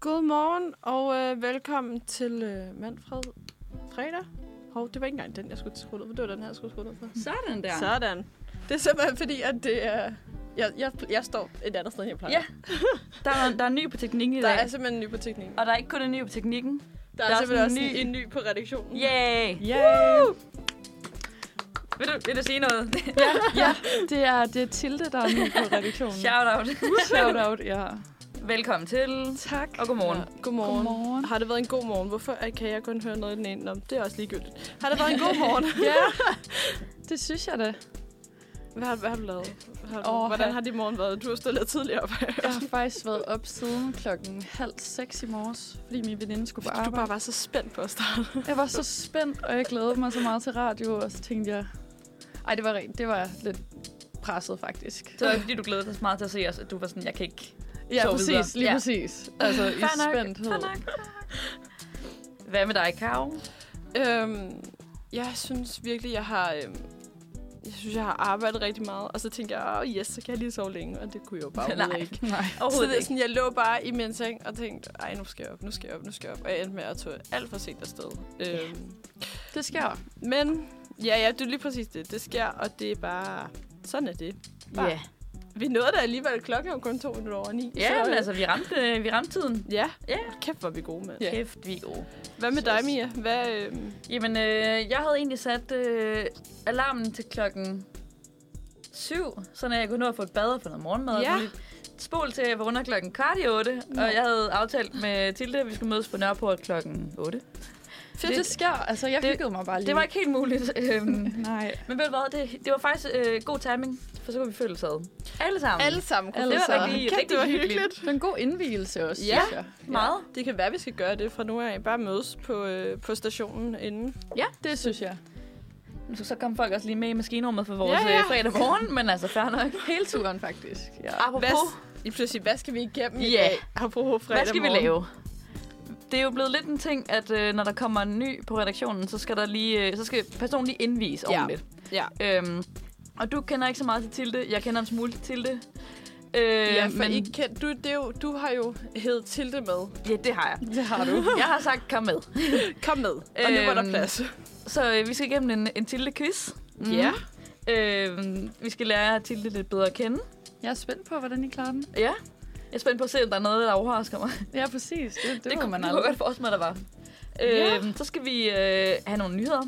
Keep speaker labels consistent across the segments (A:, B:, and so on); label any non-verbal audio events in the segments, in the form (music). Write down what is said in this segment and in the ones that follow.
A: Godmorgen og øh, velkommen til øh, Manfred Fredag. Hov, det var ikke engang den, jeg skulle skrue ned for. Det var den her, jeg skulle skrue ned for.
B: Sådan der.
A: Sådan. Det er simpelthen fordi, at det er... Jeg, jeg, jeg står et andet sted, end jeg plejer.
B: Ja, der er, der er ny på teknikken i
A: Der
B: dag.
A: er simpelthen en ny på teknikken.
B: Og der er ikke kun en ny på teknikken.
A: Der er,
B: Der er
A: simpelthen også
B: sådan en
A: ny. en ny på redaktionen.
B: Yay!
A: Yeah.
B: Vil du, vil du sige
A: (laughs)
B: noget?
C: (laughs) Det er, det er Tilde, der er nu på redaktionen.
B: Shout out.
C: (laughs) Shout out, ja.
B: Velkommen til.
C: Tak.
B: Og godmorgen.
A: Ja. Godmorgen.
C: Godmorgen.
A: Har det været en god morgen? Hvorfor øh, kan jeg kun høre noget i den ene? Nå, det er også ligegyldigt. Har det været en god
C: (laughs)
A: morgen?
C: Ja, det synes jeg da.
A: Hvad har, hvad har du lavet? Har du,
C: Åh,
A: hvordan
C: ha-
A: har din morgen været? Du har stået lidt tidligere op.
C: (laughs) Jeg har faktisk været op siden klokken halv seks i morges, fordi min veninde skulle på
A: Du bare
C: arbejde.
A: var så spændt på at starte.
C: Jeg var så spændt, og jeg glædede mig så meget til radio, og så tænkte jeg... Ej, det var, rent, det var lidt presset, faktisk.
B: Det var ikke, fordi du glædede dig så meget til at se os, at du var sådan, jeg kan ikke.
C: Ja,
B: Så videre.
C: præcis. Lige
B: Ja.
C: præcis. Altså, i
B: Fair nok,
C: spændthed.
B: fair nok. Hvad med dig, Karo?
A: Øhm, jeg synes virkelig, jeg har... Øhm, jeg synes, jeg har arbejdet rigtig meget. Og så tænkte jeg, oh yes, så kan jeg lige sove længe. Og det kunne jeg jo bare
B: (laughs)
A: overhovedet ikke.
C: Nej.
A: Så det
B: Overhovedet
A: er
B: ikke.
A: sådan, jeg lå bare i min seng og tænkte, ej, nu skal jeg op, nu skal jeg op, nu skal jeg op. Og jeg endte med at tage alt for sent afsted.
B: Ja.
A: Øhm,
C: Det sker.
A: men ja, ja, det er lige præcis det. Det sker, og det er bare... Sådan "Ah, er det. bare-
B: Ja,
A: Vi nåede da alligevel. Klokken er jo kun to minutter over ni.
B: ja
A: Så,
B: men
A: øh,
B: altså, vi ramte, øh, vi ramte tiden.
A: Ja,
B: Ja.
A: kæft, hvor er vi gode med.
C: Ja.
B: Kæft, vi er gode.
A: Hvad med dig, Mia? Hvad, øh,
B: Jamen, øh, jeg havde egentlig sat øh, alarmen til klokken 7, så jeg kunne nå at få et bad og få noget morgenmad. og
A: Ja.
B: sådan lidt Spol til, at jeg var under klokken kvart i 8,
C: Nå.
B: og jeg havde aftalt med Tilde, at vi skulle mødes på Nørreport klokken 8.
C: Fedt, det sker. Altså, jeg
B: det-
C: hyggede mig bare lige.
B: Det var ikke helt muligt, (laughs) øhm,
C: Nej.
B: men ved du hvad, det, det var faktisk øh, god timing, for så kunne vi følges ad. Alle sammen.
A: alle sammen kunne
C: Alle
B: det var
C: sammen.
B: rigtig,
A: Kæft,
B: rigtig
A: det var
B: hyggeligt.
A: hyggeligt.
C: Det var en god indvielse også,
A: Ja.
C: synes jeg.
B: Meget.
A: Det kan være, vi skal gøre det fra nu af. Bare mødes på, øh, på stationen inden.
C: Det synes jeg.
B: Nu skal så komme folk også lige med i maskinrummet for vores
A: Ja,
B: ja,
A: ja.
B: ja. fredag morgen, men altså fair nok.
C: Hele turen, faktisk. Ja.
A: Hvad,
B: Apropos,
A: I pludselig, hvad skal vi igennem i
B: Ja.
A: dag? Apropos fredag
B: Hvad skal
A: morgen.
B: vi lave? Det er jo blevet lidt en ting, at øh, når der kommer en ny på redaktionen, så skal der lige, øh, så skal personen lige indvise
A: Ja.
B: ordentligt.
A: Ja.
B: Øhm, og du kender ikke så meget til Tilde. Jeg kender en smule til Tilde. Øh,
A: Ja, for men... I kan, du, det er jo, du har jo hed Tilde med.
B: ja, det har jeg.
C: Det har du.
B: Jeg har sagt, kom med.
A: Kom med, og nu var der
B: Øhm,
A: plads.
B: Så øh, vi skal igennem en, en Tilde-quiz.
A: Ja.
B: Øh, vi skal lære Tilde lidt bedre at kende.
C: Jeg er spændt på, hvordan I klarer den.
B: Ja. Jeg er spændt på at se, om der er noget, der overrasker mig.
C: Ja, præcis. Det, det,
B: kunne
C: kunne man
B: det kunne jeg
C: aldrig.
B: godt forestille mig, der var.
A: Ja.
B: Øh, så skal vi øh, have nogle nyheder.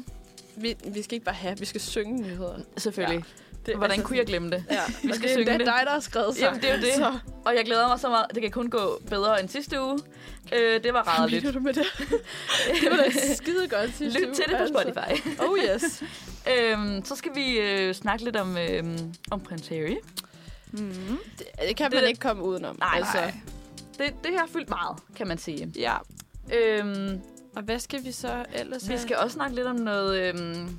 A: Vi, vi skal ikke bare have, vi skal synge nyheder.
B: Selvfølgelig.
A: Det, altså
B: Ja. Hvordan kunne jeg glemme det? (laughs)
A: Ja, vi
B: skal
A: skal det,
B: synge
A: synge det.
B: det.
A: er dig, der har skrevet sig.
B: Jamen, det er jo det.
A: Så
B: Og jeg glæder mig så meget. Det kan kun gå bedre end sidste uge. Øh, det var
A: hvad
B: rart lidt.
A: mener du med det? Det var da skide godt sidste
B: Lyt til det på
A: uge, altså.
B: Spotify. (laughs)
A: Oh yes.
B: øhm, så skal vi øh, snakke lidt om, øh, om Prince Harry.
C: Mm.
A: Det, det kan
B: Det
A: man
B: er-
A: ikke komme udenom. altså.
B: Nej, Det, det har fyldt meget, kan man sige.
A: Ja.
B: Øhm,
A: Og hvad skal vi så ellers øh?
B: vi
A: have?
B: skal også snakke lidt om noget... Øhm,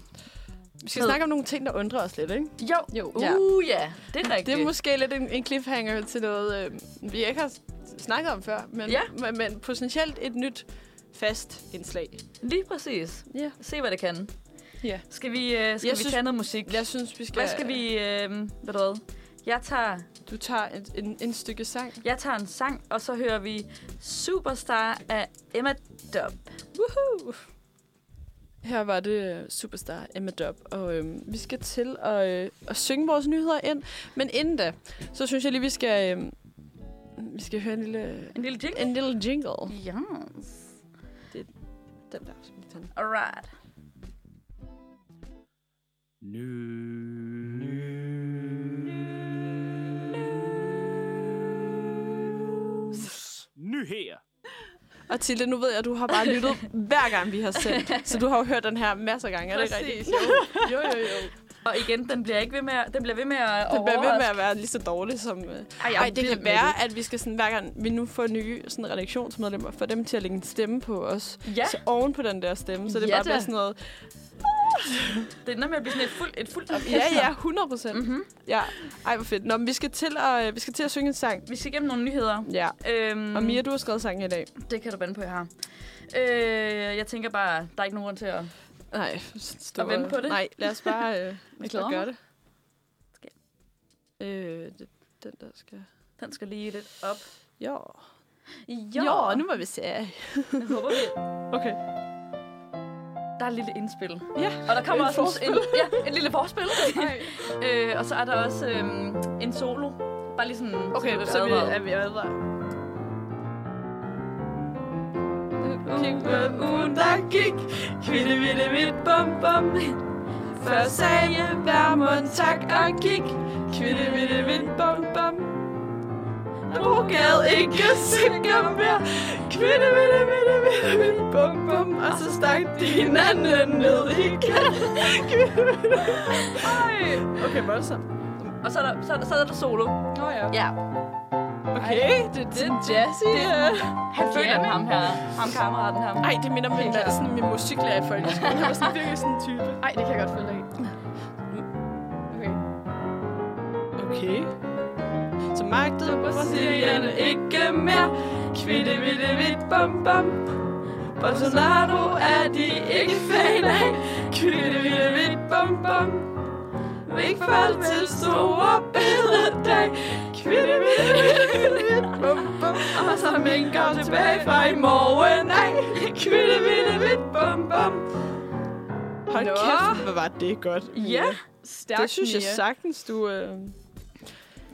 A: vi skal snakke om nogle ting, der undrer os lidt, ikke?
B: jo,
C: Jo.
A: Ja.
B: uh, ja. det er rigtigt.
A: Det er måske lidt en, en cliffhanger til noget, øh, vi ikke har s- snakket om før, men,
B: Ja.
A: men, men potentielt et nyt fast indslag.
B: Lige præcis.
A: Ja.
B: Se, hvad det kan.
C: Ja.
B: Skal vi, øh, skal
A: Jeg
B: vi
A: synes-
B: tage noget musik?
A: Jeg synes, vi skal...
B: Hvad skal vi... Øh, ved du hvad? Jeg tager,
A: Du tager et, en, en stykke sang.
B: jeg tager en sang, og så hører vi Superstar af Emma Dobb.
A: Woohoo! Her var det øh, Superstar Emma Dobb, og øh, vi skal til at, øh, at synge vores nyheder ind. Men inden da, så synes jeg lige, vi skal, øh, vi skal høre en lille,
B: En lille jingle.
A: en lille jingle.
B: Yes.
A: Den der, som vi fandt.
B: Alright.
D: Nyheder.
A: Og Tilde, nu ved jeg, at du har bare lyttet hver gang, vi har sendt. Så du har jo hørt den her masser af gange, er det ikke rigtigt?
C: Jo. jo, jo, jo.
B: Og igen, den bliver ikke ved med at, den bliver ved med at
A: Den bliver ved med
B: overraske.
A: at være lige så dårlig som... Øh.
B: Ej, jeg er
A: Ej, det
B: vild
A: kan
B: med
A: være, at vi skal sådan, hver gang vi nu får nye sådan, redaktionsmedlemmer, få dem til at lægge en stemme på os.
B: det. Ja,
A: Så oven på den der stemme, så det
B: Ja
A: bare bliver
B: da.
A: sådan noget...
B: det ender med at blive sådan et fuldt et fuld orkester.
A: Ja, ja, 100 procent.
B: Mm-hmm.
A: Ja. Ej, hvor fedt. Nå, men vi skal til at, øh, vi skal til at synge en sang.
B: Vi skal igennem nogle nyheder.
A: Ja.
B: Øhm,
A: Og Mia, du har skrevet sangen i dag.
B: Det kan du bande på, jeg har. Øh, jeg tænker bare, der er ikke nogen grund til at...
A: Nej, stå
B: Og vente på det.
A: Nej, lad os bare, øh, lad os
C: glæder
A: bare gøre
C: mig.
A: det.
B: Skal-
A: Øh, det, den der skal...
B: Den skal lige lidt op.
A: Jo.
B: Jo,
A: Jo, nu må vi se.
B: Jeg håber vi.
A: Okay.
B: Der er et lille indspil.
A: Ja,
B: Og der kommer
A: et
B: også en,
A: forspil.
B: en, ja, et lille forspil.
A: (laughs)
B: øh, og så er der også øhm, en solo. Bare lige sådan...
A: Okay, så,
B: så
A: vi,
B: vi
A: er vi advaret. Kig på ugen, der gik. Kvinde, vilde, vidt, bum, bum. Først sagde jeg hver mund tak og kig. Kvinde, vilde, vidt, bum, bum. Du gad ikke sikker mere. Kvinde, vilde, vilde, vilde, vidt, bum, bum. Og så stak de hinanden ned igen. Kvinde, vilde, Ej. Okay, voldsomt.
B: Og så er der, så, er der- så er der solo.
C: Nå ja.
B: Ja.
A: Okay, det er sådan jazzy. øh.
B: Han føler
C: Jamming.
B: ham her. Ham kammeraten her.
A: Ej, det minder mig om
B: Helt klart.
A: sådan min musiklærer i folkeskolen. Han var sådan virkelig sådan en type.
C: Ej, det kan jeg godt følge dig i. Okay.
A: Okay. Så magtede Brasilien ikke mere. Kvitte, vitte, vidt, bum, bum. Bolsonaro er de ikke fan af. Kvitte, vitte, vidt, bum, bum. Ikke folk til store bededag. Kvitte, vitte, vidt, vidt, bum, bum. Og så minker tilbage fra i morgen af. Kvitte, vitte, vidt, bum, bum. Hold
C: Nå.
A: kæft, hvor var det godt.
B: Ja.
C: Stærk
A: det synes jeg
C: Mia.
A: sagtens, du... Øh...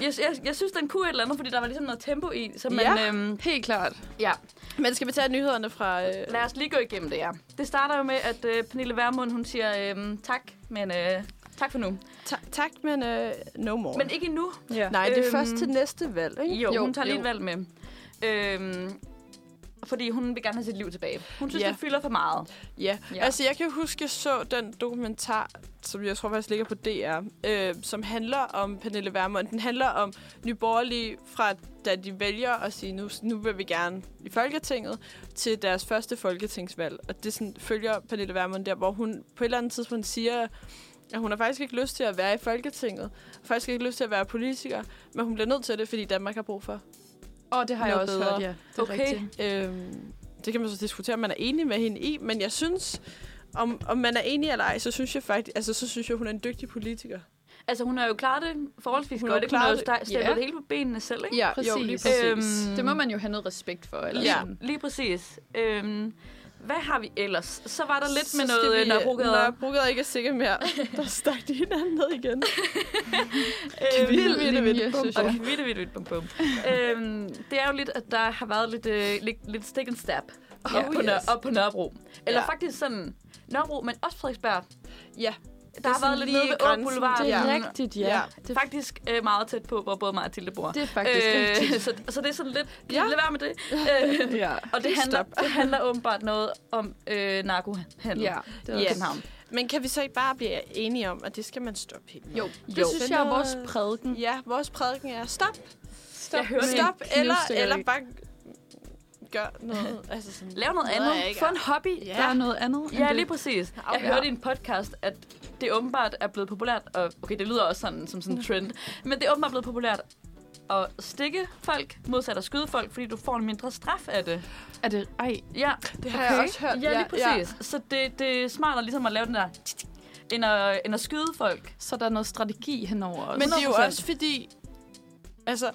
B: Jeg, jeg, jeg synes, den kunne et eller andet, fordi der var ligesom noget tempo i. Så man,
A: Ja.
B: øhm,
C: Helt klart.
B: ja.
A: Men skal vi tage nyhederne fra... Øh...
B: Lad os lige gå igennem det, ja. Det starter jo med, at øh, Pernille Vermund, hun siger øhm, tak, men øh, tak for nu.
A: Ta- tak, men øh, no more.
B: Men ikke endnu.
C: Ja.
A: Nej, det er
B: Øhm,
A: først til næste valg, ikke?
B: Jo,
C: Jo,
B: jo hun tager lige
C: jo.
B: et valg med. Øhm, fordi hun vil gerne have sit liv tilbage. Hun synes,
A: Ja.
B: ja. det fylder for meget.
A: Ja. ja,
B: Ja.
A: altså jeg kan huske, jeg så den dokumentar, som jeg tror faktisk ligger på DR, øh, som handler om Pernille Vermund. Den handler om nyborgerlige fra, da de vælger at sige, nu, nu vil vi gerne i Folketinget, til deres første folketingsvalg. Og det sådan, følger Pernille Vermund der, hvor hun på et eller andet tidspunkt siger, at hun har faktisk ikke lyst til at være i Folketinget, faktisk ikke lyst til at være politiker, men hun bliver nødt til det, fordi Danmark har brug for.
C: Og det har jeg
A: Noget
C: også
A: bedre.
C: hørt, ja. Det er
B: Okay.
C: rigtigt.
A: Øhm, det kan man så diskutere, om man er enig med hende i, men jeg synes, om, om man er enig eller ej, så synes jeg faktisk, altså så synes jeg, hun er en dygtig politiker.
B: Altså, hun har jo klaret det forholdsvis
A: Hun
B: hun
A: har
B: godt.
A: jo
B: Ikke? Hun har jo
A: klaret
B: sta-
C: det.
B: stablet
C: Ja.
B: det hele på benene selv, ikke?
A: Ja,
C: Præcis.
A: jo, lige præcis.
B: Øhm,
C: Det må man jo have noget respekt for. Eller
A: Mm. Ja.
C: ja. Sådan.
B: Lige præcis. Øhm, hvad har vi ellers? Så var der lidt
A: Så
B: med
A: skal
B: noget øh, Nørrebrogade.
A: Nørrebrogade ikke er sikker mere. Der stak de hinanden ned igen. Vildt,
B: Øhm,
A: vildt,
C: linje,
A: vildt. Bum,
C: synes
A: bum.
B: Og det vidt, vidt, vidt, bum, bum. øhm, det er jo lidt, at der har været lidt, øh, lidt, lidt stick and stab op,
A: Ja.
B: på Nør-
A: Yes.
B: op på Nørrebro. Eller
A: Ja.
B: ja. faktisk sådan Nørrebro, men også Frederiksberg.
A: Ja,
B: Der har
A: sådan
B: været lidt
A: lige
B: nede ved Åh
A: grænsen.
B: Boulevard.
A: Det er
B: Ja.
C: rigtigt,
A: ja.
C: Det, er
B: Faktisk øh, meget tæt på, hvor både mig og Tilde bor.
C: det er faktisk øh, rigtigt.
B: så, så det er sådan lidt,
A: Ja.
B: ja. lad være med det. Øh,
C: Ja.
B: og det handler,
A: Stop.
B: det handler åbenbart noget om øh, narkohandel
C: ja. Det er
B: i
A: Ja.
C: yes.
B: København.
A: Men kan vi så ikke bare blive enige om, at det skal man stoppe helt?
C: Jo, det
B: Jo.
C: synes jeg er vores prædiken.
A: Ja, vores prædiken er stop,
C: Stop,
B: Jeg hører det.
A: stop, eller,
C: knivstikkeri.
A: eller bare gør noget. Altså sådan,
B: Lav noget
A: Noget, jeg
B: andet.
A: ikke
B: Få
A: er.
B: en hobby.
A: ja.
C: Der er noget andet end
B: Ja,
C: det.
B: lige præcis. Jeg
A: Ja.
B: hørte i en podcast, at det åbenbart er blevet populært, og okay, det lyder også sådan, som sådan en trend, men det er åbenbart blevet populært at stikke folk, modsat at skyde folk, fordi du får en mindre straf af det.
C: Er det... Ej,
B: Ja,
A: Det har okay. jeg
C: Okay.
A: også hørt.
B: ja lige præcis. Ja. Så det, det er smartere ligesom at lave den der, end at, end at skyde folk.
C: så der er noget strategi henover også.
A: Men det er jo
B: 100%.
A: også fordi... Altså,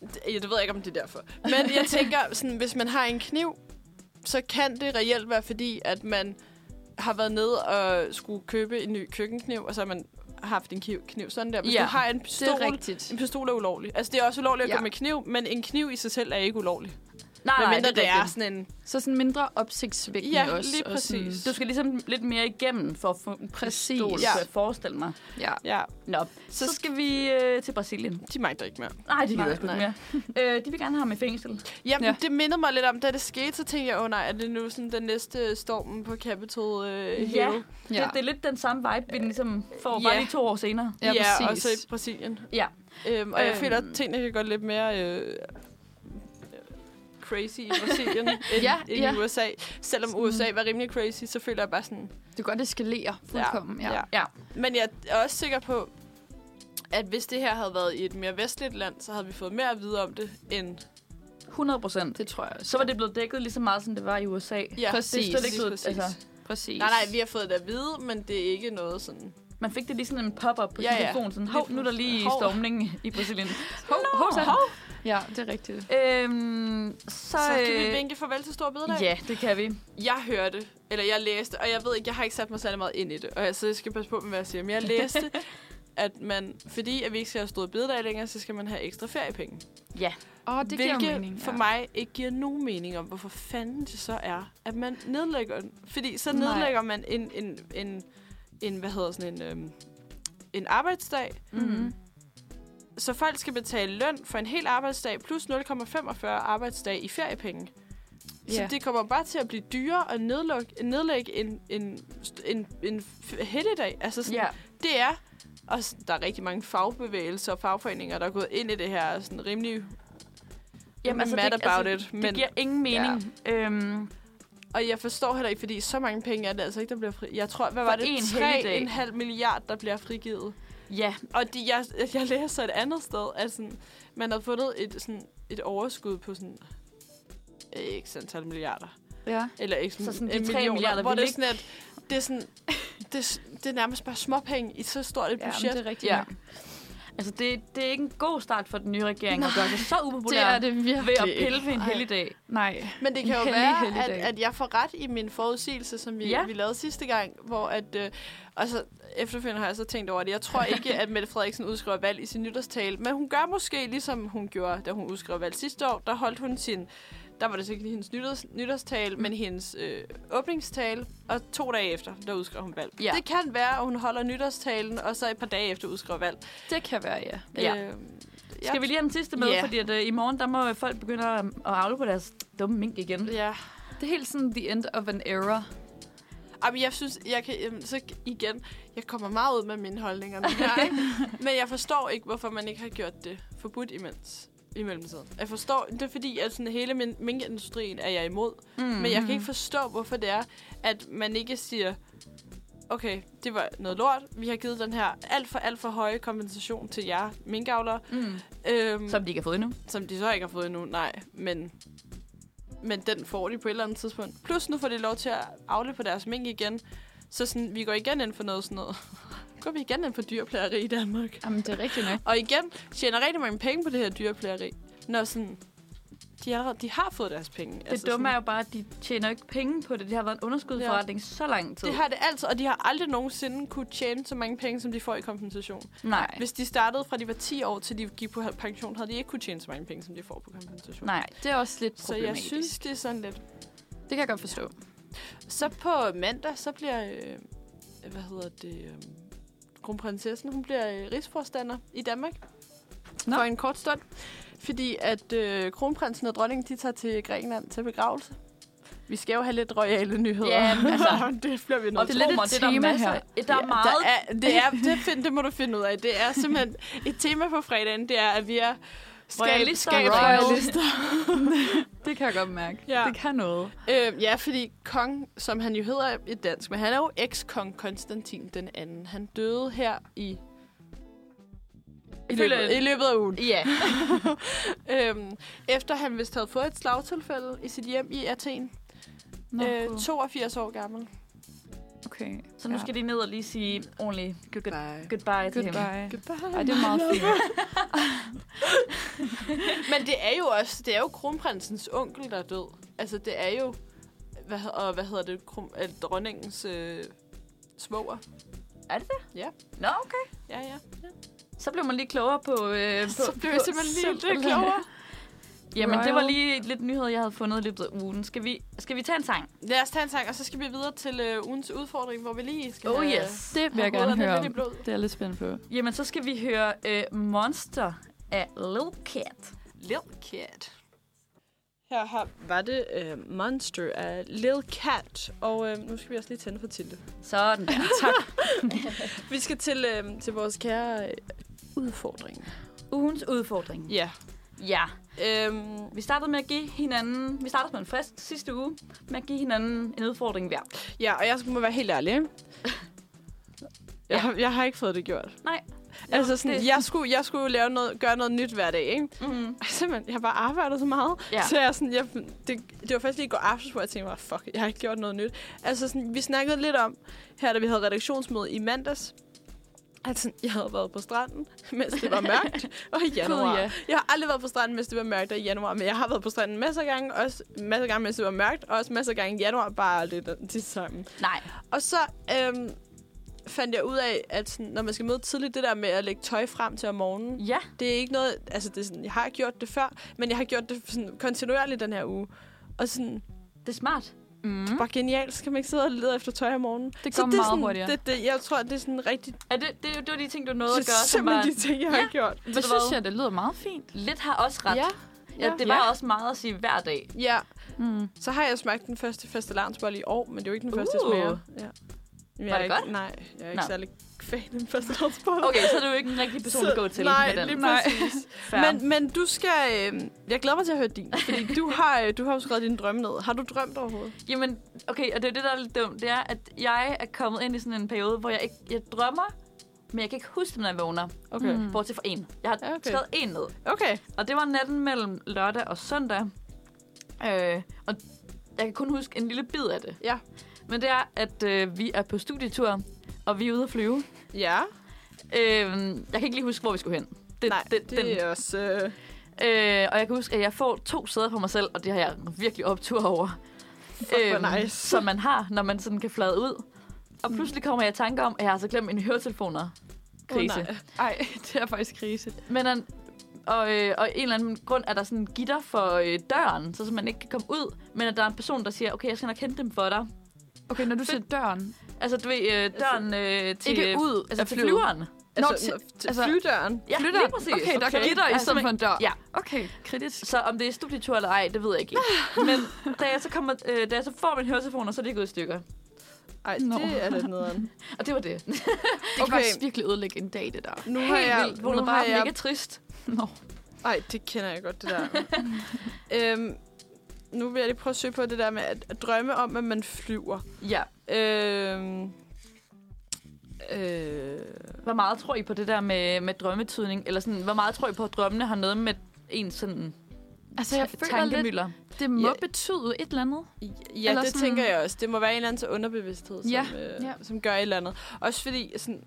A: det- ja, det ved jeg ikke, om det er derfor. Men jeg tænker, sådan, hvis man har en kniv, så kan det reelt være fordi, at man har været nede og skulle købe en ny køkkenkniv, og så har man haft en kniv, kniv sådan der. Hvis
B: Ja,
A: du har en
C: det er
A: pistol,
C: rigtigt.
A: en pistol er ulovlig. Altså, det er også ulovligt at
C: Ja.
A: gå med kniv, men en kniv i sig selv er ikke ulovlig.
B: Nej,
A: Men mindre
B: det, er rigtigt.
A: sådan en...
C: Så sådan mindre opsigtsvækkende
A: Ja,
C: også.
A: lige
C: og sådan-
A: præcis.
B: Du skal ligesom lidt mere igennem for at få en
C: Præcis.
B: pistol,
A: Ja.
B: ja. jeg forestille mig.
C: Ja.
A: Ja,
B: Nå, så,
A: Så-
B: så skal vi øh, til Brasilien.
A: de magter ikke mere.
B: Nej, det
A: Nej,
B: gider jeg sgu ikke mere. Øh, de vil gerne have ham i fængsel.
A: Jamen, ja.
C: Ja.
A: det mindede mig lidt om, da det skete, så tænkte jeg, åh oh, nej, er det nu sådan den næste stormen på Capitol øh, Hill?
B: Ja.
C: Ja.
B: Ja. Det, det er lidt den samme vibe, vi ligesom får bare
A: Ja.
B: lige to år senere.
C: Ja, præcis.
A: og så i Brasilien.
B: Ja.
A: Øhm, og jeg
B: Øhm.
A: føler, at tingene kan gå lidt mere øh, crazy
C: (laughs)
A: i Brasilien end,
C: Ja,
A: end
C: ja.
A: i USA. Selvom USA var rimelig crazy, så føler jeg bare sådan...
C: Det kan godt eskalere fuldkommen. Ja. ja.
B: Ja.
A: Men jeg er også sikker på, at hvis det her havde været i et mere vestligt land, så havde vi fået mere at vide om det end...
B: 100 procent.
C: Det tror jeg også.
B: Så var det blevet dækket lige så meget, som det var i USA.
A: Ja,
C: Præcis.
B: Det er slet ikke
A: lige
B: blevet,
A: præcis.
B: altså,
C: Præcis.
A: Nej, nej, vi har fået det at vide, men det er ikke noget sådan...
B: man fik det lige sådan en pop-up på
A: Ja,
B: ja, sin
A: ja.
B: telefon. Sådan,
A: Lige
B: hov, nu er der lige
A: (laughs) pludselig. Hov.
B: stormning i Brasilien.
A: Hov, hov, hov.
C: Ja, det er rigtigt.
B: Øhm, så,
A: Så kan vi
B: øh,
A: vinke farvel til Stor Bededag?
B: Ja, det kan vi.
A: Jeg hørte, eller jeg læste, og jeg ved ikke, jeg har ikke sat mig særlig meget ind i det, og jeg, så jeg skal passe på med, hvad jeg siger, men jeg læste, (laughs) at man, fordi at vi ikke skal have Stor Bededag længere, så skal man have ekstra feriepenge.
B: Ja.
C: Åh, oh, det
A: Hvilket
C: giver jo mening.
A: for mig ikke giver nogen mening om, hvorfor fanden det så er, at man nedlægger den. Fordi så
C: Nej.
A: nedlægger man en, en, en, en, hvad hedder sådan en, øhm, en arbejdsdag,
B: Mm.
A: så folk skal betale løn for en hel arbejdsdag plus 0,45 arbejdsdag i feriepenge. Så
C: Ja.
A: det kommer bare til at blive dyrere at nedlukke, nedlægge en, en, en, en f- helligdag. Altså sådan,
B: Ja.
A: det er, og s- der er rigtig mange fagbevægelser og fagforeninger, der er gået ind i det her sådan rimelig Jamen, mad about it,
B: men...
A: men-
B: altså, det giver ingen mening. Ja. Øhm,
A: Og jeg forstår heller ikke, fordi så mange penge er det altså ikke, der bliver fri. Jeg tror, hvad
B: For
A: var det?
B: én helligdag.
A: 3,5 milliard, der bliver frigivet.
B: ja,
A: Og de, jeg, jeg læser et andet sted, at sådan, man havde fundet et, sådan, et overskud på sådan øh, x antal milliarder.
C: Ja.
A: Eller x
B: Så sådan de
A: øh,
B: tre milliarder,
A: hvor
B: vi
A: det er
B: lige-
A: sådan, at det er, sådan, det, er s- det er nærmest bare småpenge i så stort et
C: ja,
A: budget.
C: men det er rigtigt.
B: Ja.
C: nok.
B: altså det, det er ikke en god start for den nye regering at gøre det så
C: Det
B: upopulært
C: er det virkelig
B: ved at
C: ikke.
B: pille ved en
A: Ej.
B: helligdag.
C: Nej.
A: Men det
C: En
A: kan jo
C: hellig,
A: være,
C: hellig
A: at,
C: dag.
A: at jeg får ret i min forudsigelse, som vi,
B: Ja.
A: ja. vi lavede sidste gang, hvor at, øh, og så efterfølgende har jeg så tænkt over det. Jeg tror ikke, at Mette Frederiksen udskriver valg i sin nytårstale, men hun gør måske, ligesom hun gjorde, da hun udskrev valg sidste år, der holdt hun sin, der var det sikkert ikke hendes nytårs, nytårstale, men hendes øh, åbningstale, og to dage efter, der udskrev hun valg.
B: Ja.
A: Det kan være, at hun holder nytårstalen, og så et par dage efter udskriver valg.
C: Det kan være, ja.
B: Ja.
A: Øh, ja.
B: Skal vi lige have den sidste med,
A: Ja.
B: fordi at, øh, i morgen der må øh, folk begynde at, at afle på deres dumme mink igen.
A: Ja.
C: Det er helt sådan the end of an era.
A: Jamen, jeg synes, jeg kan, jamen, så igen, jeg kommer meget ud med mine holdninger nu her, ikke? Men jeg forstår ikke, hvorfor man ikke har gjort det forbudt imens i mellemtiden. Jeg forstår, det er fordi, at sådan hele min, minkindustrien er jeg imod. Mm.
B: Mm.
A: Men jeg kan ikke forstå, hvorfor det er, at man ikke siger, okay, det var noget lort, vi har givet den her alt for, alt for høje kompensation til jer minkavlere,
B: Mm.
A: øhm,
B: Som
A: som.
B: de ikke har fået endnu.
A: som de så ikke har fået endnu, nej, men men den får de på et eller andet tidspunkt. Plus nu får de lov til at afle på deres mink igen. Så sådan, vi går igen ind for noget sådan noget. (laughs) går vi igen ind for dyrplageri i Danmark.
C: Jamen, det er rigtigt nok.
A: Og igen tjener rigtig mange penge på det her dyrplageri. Når sådan, de, allerede, de har fået deres penge.
B: Det altså dumme er jo bare, at de tjener ikke penge på det. Det har været en underskudsforretning ja. så lang tid.
A: det har det altid, og de har aldrig nogensinde kunne tjene så mange penge, som de får i kompensation.
B: Nej.
A: Hvis de startede fra de var 10 år, til de gik på pension, havde de ikke kunne tjene så mange penge, som de får på kompensation.
B: Nej.
C: Det er også lidt
A: så jeg
C: problematisk.
A: synes, det er sådan lidt
C: det kan jeg godt forstå.
A: Så på mandag, så bliver, øh, hvad hedder det, øh, kronprinsessen, hun bliver øh, rigsforstander i Danmark.
C: Nå.
A: Nå. For en kort stund. Fordi at øh, kronprinsen og dronningen, de tager til Grækenland til begravelse. Vi skal jo have lidt royale nyheder.
B: Ja,
A: (laughs)
B: men altså-
A: det bliver vi
B: Og
A: nødt
B: det
A: til.
B: er lidt
C: lidt et
B: mig, det er der
C: tema
B: masser.
C: her.
B: Her. Der er meget.
A: Der er, det, er, det, find, det må du finde ud af. Det er simpelthen et tema for fredagen, det er, at vi er skab,
B: Royalister.
A: skab,
C: Royalister. (laughs) Det kan jeg godt mærke.
A: Ja.
C: Det kan noget.
A: Øh, ja, fordi kong, som han jo hedder i dansk, men han er jo eks-kong Konstantin den anden. Han døde her i i løbet, i løbet af ugen. (laughs)
B: Ja.
A: Øhm, efter han vist havde fået et slagtilfælde i sit hjem i Athen.
C: Nå,
A: øh,
C: gud.
A: 82 år gammel.
C: okay.
B: Så nu
C: Ja.
B: skal de ned og lige sige ordentligt goodbye,
A: Goodbye.
B: goodbye til him.
C: Goodbye.
A: Goodbye.
C: Ej, det er meget fint. (laughs)
A: Men det er jo også, det er jo kronprinsens onkel, der er død. Altså, det er jo, hvad, hed- og hvad hedder det, kron, øh, dronningens øh, svoger.
B: Nå, okay.
A: Ja, ja. ja.
B: Så blev man lige klogere på... Øh, på
A: Så blev jeg
B: på-
A: simpelthen lige lidt
C: simpelthen.
A: klogere.
B: Jamen, det var
C: Royal.
B: lige lidt nyhed, jeg havde fundet i løbet af ugen. Skal vi, skal vi tage en sang?
A: Lad os tage en sang, og så skal vi videre til øh, ugens udfordring, hvor vi lige skal
B: Oh
A: have-
B: yes.
C: Det vil jeg gerne
A: hovederne
C: høre
A: lidt i
C: om.
A: blod.
C: Det er jeg lidt spændt på.
B: Jamen, så skal vi høre øh, Monster af Lil Cat.
A: Lil Cat. Her har, var det øh, Monster af Lil Cat, og øh, nu skal vi også lige tænde for Tilde. (laughs)
B: Sådan der.
A: Vi skal til, øh, til vores kære øh, udfordring.
B: Ugens udfordring.
A: Ja.
B: Ja.
A: Øhm,
B: Vi startede med at give hinanden... Vi startede med en frist sidste uge med at give hinanden en udfordring hver.
A: ja, og jeg må være helt ærlig. (laughs) ikke? Jeg, har, jeg har ikke fået det gjort.
B: Nej.
A: Altså sådan,
B: det-
A: jeg skulle, jeg skulle lave noget, gøre noget nyt hver dag, ikke?
B: Mm.
A: Og Simpelthen, jeg har bare arbejdet så meget.
B: Ja.
A: Ja. Så jeg sådan, jeg, det, det var først lige i går aftes, hvor jeg tænkte mig, fuck, jeg har ikke gjort noget nyt. Altså sådan, vi snakkede lidt om, her da vi havde redaktionsmøde i mandags, Altså, jeg havde været på stranden, mens det var mørkt, og i januar.
C: Gud,
A: Ja.
C: ja.
A: Jeg har aldrig været på stranden, mens det var mørkt, og i januar. Men jeg har været på stranden masser af gange, også masser af gange, mens det var mørkt, og også masser af gange i januar, bare aldrig det, det samme.
B: Nej.
A: Og så øhm, fandt jeg ud af, at sådan, når man skal møde tidligt, det der med at lægge tøj frem til om morgenen,
B: Ja.
A: det er ikke noget, altså det er sådan, jeg har gjort det før, men jeg har gjort det sådan kontinuerligt den her uge. Og sådan,
B: Det er smart. Mm.
A: bare genialt, så kan man ikke sidde og lede efter tøj om morgenen.
C: Det
A: så
C: går
A: det er
C: meget
A: sådan,
C: hurtigere.
A: Det, det, jeg tror, det er sådan rigtig,
B: Er det, det, det var de ting, du nåede at
A: det
B: gøre,
A: er
B: som var...
A: simpelthen de ting, jeg har
B: Ja.
A: gjort.
B: Ved
C: Det
B: du
C: synes
B: hvad?
C: jeg, det lyder meget fint.
B: Lidt har også ret.
C: Ja.
B: ja det var
C: Ja.
B: også meget at sige hver dag.
A: Ja,
C: Mm.
A: så har jeg smagt den første fastelavnsbolle i år, men det er jo ikke den første,
B: Uh.
A: jeg smager. Ja. Men jeg er
B: Var det
A: ikke,
B: godt?
A: Nej, jeg er ikke
B: Nå.
A: særlig fan af den første lavnsbolle.
B: Okay, så er du jo ikke en rigtig person at gå til
A: nej,
B: med den.
A: lige
C: Nej.
A: præcis.
B: Men,
A: men, men du skal... Øh, jeg glæder mig til at høre din, (laughs) fordi du har, øh, du har jo skrevet dine drømme ned. Har du drømt overhovedet?
B: jamen, okay, og det er det, der er lidt dumt. Det er, at jeg er kommet ind i sådan en periode, hvor jeg ikke jeg drømmer, men jeg kan ikke huske, dem, når jeg vågner.
A: Okay.
C: Mm.
B: Bortset fra en. Jeg har
A: Ja, okay.
B: okay. taget en ned.
A: Okay.
B: Og det var natten mellem lørdag og søndag. Øh, og jeg kan kun huske en lille bid af det.
A: Ja.
B: Men det er, at øh, vi er på studietur, og vi er ude at flyve.
A: Ja.
B: Øh, jeg kan ikke lige huske, hvor vi skulle hen. Det,
A: nej, det, det, det er også... Øh,
B: Øh, og jeg kan huske, at jeg får to sæder på mig selv, og det har jeg virkelig optur over. Øhm,
A: Fuck, hvor nice. Mm.
B: Som man har, når man sådan kan flade ud. Og pludselig kommer jeg i tanke om, at jeg har så glemt mine høretelefoner. Krise.
A: nej.
C: Ej, (laughs) det er faktisk krise.
B: Men an, og, øh, og en eller anden grund er der sådan en gitter for øh, døren, så, så man ikke kan komme ud. Men at der er en person, der siger, okay, jeg skal nok hente dem for dig.
C: Okay, når du siger døren.
B: Altså, du ved, øh, døren øh, til,
C: Ikke ud
B: altså,
C: af
B: til
C: flyet.
B: flyveren.
A: altså,
C: Nå,
A: til, altså,
C: altså-
A: flydøren.
B: Ja,
C: Flytter.
B: lige præcis.
C: Okay, der er gitter i
B: Altså,
C: stedet for en dør.
B: Ja,
C: Okay, kritisk.
B: Så om det er studietur eller ej, det ved jeg ikke. lige. Men da jeg så, kommer, øh, da jeg så får min høretelefoner, så er det gået i stykker.
A: Ej, (laughs)
C: Nå.
A: det er lidt nederen.
B: Og det var det.
C: Det kan
A: Okay.
C: faktisk virkelig ødelægge en dag, det der.
A: Nu har
B: Helt
A: jeg...
B: vildt.
A: Nu
B: Hun er
A: har
B: bare
A: jeg
B: mega trist.
C: Nå.
A: Ej, det kender jeg godt, det (laughs) der. øhm, nu vil jeg lige prøve at søge på det der med at, at drømme om, at man flyver.
B: Ja.
A: Øhm, øh,
B: Hvor meget tror I på det der med, med drømmetydning? Eller sådan, hvor meget tror I på, at drømmene har noget med en sådan
C: Altså, jeg føler lidt,
B: tankemøller?
C: det må
A: Ja.
C: betyde et eller andet.
A: ja,
C: Eller
A: det sådan...
C: sådan-
A: tænker jeg også. Det må være en eller anden til underbevidsthed, som,
C: Ja,
A: øh,
C: ja.
A: som gør et eller andet. Også fordi, sådan,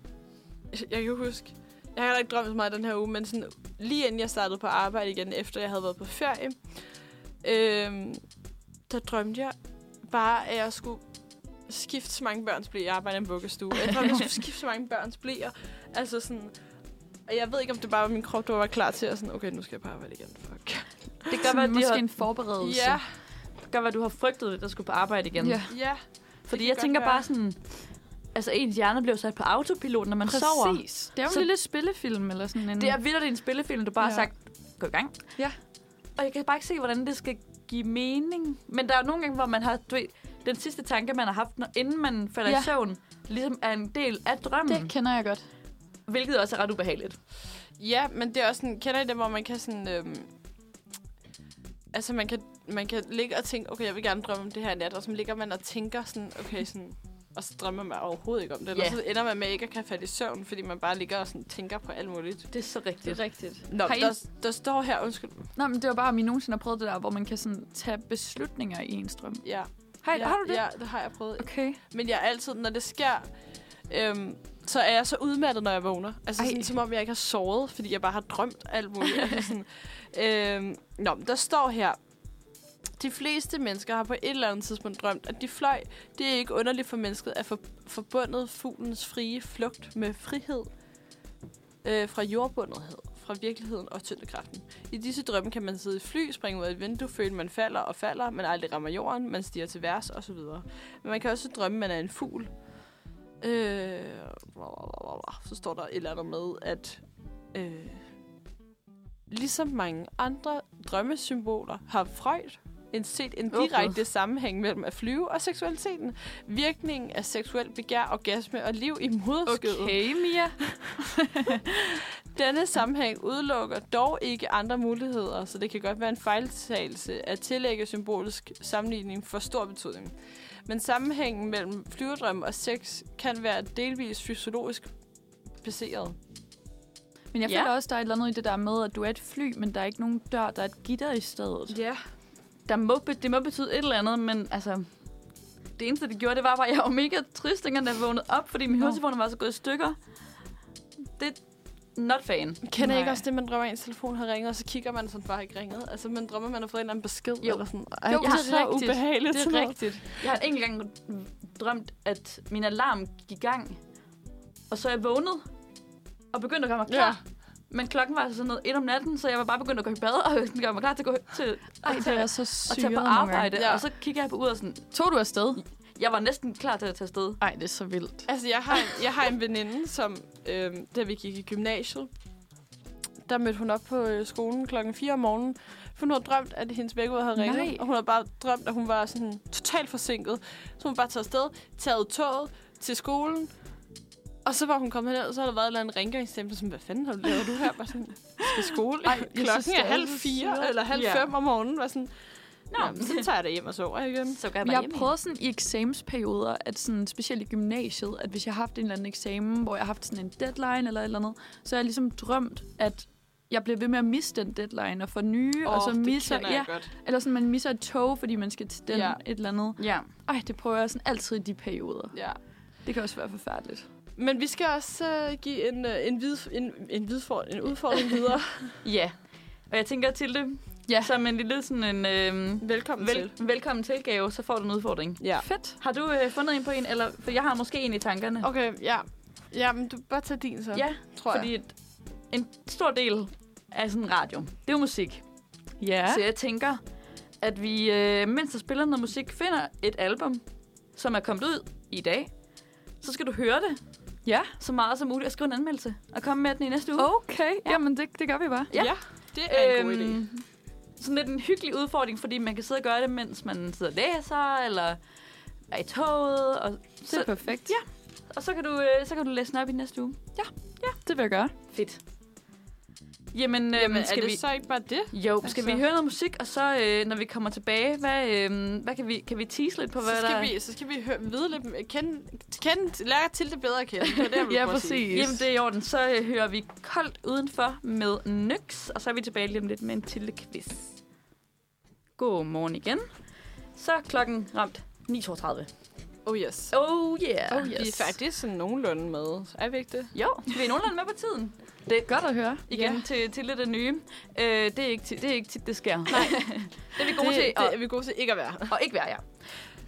A: jeg kan huske, jeg har heller ikke drømt så meget den her uge, men sådan, lige inden jeg startede på arbejde igen, efter jeg havde været på ferie, øh, der drømte jeg bare, at jeg skulle skifte så mange børns blæer. Jeg arbejder i en vuggestue. Jeg drømte, jeg skulle skifte så mange børns blæer. Altså sådan... Og jeg ved ikke, om det bare var min krop, der var klar til at sådan, okay, nu skal jeg på arbejde igen. Fuck.
B: Det gør,
C: Sådan,
B: at de
C: måske
B: har,
C: en forberedelse.
A: Ja,
B: gør, hvad du har frygtet, at der skulle på arbejde igen.
C: Ja.
A: ja.
B: Fordi
A: kan
B: jeg
A: godt
B: tænker
A: være.
B: bare sådan... Altså, ens hjerne blev sat på autopilot, når man
C: Præcis.
B: sover.
C: Det er jo
B: Så-
C: en lille spillefilm eller sådan en...
B: Det er vildt, det er en spillefilm, du bare ja. har
C: Ja.
B: sagt, gå i gang.
C: Ja.
B: Og jeg kan bare ikke se, hvordan det skal give mening. Men der er jo nogle gange, hvor man har, du ved, den sidste tanke, man har haft, når, inden man falder ja. i
C: Ja.
B: søvn, ligesom er en del af drømmen,
C: Det
B: det.
C: kender jeg godt.
B: hvilket også er ret ubehageligt.
A: Ja, men det er også sådan, kender I det, hvor man kan sådan, øhm, altså man kan, man kan ligge og tænke, okay, jeg vil gerne drømme om det her i nat, og så ligger man og tænker sådan, okay, sådan, og så drømmer man overhovedet ikke om det, eller
B: Ja.
A: så ender man med ikke at kan falde i søvn, fordi man bare ligger og sådan tænker på alt muligt.
B: Det er så rigtigt.
C: rigtigt.
A: Nå,
C: Har I-
A: der, der står her, undskyld,
C: Nå, men det var bare, om I nogensinde har prøvet det der, hvor man kan sådan tage beslutninger i ens drøm.
A: ja.
C: Har, I-
A: ja,
C: har du det?
A: Ja, det har jeg prøvet.
C: Okay.
A: Men jeg er altid, når det sker, øhm, så er jeg så udmattet, når jeg vågner. Altså
C: Ej.
A: sådan, som om jeg ikke har sovet, fordi jeg bare har drømt alt muligt. Altså, sådan, øhm, nå, men der står her, de fleste mennesker har på et eller andet tidspunkt drømt, at de fløj. Det er ikke underligt for mennesket at for, forbundet fuglens frie flugt med frihed øh, fra jordbundethed, fra virkeligheden og tyngdekraften. I disse drømme kan man sidde i et fly, springe ud af et vindue, føle, man falder og falder, man aldrig rammer jorden, man stiger til værs osv. Men man kan også drømme, man er en fugl. Øh, bla, bla, bla, bla. så står der et eller andet med, at øh, ligesom mange andre drømmesymboler har Freud indset en
B: Åh, Gud.
A: direkte sammenhæng mellem at flyve og seksualiteten. Virkningen af seksuel begær, orgasme og liv i moderskødet.
C: Mia.
A: Denne sammenhæng udelukker dog ikke andre muligheder, så det kan godt være en fejltagelse at tillægge symbolisk sammenligning for stor betydning. Men sammenhængen mellem flyvedrøm og sex kan være delvis fysiologisk baseret.
C: Men jeg
B: Ja.
C: føler også, der er et eller andet i det der med, at du er et fly, men der er ikke nogen dør, der er et gitter i stedet.
A: Ja.
B: Der må, be- det må betyde et eller andet, men altså... Det eneste, det gjorde, det var bare, at jeg var mega trist, dengang jeg vågnede op, fordi min
C: Nå.
B: høretelefoner var så gået i stykker. det not fan.
A: Kender I ikke
C: Nej.
A: også det, man drømmer, at ens telefon har ringet, og så kigger man, så den bare ikke ringet? Altså, man drømmer, man har fået en eller anden besked,
B: Jo.
A: eller sådan. Ej,
B: Jo,
A: det er
B: det er
A: så
B: rigtigt.
A: ubehageligt.
C: Det
A: sådan
C: er
A: noget.
C: rigtigt.
B: Jeg har ikke engang drømt, at min alarm gik i gang, og så er jeg vågnet og begyndte at gøre mig klar. Ja. Men klokken var altså sådan noget et om natten, så jeg var bare begyndt at gå i bad og (laughs) gøre mig klar til at gå til,
C: Ej,
B: til,
C: det er så
B: og
C: syret
B: tage på
C: nogle gange.
B: arbejde.
A: Ja.
B: Ja. Og så kigger jeg på uret og sådan,
C: Tog du afsted?
B: jeg var næsten klar til at tage afsted.
C: Ej, det er så vildt.
A: Altså, jeg har en, jeg har en veninde, som, øh, da vi gik i gymnasiet, der mødte hun op på øh, skolen klokken 4 om morgenen, for hun havde drømt, at hendes vækkeur havde ringet,
C: Nej.
A: og hun havde bare drømt, at hun var sådan totalt forsinket. Så hun bare taget afsted, taget toget til skolen, og så var hun kommet herned, og så havde der været en eller anden rengøringsstemme, som, hvad fanden har du lavet du her? Bare sådan, til skole.
C: Ej,
A: Ej,
C: jeg synes,
A: klokken
C: det er
A: er halv
C: så
A: fire,
C: sødt.
A: eller halv
B: Ja.
A: fem om morgenen. Var sådan,
B: Nå,
A: Nå, men så tager jeg da hjem og sover igen.
B: så går jeg
C: Jeg
B: bare
C: har
B: hjem igen.
C: prøvet sådan i eksamensperioder, at sådan, specielt i gymnasiet, at hvis jeg har haft en eller anden eksamen, hvor jeg har haft sådan en deadline eller et eller andet, så har jeg ligesom drømt, at jeg bliver ved med at misse den deadline og få nye, oh, og så misser, ja,
A: godt.
C: eller sådan, man misser et tog, fordi man skal til den
A: Ja.
C: ja. et eller andet.
B: Ja.
C: Ej, det prøver jeg sådan altid i de perioder.
A: Ja.
C: Det kan også være forfærdeligt.
A: Men vi skal også uh, give en, uh, en, vid, en, en, vidfor, en udfordring videre.
B: Ja. Og jeg tænker til det, ja. som en lille sådan en øhm,
A: (laughs) Velkommen Vel. til.
B: vel, velkommen tilgave, så får du en udfordring.
A: Ja.
C: Fedt.
B: Har du øh, fundet en på en, eller for jeg har måske en i tankerne.
A: Okay, ja. Ja, men du bare tag din så,
B: Ja,
A: tror
B: fordi
A: jeg.
B: et, en stor del af sådan radio, det er jo musik.
C: Ja.
B: Ja. Så jeg tænker, at vi, øh, mens der spiller noget musik, finder et album, som er kommet ud i dag. Så skal du høre det
C: Ja.
B: så meget som muligt og skrive en anmeldelse. Og komme med den i næste uge.
C: Okay, ja. jamen det, det gør vi bare.
B: Ja.
A: det er en god idé.
B: Øhm, Sådan lidt en hyggelig udfordring, fordi man kan sidde og gøre det, mens man sidder og læser, eller er i toget. Og
C: Det er
B: så,
C: perfekt.
B: Ja. og så, kan du, øh, så kan du læse den op i næste uge.
C: Det vil jeg gøre.
B: Fedt. Jamen, øh,
A: Jamen,
B: skal
A: er det
B: vi...
A: så ikke bare det?
B: Jo, skal
A: Altså-
B: vi høre noget musik, og så øh, når vi kommer tilbage, hvad, øh, hvad kan, vi, kan vi tease lidt på, hvad
A: så,
B: der
A: skal vi, så skal vi høre, vide lidt, kende, kende, lære til det bedre at kende. Det er det, jeg vil prøve at sige.
B: Jamen, det er i orden. Så øh, hører vi koldt udenfor med Nyx, og så er vi tilbage lige om lidt med en til quiz. God morgen igen. Så er klokken ramt 9.32.
A: Oh yes.
B: Oh yeah.
C: Oh, yes.
A: Vi er faktisk sådan nogenlunde med. Er vi ikke det?
B: Jo, vi er nogenlunde med på tiden.
C: Det er godt at høre.
B: Igen
A: Ja.
B: yeah. til, til lidt af nye. Øh, det, er ikke, ti- det er ikke tit, det sker. Nej. det er vi gode
A: det,
B: til,
A: det er vi gode til ikke at være.
B: (laughs) Og, og ikke være jer.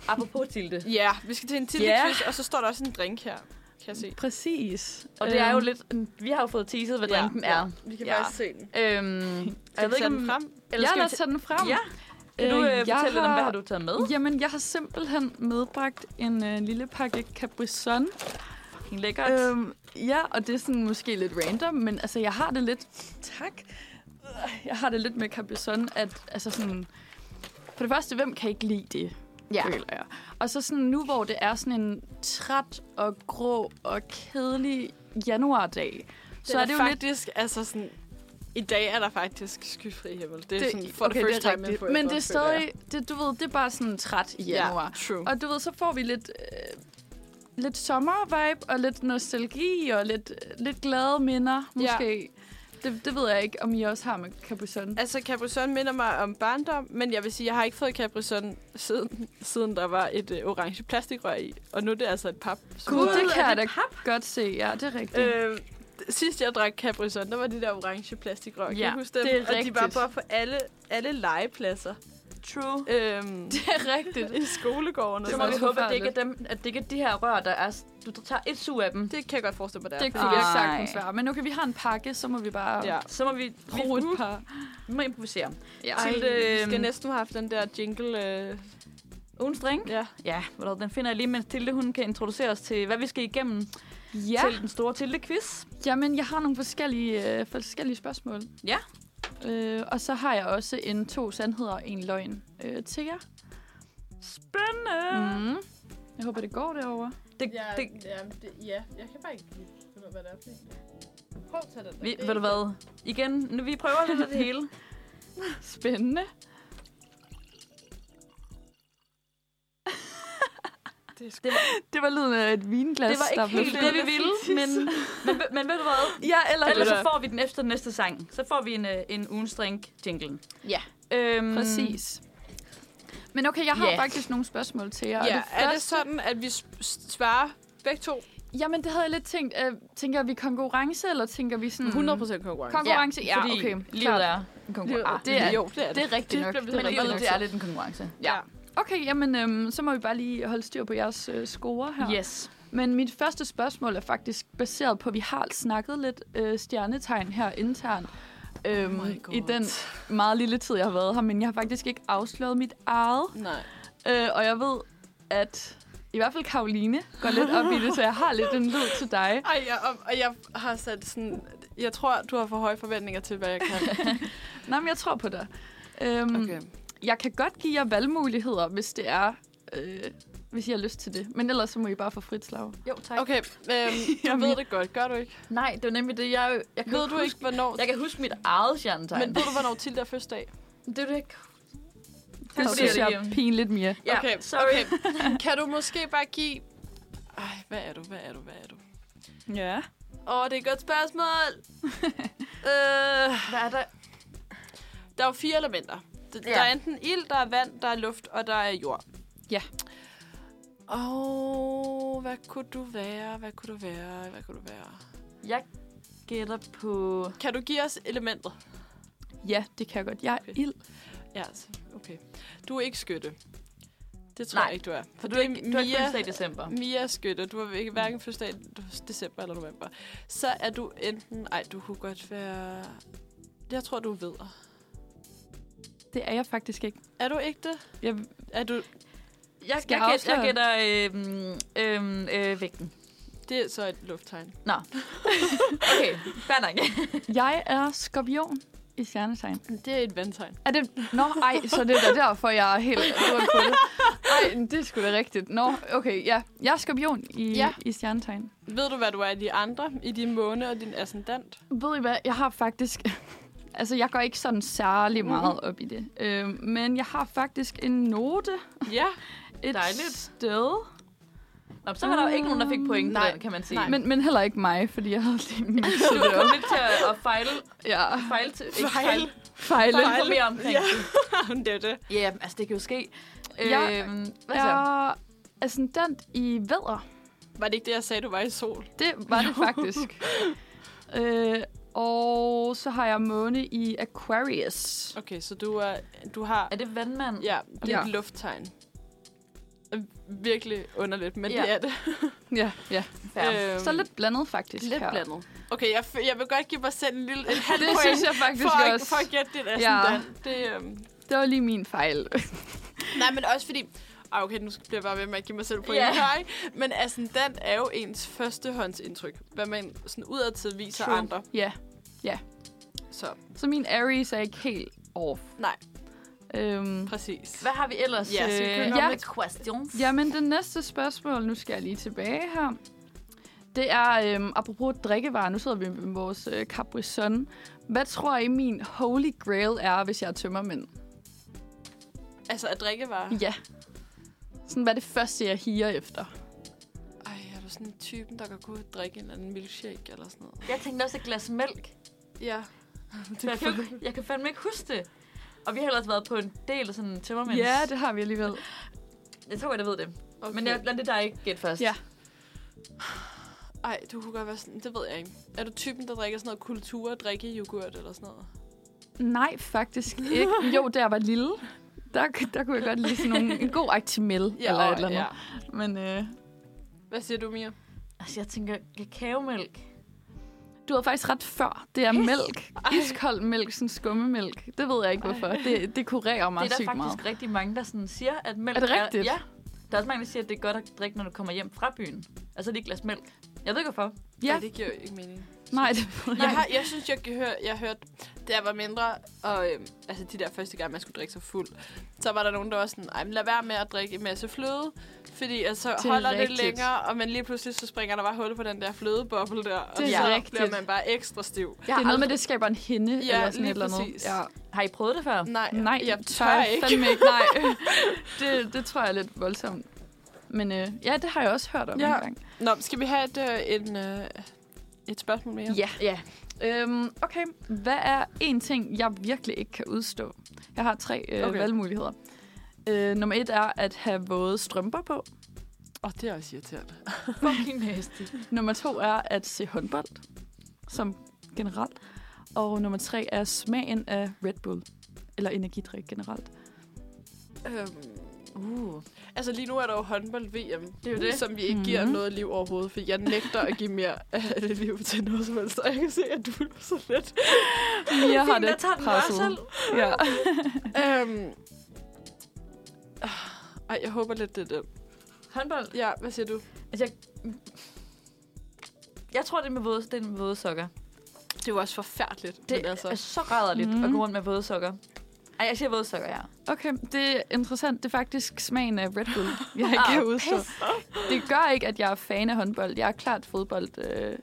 B: Apropos Tilde.
A: Ja, vi skal til en tidlig
B: Ja.
A: quiz, og så står der også en drink her, kan jeg se.
C: Præcis.
B: Og det er jo
C: Øhm,
B: lidt... Vi har jo fået teaset, hvad
A: Ja,
B: drinken
A: ja.
B: er.
A: Vi kan
B: Ja.
A: bare se den.
C: (laughs)
B: Øhm,
A: Skal vi tage den frem?
B: Eller
C: ja,
B: skal
C: lad
B: vi
C: os tage den frem.
B: tage... Ja. Kan du øh,
C: Øh,
B: fortælle
C: jeg
B: har... lidt om, hvad
C: har-
B: har du taget med?
C: Jamen, jeg har simpelthen medbragt en øh, lille pakke Capri Sun.
B: Fucking lækkert. Øh,
C: Øhm, ja, og det er sådan måske lidt random, men altså, jeg har det lidt... Tak. Jeg har det lidt med Capri Sun, at altså sådan... For det første, hvem kan ikke lide det,
B: ja.
C: føler jeg. Og så sådan nu, hvor det er sådan en træt og grå og kedelig januardag, så er, det jo lidt...
A: faktisk, lidt... altså sådan... I dag er der faktisk skyfri himmel. Det er det, sådan, for
C: okay,
A: okay, the first
C: det er
A: time in
C: rigtigt.
A: forever,
C: Men det er
A: føler jeg.
C: stadig, det, du ved, det er bare sådan træt i januar.
A: Ja, true.
C: Og du ved, så får vi lidt, øh, lidt sommervibe og lidt nostalgi og lidt, øh, lidt glade minder,
A: Ja.
C: måske. Det, det ved jeg ikke, om I også har med Capuchon.
A: Altså, Capri Sun minder mig om barndom, men jeg vil sige, jeg har ikke fået Capri Sun siden, siden der var et øh, orange plastikrør i. Og nu er det altså et pap. Så-
C: Gud, det kan
B: er
C: jeg da
B: det
C: godt se. Ja, det er rigtigt. Øh,
A: Øh, (laughs) sidst jeg drak Capri Sun, der var de der orange plastikrør. kan
B: Ja,
A: I huske dem?
C: det
A: Og
C: er
A: de var
C: rigtigt.
A: bare på alle, alle legepladser.
B: True.
A: (laughs) Øhm,
C: det er rigtigt.
A: I skolegården og
B: Så
A: sådan
B: må vi
A: noget.
C: også
B: håbe, at det ikke
C: forfærdeligt.
B: er, dem, at det ikke er de her rør, der er... s- Du tager et sug af dem.
A: Det kan jeg godt forestille mig, der.
C: Det
A: er.
C: kunne jeg
B: Ej.
C: sagtens være. Men okay, vi har en pakke, så må vi bare
A: Ja.
C: ja.
B: Så må vi, vi, mm,
C: bruge et par.
B: vi må improvisere.
C: Ja.
A: Ej,
B: Til,
A: vi skal
B: øhm,
A: næsten have haft den der jingle. Øh,
B: Ugens drink?
A: ja.
B: Ja, hvordan den finder jeg lige, mens Tilde hun kan introducere os til, hvad vi skal igennem
C: ja.
B: til den store Tilde-quiz.
C: Jamen, jeg har nogle forskellige, øh, forskellige spørgsmål.
B: Ja.
C: Øh, og så har jeg også en to sandheder og en løgn øh, til jer.
B: Spændende! Mm.
C: Mm. Jeg håber, det går derovre.
B: Det, ja, det,
A: ja, det, ja, jeg kan bare ikke finde ud hvad det er for en. Prøv at tage den
B: vi, ved du hvad? Igen, nu, vi prøver lidt af det hele.
C: Spændende.
B: (laughs) Det var,
C: Det var lyden af et vinglas,
B: det var
C: der
B: ikke
C: blev
B: helt det,
C: fyldt.
B: vi (laughs) ville, men, men, men ved du hvad?
C: Ja, eller
B: Ellers så
A: Eller-
B: får vi den efter den næste sang. Så får vi en, øh, en ugens drink jinglen.
A: Ja.
C: Mm.
B: Øhm,
C: Præcis. Men okay, jeg har
B: Ja.
C: faktisk nogle spørgsmål til jer. og
A: Ja, er det
C: første-
A: sådan, at vi s- s- svarer begge to?
C: Jamen, det havde jeg lidt tænkt. Øh, tænker vi konkurrence, eller tænker vi sådan...
A: 100% konkurrence.
C: Konkurrence, ja,
B: fordi
C: okay.
B: Livet er en konkurrence. Ah, det er,
A: jo, det er
C: Det er rigtigt nok.
A: Det bliver
B: men
A: nok.
C: Men,
B: livet, det er lidt en konkurrence.
C: ja. Okay, jamen, øhm, så må vi bare lige holde styr på jeres øh, score her.
B: Yes.
C: Men mit første spørgsmål er faktisk baseret på, at vi har snakket lidt øh, stjernetegn her internt. Øhm,
A: Oh my
C: I
A: God.
C: den meget lille tid, jeg har været her, men jeg har faktisk ikke afsløret mit eget.
A: Nej.
C: Øh, og jeg ved, at i hvert fald Karoline går lidt op i det, så jeg har lidt en lyd til dig.
A: Ej, jeg, og, og jeg har sat sådan... Jeg tror, du har for høje forventninger til, hvad jeg kan.
C: Nej, men jeg tror på dig. Øhm,
A: Okay.
C: Jeg kan godt give jer valgmuligheder, hvis det er... Øh, hvis I har lyst til det. Men ellers så må I bare få frit slag.
B: Jo, (laughs) tak.
A: Okay,
B: (laughs)
A: øhm, du ved det godt, gør du ikke?
B: Nej, det var nemlig det. Jeg, jeg kan
A: Ved
B: ikke
A: du ikke,
B: huske,
A: hvornår...
B: Jeg kan huske mit eget stjernetegn.
A: Men ved du, hvornår Tilde er første dag?
B: det er det ikke.
C: Det
B: siger
C: synes
B: det
C: jeg
B: igen.
C: er pinligt mere.
B: Ja,
A: Okay,
B: sorry.
A: okay.
B: (laughs)
A: Kan du måske bare give... Ej, hvad er du, hvad er du, hvad er du?
C: Ja.
A: Åh, det er et godt spørgsmål.
B: (laughs)
A: øh,
B: Hvad er der?
A: der er jo fire elementer. Der, ja.
B: Ja.
A: der er enten ild, der er vand, der er luft, og der er jord.
C: Ja.
A: Åh, hvad kunne du være? Hvad kunne du være? Hvad kunne du være?
B: Jeg gætter på...
A: Kan du give os elementet?
C: Ja, det kan jeg godt. Jeg er
A: Okay.
C: ild.
A: Ja, altså, okay. Du er ikke skytte. Det tror Nej.
B: Nej,
A: jeg ikke, du er.
B: For
A: For
B: du
A: det
B: er
A: er
B: ikke, du er ikke
A: Mia-
B: fødselsdag i december.
A: Mia er skytte. Du har ikke hverken fødselsdag i december eller november. Så er du enten... Ej, du kunne godt være... Jeg tror, du ved.
C: Det er jeg faktisk ikke.
A: Er du ikke det?
C: Jeg,
A: Er du...
B: Jeg,
C: Skal
B: jeg,
C: jeg
B: gæt, jeg
C: afsløre?
B: gætter øhm, øhm, øh, vægten.
A: Det er så et lufttegn.
B: Nå. Okay, fair nok. (laughs)
C: jeg er skorpion i stjernetegn.
A: Det er et vandtegn.
C: Er det... Nå, ej, så det er da derfor, jeg er helt rundt på det. Ej, men det er sgu da rigtigt. Nå, okay, ja. Jeg er skorpion i,
A: Ja.
C: ja. i stjernetegn.
A: Ved du, hvad du er i de andre? I din måne og din ascendant?
C: Ved I hvad? Jeg har faktisk... (laughs) Altså, jeg går ikke sådan særlig meget op i det. Øh, men jeg har faktisk en note
A: Ja.
C: (laughs) et
B: Dejligt.
C: sted.
B: Nå, så var der jo ikke nogen, der fik point
A: Nej.
B: Nej. kan man sige.
A: Nej.
C: Men, men heller ikke mig, fordi jeg havde lige
B: (laughs)
C: misset
B: du
C: det
B: kom
C: op.
B: lidt til at- at fejle,
C: Ja,
B: fejle til, ikke fejle,
C: fejlet.
B: fejle mere omkring
A: Ja. (laughs)
B: det.
A: det er det.
B: Ja, yeah, altså det kan jo ske.
C: Ja.
B: Øhm, hvad så?
C: Jeg er ascendant i vædder.
A: Var det ikke det, jeg sagde, du var i sol?
C: Det
A: (laughs)
C: var det faktisk. øh, og så har jeg måne i Aquarius.
A: Okay, så du, er, du har...
B: Er det vandmand?
A: Ja, det er
C: Ja.
A: et lufttegn. Virkelig underligt, men
B: Ja.
A: det er det.
C: Ja, ja.
B: Fair.
A: Øhm,
C: Så lidt blandet faktisk
A: Lidt
C: her.
A: blandet. Okay, jeg, f- jeg vil godt give mig selv en lille en halv
C: (laughs) Det
A: point
C: synes jeg faktisk
A: for, at,
C: også.
A: for at gætte dit ascendant. Ja. Det, øhm.
C: Det var lige min fejl.
A: (laughs) Nej, men også fordi... Ah, okay, nu bliver jeg bare ved med at give mig selv point
B: Ja.
A: yeah. her, ikke? Men ascendant er jo ens førstehåndsindtryk, hvad man sådan udadtil viser True. andre.
C: Ja,
A: Så
C: så min Aries er ikke helt off.
A: nej,
C: Øhm,
A: præcis.
B: Hvad har vi ellers?
A: Ja, så kan vi nå
C: Ja.
B: med questions.
C: jamen, det næste spørgsmål, nu skal jeg lige tilbage her. Det er, øhm, apropos drikkevarer, nu sidder vi med vores øh, Capri Sun. Hvad tror I, min holy grail er, hvis jeg er tømmermænd?
A: Altså, at drikkevarer.
C: Ja. Sådan, hvad er det første, jeg higer efter?
A: Ej, er du sådan en typen, der kan gå ud og drikke en eller anden milkshake eller sådan noget?
B: Jeg tænkte også et glas mælk.
A: Ja.
B: Så jeg, kan, jo ikke- jeg kan fandme ikke huske det. Og vi har ellers været på en del af sådan tømmermænds.
C: Ja, det har vi alligevel.
B: Jeg tror, jeg ved det.
A: Okay.
B: Men jeg lader det dig ikke gætte først.
C: Ja.
A: Ej, du kunne godt være sådan... Det ved jeg ikke. Er du typen, der drikker sådan noget kultur, drikke yoghurt eller sådan noget?
C: Nej, faktisk ikke. Jo, der var lille. Der, der kunne jeg godt lide sådan nogle, en god aktimel ja, eller et eller andet. Ja. Men øh,
A: Hvad siger du, Mia?
B: Altså, jeg tænker kakaomælk.
C: du havde faktisk ret før. Det er
B: Pis.
C: mælk. Iskold mælk, sådan skummemælk. Det ved jeg ikke, hvorfor. Det, det kurerer mig
B: det er der
C: sygt
B: faktisk
C: meget.
B: rigtig mange, der sådan siger, at mælk
C: Er det rigtigt?
B: ja. Der er også mange, der siger, at det er godt at drikke, når du kommer hjem fra byen. Altså lige et glas mælk. Jeg ved ikke, hvorfor.
C: Ja,
A: Ej, det giver jo ikke mening.
C: nej, det ved
A: Jeg,
C: jeg
A: har, jeg synes, jeg, kan høre, jeg hørte, da jeg var mindre, og øhm, altså de der første gange, man skulle drikke sig fuld, så var der nogen, der var sådan, Ej, men lad være med at drikke en masse fløde, fordi altså,
C: Det
A: det
C: er
A: holder rigtigt. det
C: rigtigt.
A: længere, og man lige pludselig så springer der bare hul på den der flødeboble der, og
C: Det
B: er
A: så
C: rigtigt.
A: bliver man bare ekstra stiv.
C: Det er noget med, at det skaber en hinde
A: Ja,
C: eller sådan
A: lige
C: et eller andet.
A: præcis.
C: Ja,
B: Har I prøvet det før?
C: Mm,
A: Nej,
C: Nej,
A: jeg tør ikke.
C: Fandme ikke. (laughs) Nej, det, det tror jeg er lidt voldsomt. Men øh, ja, det har jeg også hørt om
A: Ja.
C: ja. en gang.
A: Nå, skal vi have et, øh, en, øh, et spørgsmål mere?
C: Ja.
B: (laughs)
C: ja. Øhm, okay, hvad er en ting, jeg virkelig ikke kan udstå? Jeg har tre øh,
A: Okay.
C: okay. valgmuligheder. Øh, nummer et er at have våde strømper på.
A: Og det er også irriterende.
B: Fucking nasty.
C: Nummer to er at se håndbold, som generelt. Og nummer tre er smagen af Red Bull, eller energidrik generelt.
A: Øhm, uh. Altså lige nu er der jo håndbold-VM,
B: Det er jo det.
A: som vi ikke
C: Mhm.
A: giver noget liv overhovedet, for jeg nægter at give mere af det liv til noget som helst, og jeg kan se, at du er så lidt.
C: Jeg har
B: Fint,
C: det
B: jeg tager den bare
C: presset.
B: selv.
C: Ja.
A: øhm. ah, Ej, jeg håber lidt, det er den.
B: Håndbold.
A: Ja, hvad siger du?
B: Altså, jeg... Jeg tror, det er med våde, det er med våde sokker.
A: Det er jo også forfærdeligt.
B: Det altså. er så rædderligt mm. at gå rundt med våde sokker. Ej, jeg siger våde sokker, ja.
C: Okay, det er interessant. Det er faktisk smagen af Red Bull, jeg ikke
B: Ah,
C: kan udstå. Det gør ikke, at jeg er fan af håndbold. Jeg er klart fodbold øh,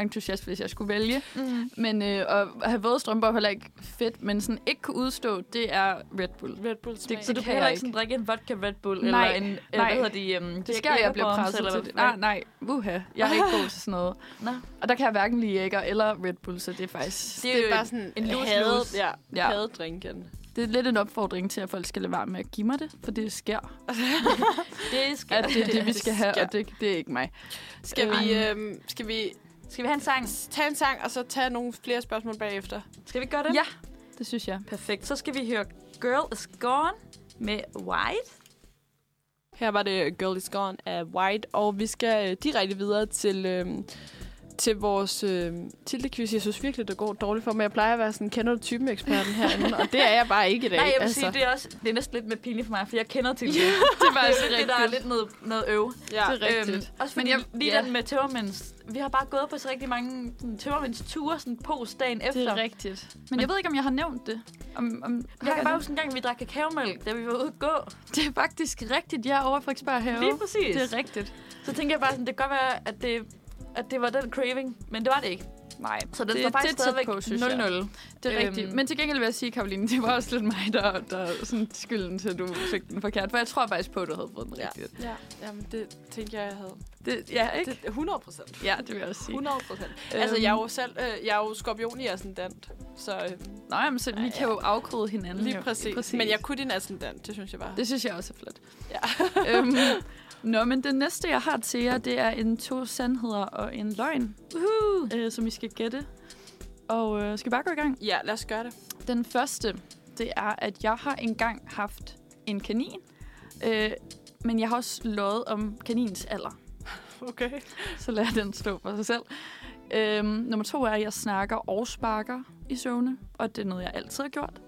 C: entusiast, hvis jeg skulle vælge.
B: Mm.
C: Men øh, at have våde strømper er heller ikke fedt, men sådan ikke kunne udstå, det er Red Bull.
A: Red bull det,
B: Så
C: Det
B: du
C: kan
B: kan heller
C: jeg
B: ikke sådan drikke en vodka Red Bull,
C: Nej,
B: eller en, øh,
C: nej.
B: hvad hedder de, um,
C: Det sker, jeg bliver presset til det. Ah, Nej, nej, uha. Jeg er ikke god til sådan noget.
B: Nå.
C: Og der kan jeg hverken lide ægger eller Red Bull, så det er faktisk...
B: Det er jo
A: bare
B: bare
A: sådan
B: en loose
A: hadet-
B: loose.
A: Ja,
C: Ja.
A: ja. drinken.
C: Det er lidt en opfordring til, at folk skal lade være med at give mig det, for det sker,
B: det skal,
C: at det er det, vi
A: Det
C: skal have,
A: sker.
C: og det, det er ikke mig.
A: Skal
C: Øhm.
A: vi, øhm, skal vi
B: Skal vi have en sang?
A: tage en sang, og så tage nogle flere spørgsmål bagefter?
B: Skal vi gøre det?
C: Ja. Det synes jeg.
B: Perfekt. Så skal vi høre Girl is Gone med White.
A: Her var det Girl is Gone af White, og vi skal øh, direkte videre til, øh, til vores øh, tildequiz. Jeg synes virkelig, det går dårligt for mig. Jeg plejer at være sådan, kender du typen eksperten herinde? og det er jeg bare (laughs) ikke i dag.
B: Nej, jeg vil altså. sige, det er, også, det er næsten lidt med pinligt for mig, for jeg kender til (laughs) det. det
A: det er
B: er
A: faktisk
B: jo lidt det, der er lidt noget, noget øv.
A: Ja.
C: det er rigtigt.
B: Øhm, også fordi
C: Men
B: Men
C: jeg-
B: jeg, lige
C: ja.
B: ja. den med tømmermænds. Vi har bare gået på så rigtig mange sådan, tømmermænds ture sådan post dagen efter.
C: Det er rigtigt. Men, jeg ved ikke, om jeg har nævnt det. Om, om, har
B: Jeg kan bare
C: det?
B: huske en gang, vi drak kakaomælk, da vi var ude at gå.
C: det er faktisk rigtigt. Jeg er over i Frederiksberg have.
B: Lige præcis.
C: Det er rigtigt.
B: Så tænkte jeg bare sådan, det kan godt være, at det, at det var den craving, men det var det ikke.
C: Nej,
B: Så den
C: det,
B: står faktisk
C: det er tæt
B: stadigvæk
C: på, synes jeg.
B: 0-0.
C: Det er øhm.
B: Øhm.
C: rigtigt. Men til gengæld vil jeg sige, Karoline, det var også lidt mig, der, der sådan skylden til, at du fik den forkert. For jeg tror faktisk på, at du havde fået den
A: Ja.
C: rigtigt.
A: Ja, jamen, det tænkte jeg, jeg havde.
C: Det, ja, ikke?
A: Det, 100 procent.
C: Ja, det vil jeg også sige.
A: 100 procent. Altså, jeg er jo selv, øh, jeg er jo skorpion i ascendant, så øh,
C: Nå, jamen, så vi kan jo afkode hinanden.
A: lige
C: jo.
A: præcis. præcis. Men jeg kunne din ascendant, det synes jeg bare.
C: Det synes jeg også er flot.
A: Ja.
C: (laughs) øhm, nå, men det næste, jeg har til jer, det er en to sandheder og en løgn,
B: Uhuh.
C: øh, som I skal gætte. Og øh, skal vi bare gå i gang?
A: Ja, lad os gøre det.
C: Den første, det er, at jeg har engang haft en kanin, øh, men jeg har også løjet om kanins alder.
A: Okay.
C: Så lad den stå for sig selv. Øhm, nummer to er, at jeg snakker og sparker i søvne, og det er noget, jeg altid har gjort.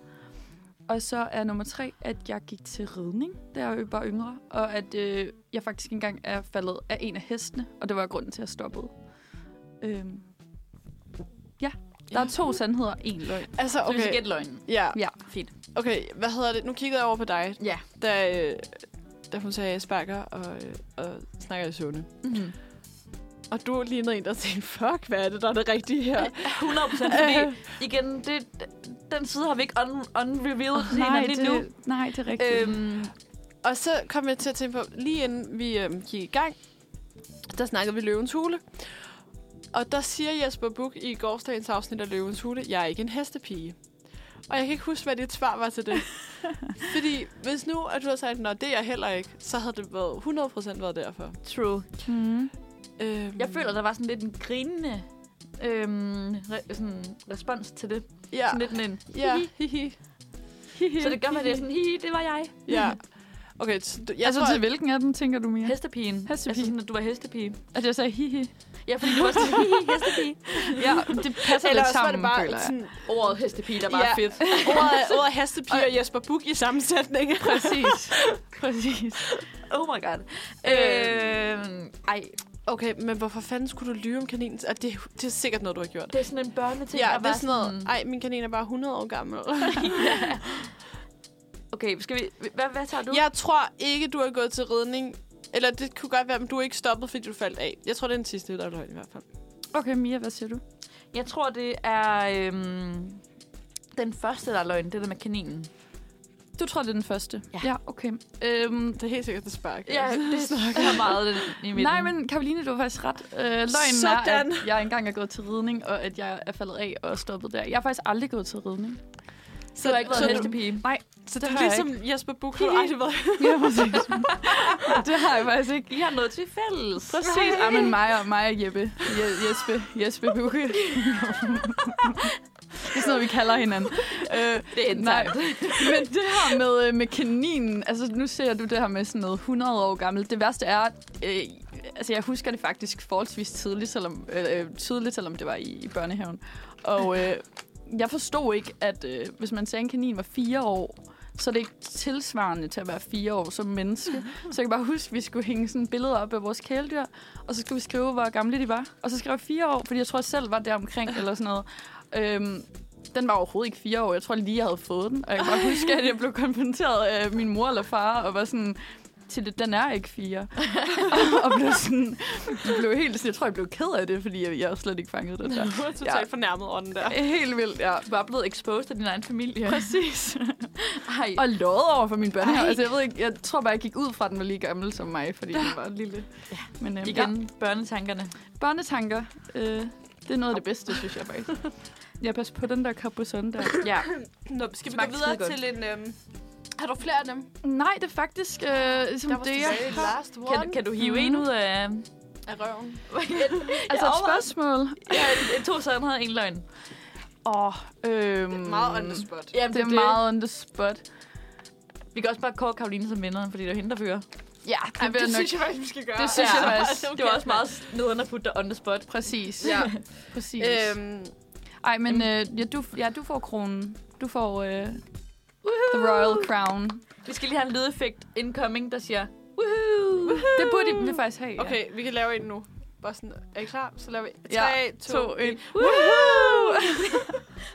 C: Og så er nummer tre, at jeg gik til ridning, da jeg var yngre, og at øh, jeg faktisk engang er faldet af en af hestene, og det var grunden til, at jeg stoppede. Øhm, ja, der er to sandheder, en løgn.
A: Altså,
B: Så vi skal
A: okay.
B: gætte løgnen.
A: Ja,
C: Ja,
B: Fint.
A: okay. Hvad hedder det? Nu kiggede jeg over på dig,
B: Ja.
A: da, øh, da hun sagde, at jeg sparker og, øh, og snakker i søvne.
C: Mhm.
B: Mm-hmm.
A: Og du lignede en, der tænkte, fuck, hvad er det, der er det rigtige
B: (laughs)
A: her?
B: 100 procent, fordi
A: Øh.
B: igen, det, den side har vi ikke un- unrevealed oh,
C: (laughs) nej,
B: hinanden endnu.
C: det, nej, det er rigtigt.
B: Øhm,
A: Og så kom jeg til at tænke på, lige inden vi øh, gik i gang, der snakkede vi Løvens Hule. Og der siger Jesper Buch i gårsdagens afsnit af Løvens Hule, jeg er ikke en hestepige. Og jeg kan ikke huske, hvad dit svar var til
B: (laughs)
A: det. Fordi hvis nu, at du havde sagt, at det er jeg heller ikke, så havde det været 100% været derfor.
B: true.
C: Mm.
A: Øhm,
B: Jeg føler, der var sådan lidt en grinende øhm, re- sådan respons til det.
A: ja,
B: Sådan lidt en,
A: ja, hihi.
B: så det gør mig, at det er sådan, hi, det var jeg.
A: Ja. Okay, så du- jeg
C: altså
A: tror,
C: til hvilken af dem tænker du mere?
B: Hestepigen.
C: Hestepige.
B: Altså sådan, at du var hestepige.
C: At jeg sagde hihi.
B: Ja, fordi du var sådan, hi, hi, hestepige.
C: Ja, det passer
A: Eller
C: lidt
A: også var det
C: sammen,
A: bare
C: føler jeg.
A: sådan,
B: Ordet hestepige, der
A: bare
B: bare
A: er
B: ja. fedt.
A: ordet, (laughs) ordet hestepige og Jesper Buch i sammensætning.
C: Præcis. Præcis.
B: Oh my god. Øhm, ej,
A: Okay, men hvorfor fanden skulle du lyve om kaninen? Og det, det er sikkert noget, du har gjort.
B: det er sådan en børneting.
A: Ja,
B: at
A: det er
B: være
A: sådan noget. Ej, min kanin er bare 100 år (laughs) gammel.
B: Okay, skal vi... Hvad, hvad tager du?
A: Jeg tror ikke, du har gået til ridning. Eller det kunne godt være, men du er ikke stoppet, fordi du faldt af. Jeg tror, det er den sidste, der er løgn i hvert fald.
C: Okay, Mia, hvad siger du?
B: Jeg tror, det er... Øhm, den første, der er løgn, det der med kaninen.
C: Du tror, det er den første?
B: Ja.
C: ja okay. Øhm,
A: Det er helt sikkert, det spark.
B: (laughs) Ja, det snakker jeg meget den i midten.
C: nej, men Karoline, du har faktisk ret. Øh, løgnen
A: Sådan.
C: er, at jeg engang er gået til ridning, og at jeg er faldet af og stoppet der. Jeg har faktisk aldrig gået til ridning.
B: Så du har ikke været
E: så-
B: hestepige.
C: Nej,
A: Så det
C: det
A: er
C: har jeg
A: ligesom Jesper Buch har aldrig været.
C: (laughs) ja, præcis. det har jeg faktisk ikke.
B: I har noget til fælles.
C: Præcis. Ja, men mig og, mig og Jeppe. Je, Jespe. Jespe Bukke. det er sådan noget, vi kalder hinanden. Øh,
B: Det er
C: nej,
B: internt.
C: men det her med, øh, med kaninen, altså nu ser du det her med sådan noget 100 år gammelt. Det værste er, øh, altså jeg husker det faktisk forholdsvis tidligt, selvom, øh, øh, tydeligt, selvom det var i, i børnehaven. Og øh, jeg forstod ikke, at øh, hvis man sagde, at en kanin var fire år, så er det ikke tilsvarende til at være fire år som menneske. Så jeg kan bare huske, at vi skulle hænge sådan billeder op af vores kæledyr, og så skulle vi skrive, hvor gamle de var. Og så skrev jeg fire år, fordi jeg tror, jeg selv var der omkring eller sådan noget. Øhm, den var overhovedet ikke fire år. Jeg tror lige, jeg havde fået den. Og jeg kan bare huske, at jeg blev konfronteret af min mor eller far, og var sådan, til den er ikke fire. og blev sådan, blev helt, jeg tror, jeg blev ked af det, fordi jeg, jeg slet ikke fangede det der.
A: Du (laughs) har totalt
C: Ja.
A: ja. fornærmet ånden (laughs) der.
C: Helt vildt, ja.
B: Du er bare blevet exposed af din egen familie.
C: Præcis.
B: Ej,
C: Og løjet over for min børnehave.
B: Ej.
C: Altså, jeg, ved ikke, jeg tror bare, jeg gik ud fra, at den var lige gammel som mig, fordi den var lille. Ja. Men øhm, igen,
B: igen børnetankerne.
C: ja. børnetanker, øh, det er noget af det bedste, synes jeg faktisk. Jeg passer på den der kapuson der.
B: Ja.
A: Nå, skal vi gå
B: Smagte
A: videre
B: skidegodt.
A: til en... Øhm, har du flere af dem?
C: Nej, det er faktisk øh, ligesom
A: Der var
C: det, jeg
A: stadig et last one
B: Kan, kan du hive en ud af... øh,
A: af røven.
C: Altså
B: Jeg
C: et
B: overvejede-
C: spørgsmål.
B: Ja, en- en to sandheder og en løgn.
C: Åh, øhm,
A: Meget on the spot.
B: Jamen,
C: Det er meget on the spot.
B: Vi kan også bare kåre Karoline som vinderen, fordi det er hende, der fører.
C: Ja, det, Ej,
A: det
C: det nok.
A: synes jeg faktisk, vi skal gøre.
C: Det synes
B: Ja.
C: jeg faktisk.
B: Det var også meget (laughs) nederen at putte dig on the spot.
C: Præcis. (laughs)
A: Ja.
C: Præcis. Øhm.
A: øhm,
C: Ej, men øh, ja, du, ja, du får kronen. Du får øh, the royal crown.
B: Vi skal lige have en lydeffekt incoming, der siger... Woohoo!
C: Det burde vi faktisk have, ja.
A: okay, vi kan lave en nu. Bare sådan, er I klar? Så laver vi 3,
C: Ja.
A: 2, 1.
B: Woohoo! (laughs)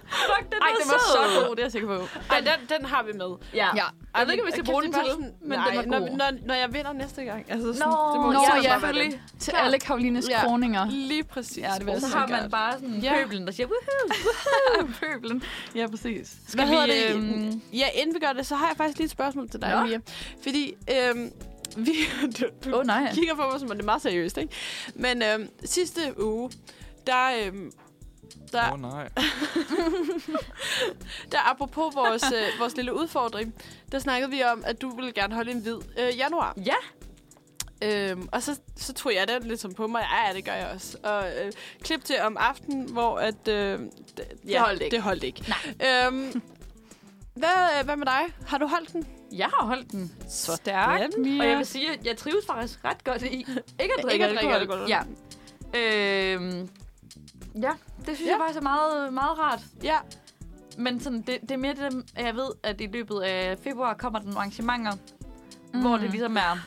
B: Fuck, den
A: Ej,
B: var
A: den var
B: sød.
A: så
C: god, det er jeg sikker på.
A: Ej, den, den har vi med.
B: Ja.
C: Ja.
A: Ej,
B: Jeg ved ikke, om vi skal
A: kæft,
B: bruge
A: det
B: den
A: er bare
B: til, men den var
A: når,
B: god.
A: når, når jeg vinder næste gang. Altså, sådan,
B: Nå,
A: det må vi
C: Nå,
A: se,
C: ja,
A: hvor meget
C: selvfølgelig.
A: det
C: Til
B: Klar.
C: alle Karolines
A: Ja.
C: ja. kroninger.
B: (laughs)
A: er. Lige præcis.
C: Ja, det vil jeg
B: Så
C: sige.
B: har
C: sikkert.
B: man bare sådan
C: Ja.
B: pøblen, der siger... Woohoo!
C: Pøblen. Ja, præcis.
A: Hvad
B: vi,
A: hedder det? Mm.
B: øhm,
A: Ja, inden vi gør det, så har jeg faktisk lige et spørgsmål til dig,
B: Nå.
A: Mia. Fordi øhm, vi... (laughs) Du, du
B: Åh, oh, nej.
A: kigger på mig, som om det er meget seriøst, ikke? Men øhm, sidste uge, der... Øhm, der,
D: Åh oh, nej.
A: der apropos vores, øh, (laughs) vores lille udfordring, der snakkede vi om, at du ville gerne holde en hvid øh, januar.
B: Ja.
A: Øhm, og så, så tog jeg den ligesom på mig. Ja, ja, det gør jeg også. Og øh, klip til om aftenen, hvor at... Øh, d- ja, det
B: holdt ikke.
A: Det holdt ikke. Nej. Øhm, hvad, øh, hvad med dig? Har du holdt den?
B: Jeg har holdt den.
C: Stærkt, Mia.
B: Og jeg vil sige, at jeg trives faktisk ret godt i ikke at
A: at
B: drikke
A: drikke
B: alkohol.
A: alkohol.
B: Ja. Øhm, ja, det synes
A: Ja.
B: ja. jeg faktisk er meget, meget rart.
A: Ja.
B: Men sådan, det, det er mere det, at jeg ved, at i løbet af februar kommer der nogle arrangementer, mm. hvor det ligesom er,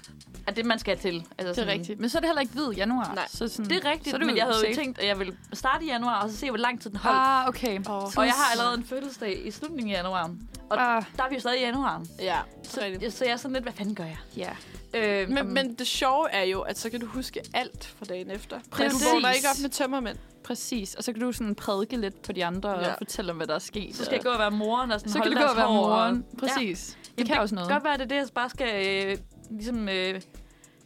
B: at det man skal til. Altså
C: Det er rigtigt. Men så er det heller ikke hvid januar.
A: Nej.
C: Så sådan,
B: Det er rigtigt,
C: så
B: så
C: er du
B: men jeg havde jo
C: safe.
B: tænkt, at jeg ville starte i januar, og så se, hvor lang tid den holdt. Ah.
C: Ah, okay.
A: Oh.
B: Og jeg har allerede en fødselsdag i slutningen af januar. Og ah.
C: Ah,
B: der er vi jo stadig i januar.
A: Ja,
B: Så, så jeg er sådan lidt, hvad fanden gør jeg?
C: ja.
B: Øh,
A: Men, men det sjove er jo, at så kan du huske alt fra dagen efter.
C: Præcis.
A: Du vågner ikke op med tømmermænd.
C: Præcis. Og så kan du sådan prædike lidt på de andre
A: Ja.
C: og fortælle om, hvad der er sket.
B: så skal jeg gå og være moren og sådan
C: så kan
B: holde
C: du gå
B: deres
C: og være
B: hår og-
C: moren. Præcis. Ja. Det
B: Jamen,
C: kan også noget.
B: Det kan godt være, at det er det, jeg bare skal øh, ligesom, øh,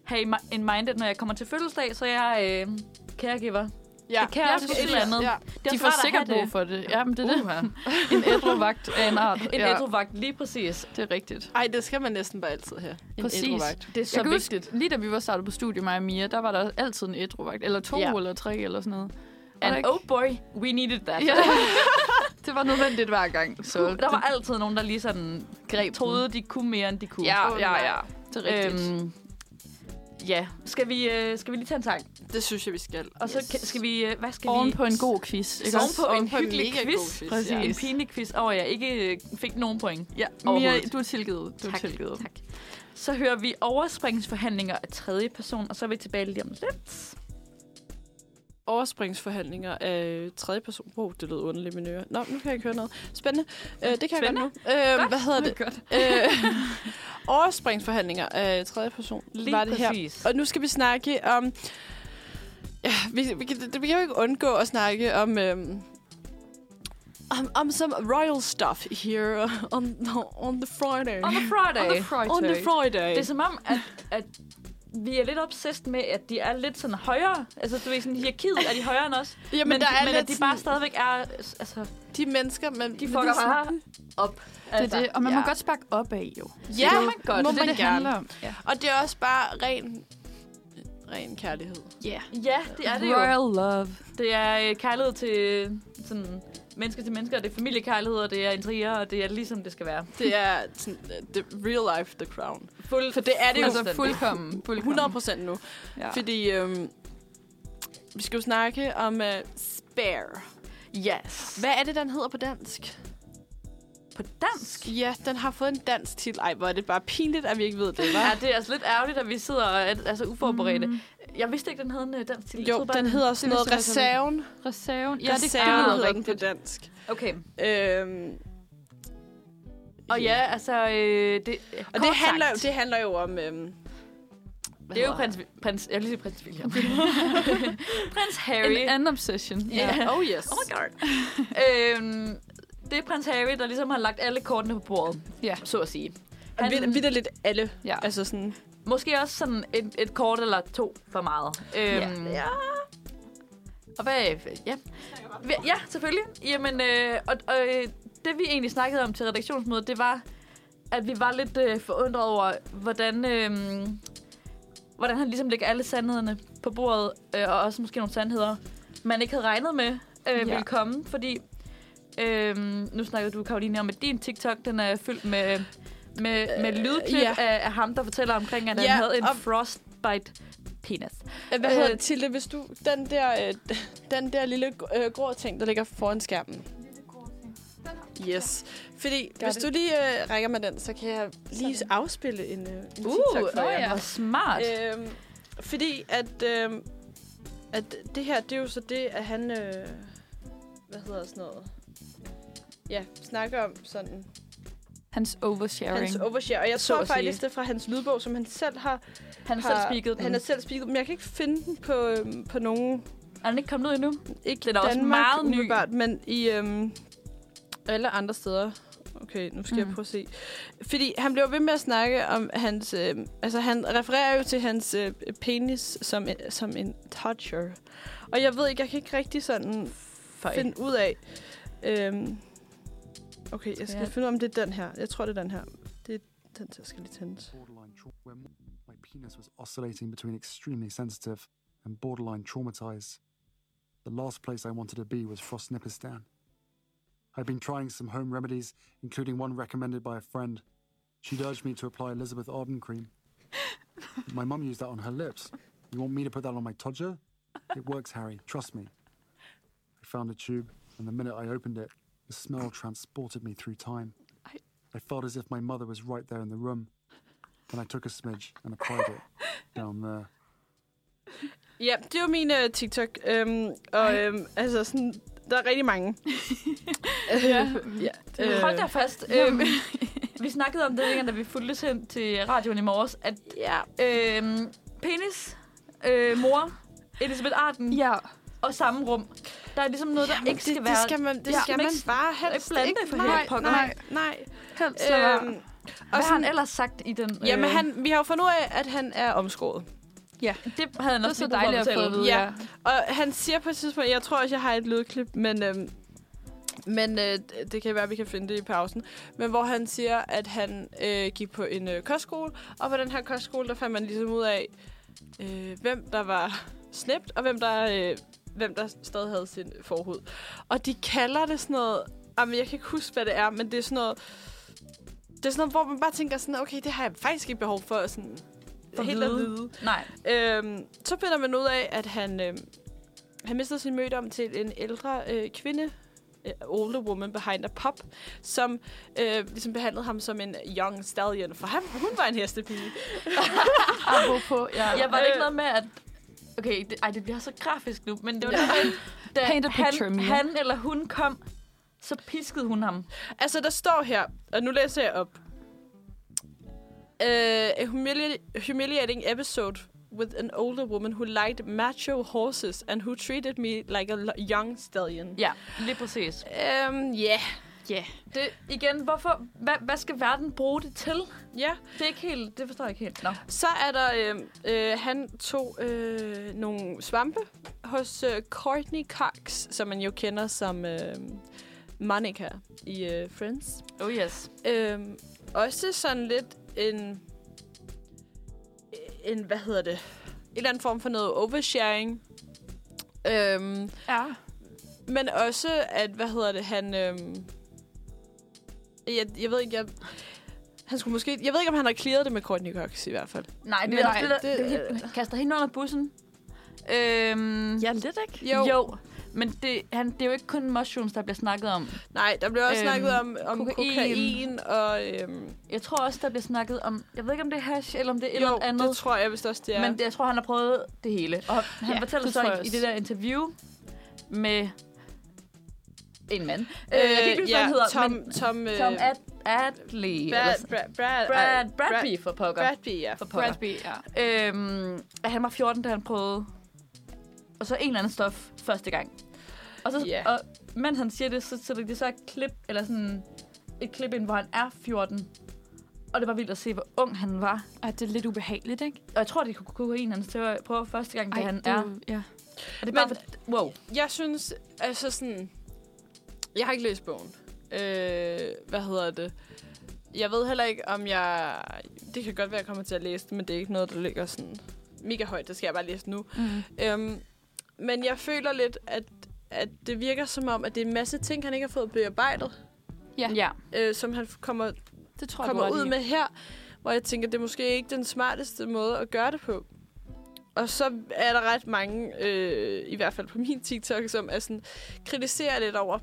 B: have i mi- in mind, at når jeg kommer til fødselsdag, så er jeg øh, caregiver.
A: Ja.
B: Det kan
C: Ja,
B: også et
C: præcis.
B: eller andet.
A: Ja.
B: Det er
C: De
B: også
C: får
B: rart at
C: sikkert
B: have det.
C: brug for det. Ja, men det er det. (laughs) en ædruvagt af en art.
B: (laughs) En
C: ja,
B: ædruvagt, lige præcis.
C: det er rigtigt.
A: Ej, det skal man næsten bare altid have. En
C: Præcis.
A: ædruvagt.
B: Det er
C: Så
B: så
C: jeg kan
B: vigtigt.
C: huske, lige da vi var startet på studie, mig og Mia, der var der altid en ædruvagt. Eller to
B: Ja.
C: ja. eller tre eller sådan noget. Var
B: And
C: der ikke?
B: oh boy, we needed that.
C: Ja. det var nødvendigt hver gang. Så
B: Der var altid nogen, der lige sådan greb troede, de kunne mere, end de kunne.
C: Ja, ja, ja. Det er rigtigt.
B: Øhm, ja, skal vi, øh, skal vi lige tage en sang?
A: Det synes jeg, vi skal.
B: Og så yes. skal vi... Øh, hvad skal
C: Oven
B: vi...
C: på en god quiz, ikke
B: Oven
C: også?
B: på en
A: Oven på en
B: hyggelig
A: mega
B: quiz.
A: god quiz,
B: Ja.
C: Præcis.
B: En pinlig quiz over, at jeg ikke øh, fik nogen point.
C: Ja, Mia,
B: Overhovedet.
C: du er tilgivet. Du er
B: Tak,
C: tilgivet.
B: tak. Så hører vi overspringsforhandlinger af tredje person, og så er vi tilbage lige om lidt.
A: Overspringsforhandlinger af tredje person. Wow, det lød underligt, min øre. Nå, nu kan jeg ikke høre noget. Spændende. Øh, det kan
B: Spændende.
A: jeg godt nu. Øh, Hvad hedder det?
C: Godt.
A: Øh, (laughs) overspringsforhandlinger af tredje person.
B: Lige
A: var det her.
B: præcis.
A: Og nu skal vi snakke om... Ja, vi, vi, kan, det- vi kan jo ikke undgå at snakke om... Øhm, om, om some royal stuff here on, on the Friday.
B: On the Friday.
C: On the Friday.
A: On the Friday.
B: Det er som om, at, at vi er lidt obsessed med, at de er lidt sådan højere. Altså, du ved, sådan hierarkiet er de højere end os.
A: Jamen,
B: men
A: men der
B: de,
A: er
B: men
A: lidt
B: at de bare stadigvæk er... Altså,
A: de mennesker, men...
B: de
A: men
B: fucker
A: det er sådan-
B: bare op.
C: Det
B: altså-
C: er det, og man ja. må
A: ja.
C: godt sparke op af, jo.
A: Ja,
B: det må man godt.
A: må
C: det er
A: man
C: det, det handler
A: gerne.
C: om. Ja.
A: Og det er også bare ren, ren kærlighed.
C: Yeah.
B: Ja, det er det jo.
C: Royal love.
B: Det er øh, kærlighed til øh, sådan, mennesker til mennesker, og det er familiekærlighed, og det er intriger, og det er ligesom det skal være.
A: Det er sådan, uh, the real life, The Crown.
B: Fuld,
A: For det er det jo
C: Altså fuldkommen. fuldkommen.
A: 100 procent nu.
C: Ja.
A: Ja. Fordi øhm, vi skal jo snakke om uh, Spare.
B: Yes.
A: Hvad er det, den hedder på dansk?
B: På dansk?
A: Ja, den har fået en dansk titel. Ej, hvor er det bare pinligt, at vi ikke ved det,
B: Ja,
A: hva'?
B: det er altså lidt ærgerligt, at vi sidder og er altså uforberedte. Mm. Jeg vidste ikke, den havde en øh, dansk titel. Jeg
A: Jo,
B: troede bare,
A: den hedder sådan
C: det
A: noget
C: vidste jeg
A: Reserven.
C: Reserven. Ja,
A: Ja,
C: det
A: Reserven
C: er
A: hedder den på
C: rigtigt.
A: dansk.
B: Okay.
A: Øhm,
B: Og ja, altså... Øh, det,
A: og det handler, jo, det handler jo om... Øhm, hvad
B: det er jo
A: hedder
B: prins, prins... Jeg vil sige prins William. (laughs) prins Harry.
C: En anden obsession.
B: Ja.
A: han? Oh yes.
B: Oh my god. øhm, det er prins Harry, der ligesom har lagt alle kortene på bordet,
C: Ja.
B: så at sige.
A: Han... Vid, vidderligt alle.
C: Ja.
A: Altså sådan...
B: Måske også sådan et, et kort eller to for meget. Øhm,
C: Ja.
B: Og hvad... Ja. Vi- Ja, selvfølgelig. Jamen, øh, og, og øh, det vi egentlig snakkede om til redaktionsmødet, det var, at vi var lidt øh, forundret over, hvordan, øh, hvordan han ligesom lægger alle sandhederne på bordet, øh, og også måske nogle sandheder, man ikke havde regnet med øh,
C: Ja.
B: ja. ville komme, fordi... Øh, nu snakkede du, Karoline, om, at din TikTok, den er fyldt med, med, med lydklip
A: ja.
B: ja. af, af ham, der fortæller omkring, at ja,
A: Ja,
B: han havde en
A: og-
B: frostbite penis.
A: Øh, Hvad hedder
B: Øh,
A: det, Tilde, hvis du... Den der, øh, den der lille øh, grå ting, der ligger foran skærmen. Yes. Fordi hvis
B: det.
A: du lige øh, rækker med den, så kan jeg lige afspille en, øh, en
B: Uh,
A: TikTok for
B: nå
A: jer.
B: ja. Hvor smart. Øh,
A: Øhm, fordi at, øhm, at det her, det er jo så det, at han, øh, hvad hedder sådan noget, ja, snakker om sådan
C: Hans oversharing.
A: hans overshare. Og jeg
B: Så
A: tror
B: at sige.
A: faktisk, det er fra hans lydbog, som han selv har...
B: han har
A: har
B: selv spiket den.
A: Han
B: Er,
A: har selv spiket, men jeg kan ikke finde den på, øhm, på nogen...
B: er den ikke kommet ud endnu?
A: Ikke
B: Den er også
A: Danmark,
B: meget ny.
A: umiddelbart, Men i øhm, alle andre steder. Okay, nu skal mm. jeg
B: Mhm.
C: Mm.
A: prøve at se. Fordi han blev ved med at snakke om hans... Øh, altså, han refererer jo til hans øh, penis som, en- som en toucher. Og jeg ved ikke, jeg kan ikke rigtig sådan
B: Føj.
A: finde ud af... Øhm, okay, jeg skal
B: Ja.
A: finde ud af, om det er den her. Jeg tror, det er den her. Det er den, der skal lige tændes.
F: borderline trauma where my penis was oscillating between extremely sensitive and borderline traumatized. The last place I wanted to be was Frostnipistan. I'd been trying some home remedies, including one recommended by a friend. She'd urged me to apply Elizabeth Arden cream. My mum used that on her lips. You want me to put that on my todger? It works, Harry. Trust me. I found a tube, and the minute I opened it, the smell transported me through time. I felt as if my mother was right there in the room and I took a smidge and applied it down there.
A: Ja, det er jo min øh, TikTok. Øhm, og øhm, altså, sådan, der er rigtig mange.
B: (laughs)
A: ja. ja.
B: Øh, Hold dig fast. Øh, vi snakkede om det, dengang, da vi fulgtes hen til radioen i morges, at
A: Ja.
B: øh, penis, øh, mor, Elisabeth Arden ja.
C: Ja.
B: og samme rum, der er ligesom noget, der ikke skal
A: det,
B: være...
A: Det skal man, det
B: Ja,
A: skal
B: man
A: man
B: ikke-
A: bare
B: ikke
A: helst
B: blande det for
A: nej,
B: helvede pokker.
A: nej, nej.
C: Helst lad være.
A: Øhm,
B: Øh, Hvad
A: og
B: har han
A: sådan,
B: ellers sagt i den? øh,
A: jamen, han, vi har jo fundet ud af, at han er omskåret.
B: Det havde han
C: Det er
B: også
C: så
B: lige brug for
C: dejligt at få
B: fortælle.
C: at vide.
A: Ja. Og han siger på et tidspunkt, jeg tror også, jeg har et lydklip, men, øhm, men øh, det kan være, vi kan finde det i pausen. Men hvor han siger, at han øh, gik på en øh, kostskole, og på den her kostskole, der fandt man ligesom ud af, øh, hvem der var snæbt, og hvem der, øh, hvem der stadig havde sin forhud. Og de kalder det sådan noget, jamen, jeg kan ikke huske, hvad det er, men det er sådan noget, det er sådan noget, hvor man bare tænker sådan, okay, det har jeg faktisk ikke behov for, sådan,
B: For
A: helt at vide.
B: Nej.
A: Øhm, så finder man ud af, at han, øhm, han mistede sin mødom til en ældre øh, kvinde, øh, older woman behind a pop, som øh, ligesom behandlede ham som en young stallion, for han, hun var en hestepige.
C: Apropos, ja.
B: Ja, var det ikke
A: Øh.
B: noget med, at... Okay, det, ej, det bliver så grafisk nu, men det var noget med, at da
C: Paint a picture,
B: han,
C: Mia.
B: han eller hun kom, så piskede hun ham.
A: Altså, der står her, og nu læser jeg op. Uh, a humili- humiliating episode with an older woman who liked macho horses and who treated me like a lo- young stallion.
B: Ja, lige præcis.
A: Øhm, ja.
B: Ja. Det, igen, hvorfor, hvad, hvad skal verden bruge det til?
A: Ja,
B: Det, er ikke helt, det forstår jeg ikke helt. Nå.
A: så er der, øh, øh, han tog øh, nogle svampe hos øh, Courtney Cox, som man jo kender som øh, Monica i øh, Friends.
B: Oh yes.
A: Øhm, også sådan lidt en, en, hvad hedder det, en eller anden form for noget oversharing. Øhm,
C: Ja.
A: men også, at, hvad hedder det, han, øhm, jeg, jeg ved ikke, jeg, han skulle måske, jeg ved ikke, om han har clearet det med Courtney Cox i hvert fald.
B: Nej, det
A: Men
B: er
A: nej,
B: også det, der,
A: det-
B: det, det, det kaster hende under bussen. Øhm,
C: Ja, lidt, ikke?
B: jo. jo. Men det, han, det er jo ikke kun mushrooms, der bliver snakket om.
A: Nej, der blev også
B: Øhm,
A: øhm, snakket om, om
B: kokain.
A: kokain. kokain og øhm,
B: Jeg tror også, der bliver snakket om... Jeg ved ikke, om det er hash, eller om det er et
A: jo,
B: eller andet.
A: det tror jeg vist også, det er.
B: Men det, jeg tror, han har prøvet det hele. Og han ja,
C: Ja,
B: fortæller
C: det
B: så
C: tror jeg
B: i, i
C: også.
B: det der interview med en mand. Øh,
A: øh,
B: jeg kan ikke huske, hvad
A: ja,
B: han hedder.
A: Tom,
B: men
A: Tom, øh,
B: Tom Ad, Adley. eller
A: Brad,
B: sådan-
A: Brad, Brad,
B: Brad,
A: ej,
B: Bradby for pokker.
A: Brad, Bradby, ja.
B: for pokker.
C: Bradby, ja.
B: Øhm, at han var 14, da han prøvede. Og så en eller anden stof første gang. Og, så,
A: Ja.
B: og mens han siger det, så sætter de så et klip, eller sådan et klip ind, hvor han er 14. Og det var vildt at se, hvor ung han var.
C: Ej, det er lidt ubehageligt, ikke?
B: Og jeg tror, det kunne kunne en hans til at prøve første gang, da han
C: det
B: er.
C: jo-
B: Og
C: Ja.
B: det er
A: Men-
B: bare for, wow.
A: Jeg synes, altså sådan... Jeg har ikke læst bogen. Øh, hvad hedder det? Jeg ved heller ikke, om jeg... Det kan godt være, jeg kommer til at læse det, men det er ikke noget, der ligger sådan mega højt. Det skal jeg bare læse nu.
C: Mm.
A: Øhm, men jeg føler lidt, at, at det virker som om, at det er en masse ting, han ikke har fået bearbejdet,
C: Ja.
B: Ja.
A: øh, som han kommer,
C: Det tror jeg, du
A: kommer
C: har
A: ud
C: ret i.
A: med her, hvor jeg tænker, det er måske ikke den smarteste måde at gøre det på. Og så er der ret mange, øh, i hvert fald på min TikTok, som er sådan, kritiserer lidt over.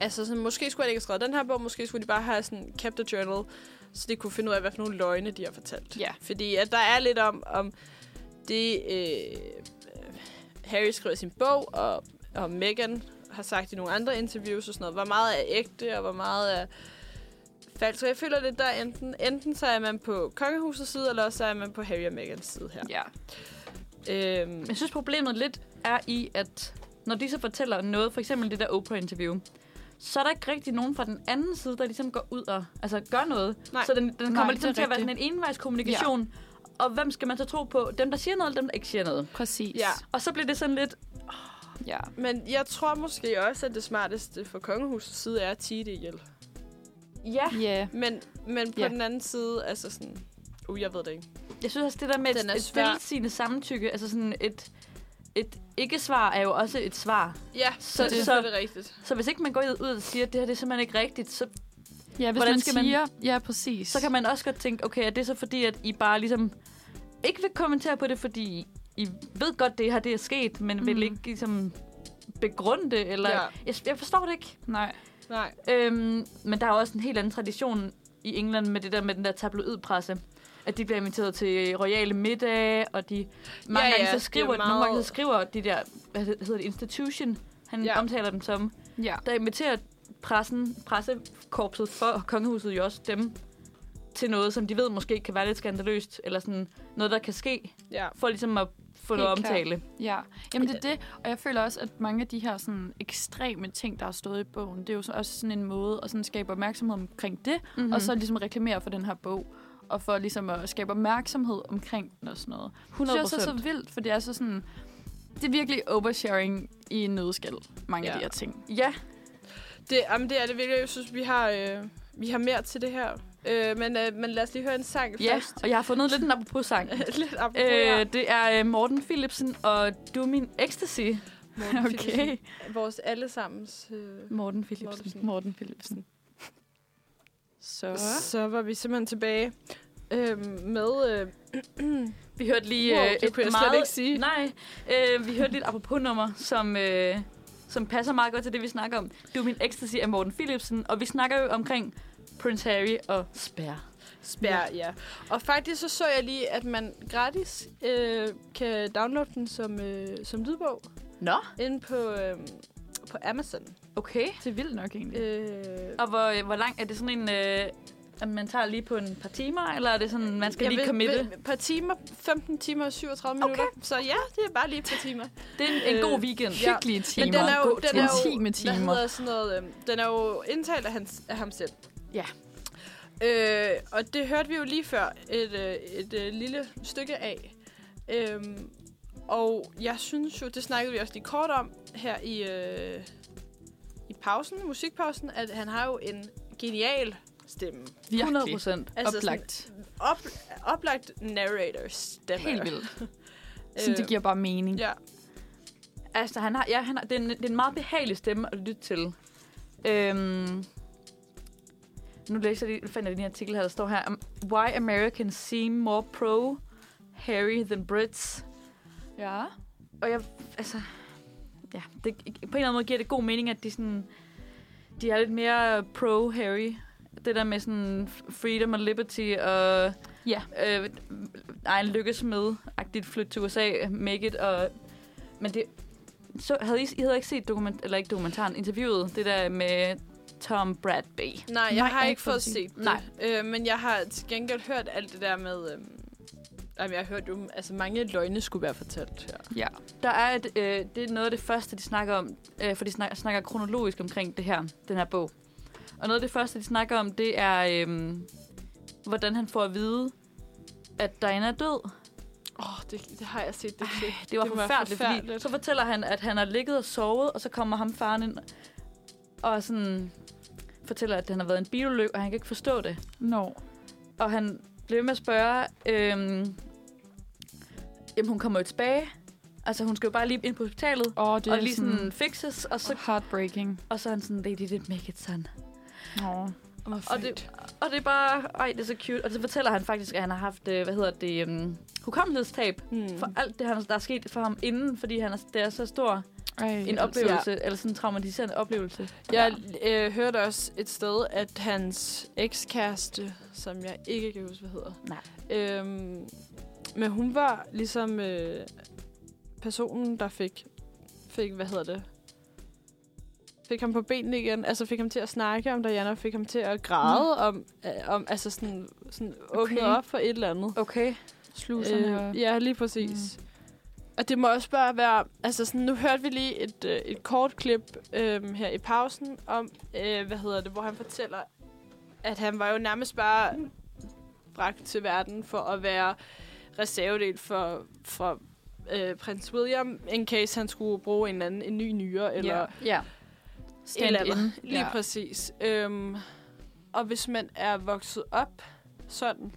A: Altså, sådan, måske skulle jeg ikke have skrevet den her bog, måske skulle de bare have sådan, kept a journal, så de kunne finde ud af, hvad for nogle løgne de har fortalt.
C: Ja.
A: Fordi at der er lidt om, om det, øh, Harry skriver i sin bog, og, og Meghan har sagt i nogle andre interviews og sådan noget, hvor meget er ægte, og hvor meget er falsk. Så jeg føler lidt, der er enten, enten så er man på kongehusets side, eller også så er man på Harry og Megans side her.
C: Ja.
A: Øhm,
B: Jeg synes, problemet lidt er i, at når de så fortæller noget, for eksempel det der Oprah-interview, så er der ikke rigtig nogen fra den anden side, der ligesom går ud og altså, gør noget.
A: Nej.
B: Så den, den kommer
C: Nej,
B: ligesom
C: det
B: til
C: er
B: at være sådan
C: rigtigt.
B: en envejskommunikation. Ja. Og hvem skal man så tro på? Dem, der siger noget, eller dem, der ikke siger noget?
C: Præcis.
A: Ja.
B: Og så bliver det sådan lidt...
C: ja.
A: men jeg tror måske også, at det smarteste for kongehusets side er at tige det ihjel.
B: Ja,
C: Ja.
A: Men, men på
C: Ja.
A: yeah. den anden side, altså sådan... Uh, jeg ved det ikke.
B: jeg synes også, det der med
A: Den er
B: et, et
A: svær.
B: stilsigende samtykke, altså sådan et, et ikke-svar er jo også et svar.
A: Ja, så,
B: det-
A: det, så er det rigtigt.
B: Så hvis ikke man går ud og siger, at det her det er simpelthen ikke rigtigt, så
C: Ja, hvis
B: Hvordan
C: man
B: skal man-
C: siger... Ja, præcis.
B: så kan man også godt tænke, okay, er det så fordi, at I bare ligesom ikke vil kommentere på det, fordi I ved godt, det her det er sket, men mm. vil
C: Mm.
B: ikke ligesom begrunde det, eller... Ja.
A: Ja.
B: Jeg, jeg forstår det ikke.
C: Nej.
A: Nej.
B: Øhm, men der er jo også en helt anden tradition i England med det der med den der tabloidpresse. At de bliver inviteret til royale middag, og de mange
A: Ja,
B: gange
A: ja,
B: så
A: det er
B: skriver,
A: meget-
B: nogle gange så skriver de der, hvad hed- hedder det, institution, han ja.
A: Ja.
B: omtaler dem som,
C: Ja.
B: der inviterer pressen, pressekorpset for kongehuset jo også dem til noget, som de ved måske kan være lidt skandaløst, eller sådan noget, der kan ske,
A: Ja.
B: for ligesom at få
C: Helt
B: noget
C: klart.
B: omtale.
C: Ja, jamen det er det, og jeg føler også, at mange af de her sådan, ekstreme ting, der har stået i bogen, det er jo så også sådan en måde at sådan, skabe opmærksomhed omkring det, mm-hmm.
B: Mhm.
C: og så ligesom reklamere for den her bog, og for ligesom at skabe opmærksomhed omkring den og sådan noget.
B: 100
C: Det er også så vildt, for det er så sådan, det er virkelig oversharing i en nødskal, mange af
A: Ja.
C: de her ting.
B: Ja,
A: Det, jamen, det er det virkelig. Jeg synes, vi har, øh, vi har mere til det her. Øh, men, øh, men lad os lige høre en sang
B: ja,
A: først. (laughs)
B: og jeg har fundet lidt en apropos-sang.
A: Lidt apropos øh,
B: (laughs) øh, det er øh, Morten Philipsen og Du Min Ecstasy. (laughs)
C: Okay.
A: Vores allesammens... Øh,
B: Morten Philipsen.
A: Mortensen.
C: Morten Philipsen. Så.
A: Så var vi simpelthen tilbage øh, med... Øh,
B: Vi hørte lige
A: Wow,
B: øh,
A: det kunne jeg slet
B: meget...
A: ikke sige.
B: Nej, øh, vi hørte lige et apropos-nummer, som, øh, som passer meget godt til det, vi snakker om. Du er min ecstasy af Morten Philipsen, og vi snakker jo omkring Prince Harry og Spær.
A: Spær, ja. Og faktisk så så jeg lige, at man gratis øh, kan downloade den som, øh, som lydbog
B: Nå,
A: inde på, øh, på Amazon.
B: okay.
C: Det er vildt nok egentlig.
A: Øh,
B: Og hvor, hvor lang er det sådan en... Øh, at man tager lige på en par timer, eller er det sådan, man skal jeg lige
A: ved-
B: committe?
A: ved- par timer, 15 timer og 37 okay. minutter. Så ja, det er bare lige et par timer.
B: det er en, en god weekend.
A: ja.
C: Hyggelige timer.
A: Men den er jo, den er jo,
C: Intime
A: Hvad
C: timer.
A: hedder sådan noget, øhm, den er jo indtalt af, hans, af ham selv.
B: Ja.
A: Øh, og det hørte vi jo lige før et, øh, et øh, lille stykke af. Øhm, og jeg synes jo, det snakkede vi også lige kort om her i, øh, i pausen, musikpausen, at han har jo en genial stemme.
C: Virkelig.
B: 100 procent.
A: Altså
C: Oplagt.
A: Op, oplagt narrator stemme.
C: Helt (laughs) vildt. Så det giver bare mening.
A: Ja.
B: Altså, han har, ja, han har, det, er en, det er en meget behagelig stemme at lytte til. Øhm, nu læser jeg lige, fandt jeg lige en artikel her, der står her. um, Why Americans seem more pro-Harry than Brits.
C: Ja.
B: Og jeg, altså... Ja, det, på en eller anden måde giver det god mening, at de sådan... De er lidt mere pro-Harry. Det der med sådan freedom og liberty og...
C: Ja.
B: Øh, egen lykkes med. Agtigt flytte til USA, make it og... Men det... Så havde I, I havde ikke set dokument, eller ikke dokumentaren, interviewet, det der med Tom Bradby.
A: Nej, jeg
C: Nej,
A: Nej,
C: jeg
A: har
C: har
A: ikke
C: ikke fået
A: fået
C: set
A: set det.
B: Nej.
A: Øh, men jeg har til gengæld hørt alt det der med... Øh, jamen, jeg har hørt jo, altså mange løgne skulle være fortalt her.
C: Ja.
B: Der er et, øh, det er noget af det første, de snakker om, øh, for de snakker, snakker kronologisk omkring det her, den her bog. Og noget af det første, de snakker om, det er, øh, hvordan han får at vide, at Diana er død.
A: Åh, oh, det, det, har jeg set. Det, klip.
B: Det var
A: Det
B: det
A: var
B: forfærdeligt, forfærdeligt, fordi
A: forfærdeligt.
B: så fortæller han, at han har ligget og sovet, og så kommer ham faren ind og sådan fortæller, at han har været i en bilulykke, og han kan ikke forstå det.
C: Nå.
B: Og han blev ved med at spørge, øhm, jamen hun kommer jo tilbage. Altså hun skal jo bare lige ind på hospitalet.
C: Åh, det
B: og
C: er
B: lige sådan fixes, og så,
C: så heartbreaking.
B: og så er han sådan, they didn't make it son.
C: Nå.
B: Og det, og det er bare, ej, det er så cute. Og så fortæller han faktisk, at han har haft, øh, hvad hedder det, um, hukommelighedstab
A: Mm.
B: for alt det, han, der er sket for ham inden, fordi han er, det er så stor
C: Ej,
B: en
C: altså.
B: oplevelse, ja. eller sådan en traumatiserende oplevelse.
A: Jeg øh, hørte også et sted, at hans ekskæreste, som jeg ikke kan huske, hvad hedder.
B: Nej.
A: Øhm, men hun var ligesom øh, personen, der fik, fik, hvad hedder det, fik ham på benene igen, altså fik ham til at snakke om Diana, fik ham til at græde mm. om, øh, om, altså sådan, sådan åbne
B: Okay.
A: op for et eller andet.
B: Okay.
C: Sluserne og...
A: Øhm, ja, lige præcis. Mm. Og det må også bare være... Altså, sådan, nu hørte vi lige et, øh, et kort klip øh, her i pausen om, øh, hvad hedder det, hvor han fortæller, at han var jo nærmest bare bragt til verden for at være reservedel for, for øh, prins William, in case han skulle bruge en eller anden en ny nyre, eller yeah.
B: Ja.
A: et eller andet.
C: Stand-in.
A: Lige
C: Ja.
A: ja. præcis. Øhm, og hvis man er vokset op sådan,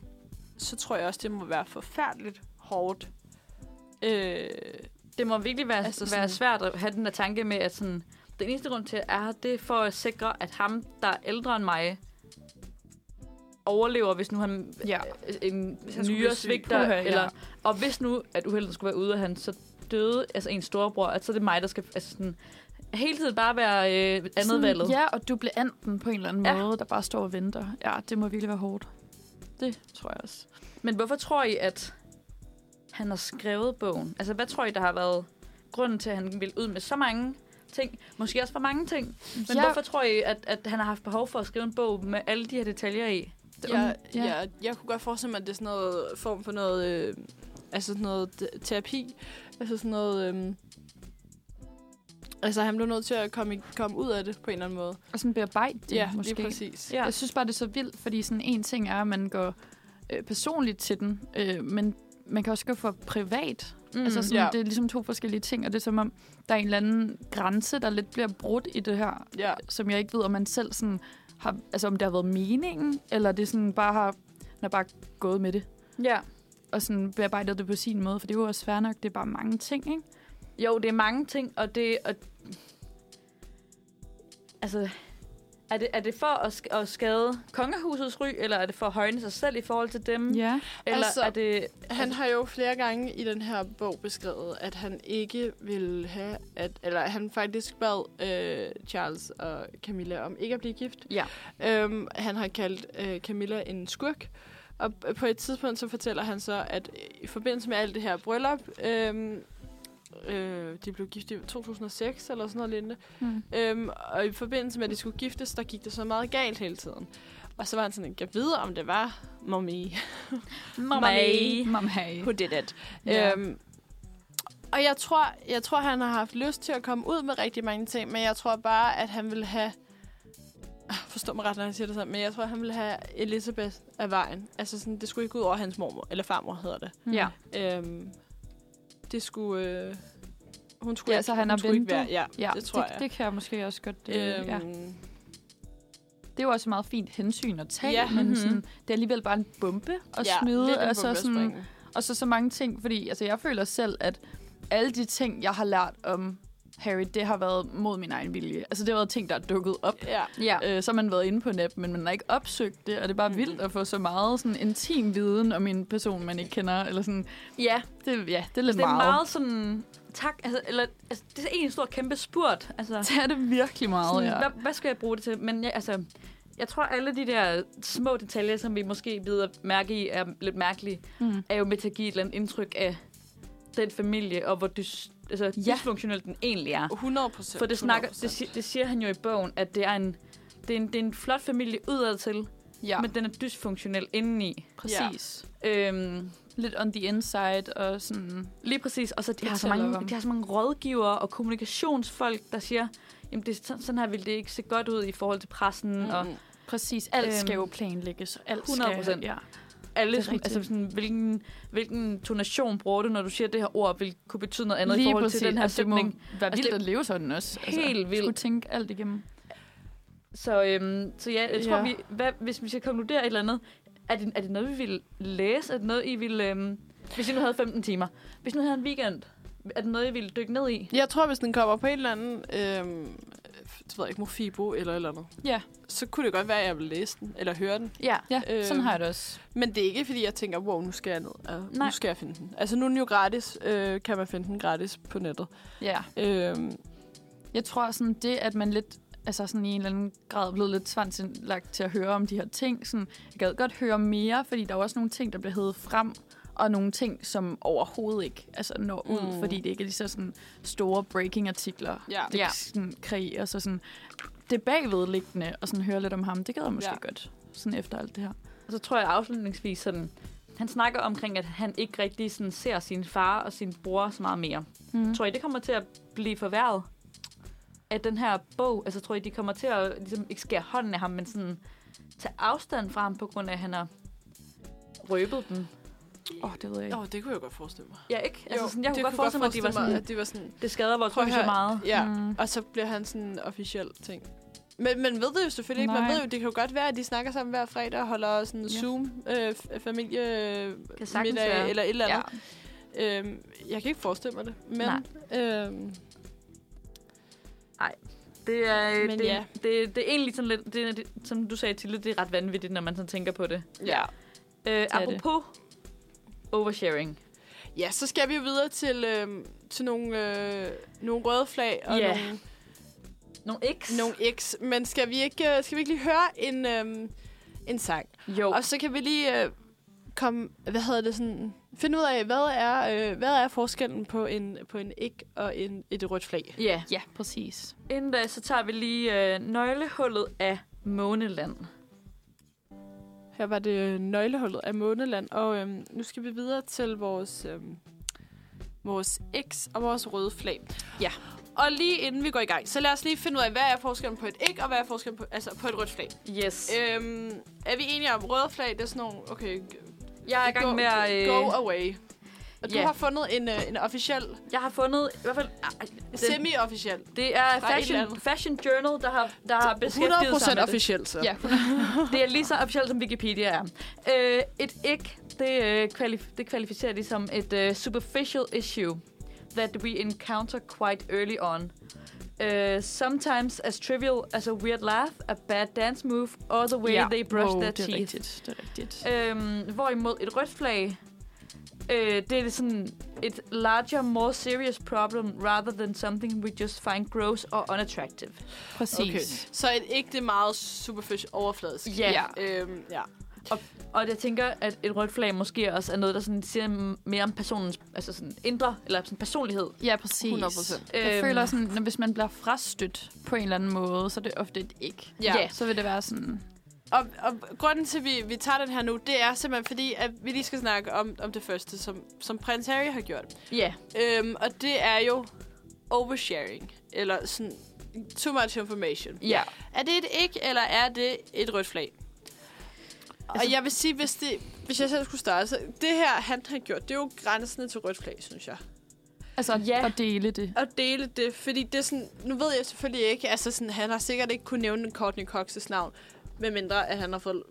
A: så tror jeg også, det må være forfærdeligt hårdt. Øh,
B: Det må virkelig være,
A: Altså
B: altså
A: sådan-
B: være svært at have den der tanke med, at sådan, den eneste grund til, at jeg er her, det er for at sikre, at ham, der er ældre end mig, overlever, hvis nu han
C: Ja.
B: øh, en
C: han skulle blive
B: nyere
C: syg.
B: svigter,
C: Puha, ja.
B: eller, og hvis nu, at uheldet skulle være ude af han, så døde altså en storebror, at så er det mig, der skal altså sådan, hele tiden bare være øh, andet
C: Sådan-
B: valget.
C: Ja, og duplianten på en eller anden
B: Ja.
C: ja. måde, der bare står og venter. Ja, det må virkelig være hårdt.
A: det tror jeg også.
B: Men hvorfor tror I, at han har skrevet bogen? Altså, hvad tror I, der har været grunden til, at han ville ud med så mange ting? Måske også for mange ting. Men ja.
C: ja,
B: hvorfor tror I, at, at han har haft behov for at skrive en bog med alle de her detaljer i?
C: det-
A: Jeg,
C: ja.
A: ja. jeg, jeg kunne godt forestille mig, at det er sådan noget form for noget... Øh, altså sådan noget d- terapi. Altså sådan noget... Øh, altså han blev nødt til at komme, i- komme ud af det på en eller anden måde.
C: Og sådan bearbejde det,
A: ja,
C: måske.
A: lige præcis.
B: Ja.
C: Jeg synes bare, det er så vildt, fordi sådan en ting er, at man går øh, personligt til den, øh, men man kan også gå for privat. Mm, altså sådan,
A: ja.
C: det er ligesom to forskellige ting, og det er som om, der er en eller anden grænse, der lidt bliver brudt i det her,
A: Ja.
C: som jeg ikke ved, om man selv sådan har, altså om det har været meningen, eller det sådan bare har, man har bare gået med det,
B: ja.
C: og sådan bearbejdet det på sin måde, for det er jo også fair nok, det er bare mange ting, ikke?
B: Jo, det er mange ting, og det... Og... Altså, er det, er det for at, sk- at skade kongehusets ry, eller er det for at højne sig selv i forhold til dem?
C: Ja.
B: Eller
A: Altså,
B: er det...
A: Han har jo flere gange i den her bog beskrevet, at han ikke ville have, at, eller han faktisk bad øh, Charles og Camilla om ikke at blive gift.
B: Ja.
A: Øhm, han har kaldt øh, Camilla en skurk. Og p- på et tidspunkt så fortæller han så, at i forbindelse med alt det her bryllup, øhm, øh, de blev gift i 2006 eller sådan noget lignende,
C: Mm.
A: Øhm, og i forbindelse med, at de skulle giftes, der gik det så meget galt hele tiden. Og så var han sådan, jeg videre, om det var mommy
B: Mommy.
C: Mamma.
A: who did it.
C: Ja.
A: Ja. Øhm, og jeg tror, jeg tror, han har haft lyst til at komme ud med rigtig mange ting, men jeg tror bare, at han ville have... Ah, Forstå mig ret, når jeg siger det sådan, men jeg tror, han ville have Elizabeth af vejen. Altså sådan, det skulle ikke gå ud over hans mormor, eller farmor hedder det.
B: Mm.
C: Ja.
A: Øhm, det skulle... Øh, hun skulle,
C: Ja,
A: ikke,
C: så han
A: hun
C: har
A: skulle ikke være...
C: ventet.
A: Ja,
C: Ja,
A: det tror
C: det,
A: jeg.
C: det kan jeg måske også godt... Øh,
A: øhm,
C: ja. Det er jo også et meget fint hensyn at tage,
A: Ja.
C: ja. men
B: Mhm.
C: sådan, det er alligevel bare en bombe at
A: ja, lidt
C: smide.
A: en
C: Og så, sådan,
A: bombespring.
C: og så så mange ting, fordi altså, jeg føler selv, at alle de ting, jeg har lært om Harry, det har været mod min egen vilje. Altså, det har været ting, der er dukket op.
A: Ja.
B: Ja.
C: Øh, så har man været inde på net, men man har ikke opsøgt det, og det er bare
A: Mhm.
C: vildt at få så meget sådan, intim viden om en person, man ikke kender. Eller sådan.
B: Ja,
C: Det, ja, det er lidt
B: altså, det er
C: meget.
B: meget sådan... Tak, altså, eller, altså, det er en stor kæmpe spurt. Altså,
C: (laughs) Det er det virkelig meget,
B: sådan,
C: ja.
B: hvad, hvad skal jeg bruge det til? Men jeg, altså, jeg tror, alle de der små detaljer, som vi måske bider mærke i, er lidt mærkelige,
C: Mm.
B: er jo med til at give et eller andet indtryk af den familie, og hvor dys, altså,
C: Ja.
B: dysfunktionel den egentlig er.
A: 100 procent.
B: For det, snakker, det, si- det siger han jo i bogen, at det er en, det er en, det er en flot familie udadtil,
C: ja.
B: ja. men den er dysfunktionel indeni.
C: Præcis. Ja.
B: Øhm,
C: Lidt on the inside og sådan...
B: lige præcis. Og så de har, så
C: Fortæller
B: mange,
C: om.
B: de har så mange rådgivere og kommunikationsfolk, der siger, jamen det, er sådan, sådan her ville det ikke se godt ud i forhold til pressen, mm-hmm.
A: Mm.
B: og
C: Præcis, alt
B: Øhm,
C: øhm, skal jo planlægges. og Alt
B: 100%.
C: Skal, ja.
B: alle,
C: Det er
B: sådan, altså
C: rigtigt.
B: sådan, hvilken, hvilken tonation bruger du, når du siger det her ord, vil kunne betyde noget andet
C: Lige
B: i forhold
C: præcis.
B: til den her
C: altså, det må
B: sætning.
C: være
B: Altså,
C: vildt
B: det-
C: at leve sådan også. Altså,
B: Helt vildt.
C: Skulle tænke alt igennem.
B: Så, øhm, så ja, jeg tror,
C: Ja.
B: ja. Vi, hvad, hvis vi skal konkludere et eller andet, er det, er det noget, vi vil læse? Er det noget, I vil... Øhm, hvis I nu havde 15 timer. Hvis I nu havde en weekend. Er det noget, I ville dykke ned i?
A: Jeg tror, hvis den kommer på et eller andet, øhm, det ved jeg ikke, Mofibo eller et eller andet,
C: Ja.
A: så kunne det godt være, at jeg ville læse den, eller høre den.
B: Ja.
C: Ja,
A: Øhm,
C: øh, sådan har jeg det også.
A: Men det er ikke, fordi jeg tænker, wow, nu skal jeg ned, og
B: Nej.
A: nu skal jeg finde den. Altså, nu er den jo gratis, øh, kan man finde den gratis på nettet.
C: Ja.
A: Øhm,
C: Jeg tror sådan, det at man lidt altså sådan i en eller anden grad er blevet lidt tvangsindlagt til at høre om de her ting. Sådan, jeg gad godt høre mere, fordi der er også nogle ting, der bliver hævet frem, og nogle ting, som overhovedet ikke altså, når ud,
A: Mm.
C: mm. fordi det ikke er lige så sådan store breaking-artikler,
A: Ja.
C: det
B: Ja.
C: sådan, kreerer. Så sådan, det bagvedliggende, og sådan høre lidt om ham, det gad jeg måske
A: Ja.
C: ja. godt, sådan efter alt det her.
B: Og så tror jeg afslutningsvis sådan... Han snakker omkring, at han ikke rigtig sådan, ser sin far og sin bror så meget mere.
C: Mm.
B: Tror I, det kommer til at blive forværret? At den her bog, altså tror I, de kommer til at ligesom, ikke skære hånden af ham, men sådan tage afstand fra ham, på grund af, at han har røbet den?
C: Åh, oh, det ved jeg ikke.
A: åh, det kunne jeg godt forestille mig.
B: Ja, ikke? Altså,
A: Jo,
B: sådan, jeg kunne
A: det
B: godt forestille mig, at de var sådan,
A: at de var sådan,
B: det skader vores
A: Prøv at
B: hus så
A: høre.
B: meget.
A: ja.
C: Mm.
A: Og så bliver han sådan en officiel ting. Men man ved det jo selvfølgelig ikke. Man
C: Nej.
A: ved jo, det kan jo godt være, at de snakker sammen hver fredag og holder sådan øh, en
C: Ja.
A: Zoom-familie
B: Kan sagtens være.
A: eller et eller
C: Ja.
A: andet. Øhm, jeg kan ikke forestille mig det, men...
B: Nej.
A: Øhm,
B: Det er, øh,
A: Men
B: det,
A: ja.
B: det, det er egentlig sådan lidt, det, er- det, som du sagde til det er ret vanvittigt, når man sådan tænker på det.
A: ja.
B: Øh,
C: er det.
B: apropos oversharing.
A: ja, så skal vi jo videre til, øhm, til nogle, øh, nogle røde flag og
B: Ja.
A: nogle,
B: Nogle X?
A: nogle X. Men skal vi ikke, øh, skal vi ikke lige høre en, øhm, en sang?
B: Jo.
A: Og så kan vi lige øh, komme, hvad hedder det sådan, finde ud af, hvad er, øh, hvad er forskellen på en, på en ikke og en, et rødt flag?
B: Ja.
C: Ja, præcis.
B: Inden da, så tager vi lige øh, nøglehullet af Måneland.
A: Her var det øh, nøglehullet af Måneland, og øhm, nu skal vi videre til vores, øhm, vores X og vores røde flag.
B: Ja.
A: Og lige inden vi går i gang, så lad os lige finde ud af, hvad er forskellen på et æg, og hvad er forskellen på, altså på et rødt flag.
B: Yes. Øh,
A: Øhm, er vi enige om, røde flag, det er sådan nogle, okay,
B: jeg er i gang
A: go,
B: med at... Øh,
A: go away. Og du
B: ja.
A: har fundet en, øh, en officiel,
B: Jeg har fundet... I hvert fald... ah, Den,
A: semi-officiel.
B: det er
A: Fra et eller
B: fashion,
A: andet.
B: fashion Journal, der har, der har beskæftiget sig
A: 100%
B: med det.
A: officiel, så.
C: Ja.
B: Det er lige så officielt, som Wikipedia er. Øh, et ikke, det, øh, kvalif- det kvalificerer det som et øh, superficial issue that we encounter quite early on. Uh, sometimes as trivial as a weird laugh, a bad dance move, or the way
C: ja.
B: they brush
C: Wow,
B: their
C: det er
B: teeth.
C: rigtigt, det er rigtigt.
B: Øhm, hvorimod et rødt flag, øh, det er sådan et larger, more serious problem, rather than something we just find gross or unattractive.
C: Præcis.
A: Okay. Så et æg, det er meget superficial overfladisk.
B: Ja.
A: Øhm, ja.
B: Og jeg tænker, at et rødt flag måske også er noget, der sådan siger m- mere om personens altså sådan indre, eller sådan personlighed.
C: Ja, præcis.
A: 100%.
C: Jeg
B: Øhm.
C: føler sådan, når hvis man bliver frastødt på en eller anden måde, så er det ofte et ikke.
A: Ja.
B: Ja.
C: Så vil det være sådan,
A: Og, og grunden til, at vi, vi tager den her nu, det er simpelthen fordi, at vi lige skal snakke om, om det første, som, som prins Harry har gjort.
B: Ja.
A: Øhm, og det er jo oversharing, eller sådan too much information.
B: Ja.
A: Er det et ikke, eller er det et rødt flag? Altså, og jeg vil sige, hvis, det, hvis jeg selv skulle starte, så det her, han har gjort, det er jo grænsen til rødt flag, synes jeg.
C: Altså,
B: Ja.
C: ja. at dele det.
A: At dele det, fordi det er sådan, nu ved jeg selvfølgelig ikke, altså sådan, han har sikkert ikke kunne nævne Courtney Cox's navn, medmindre at han har fået,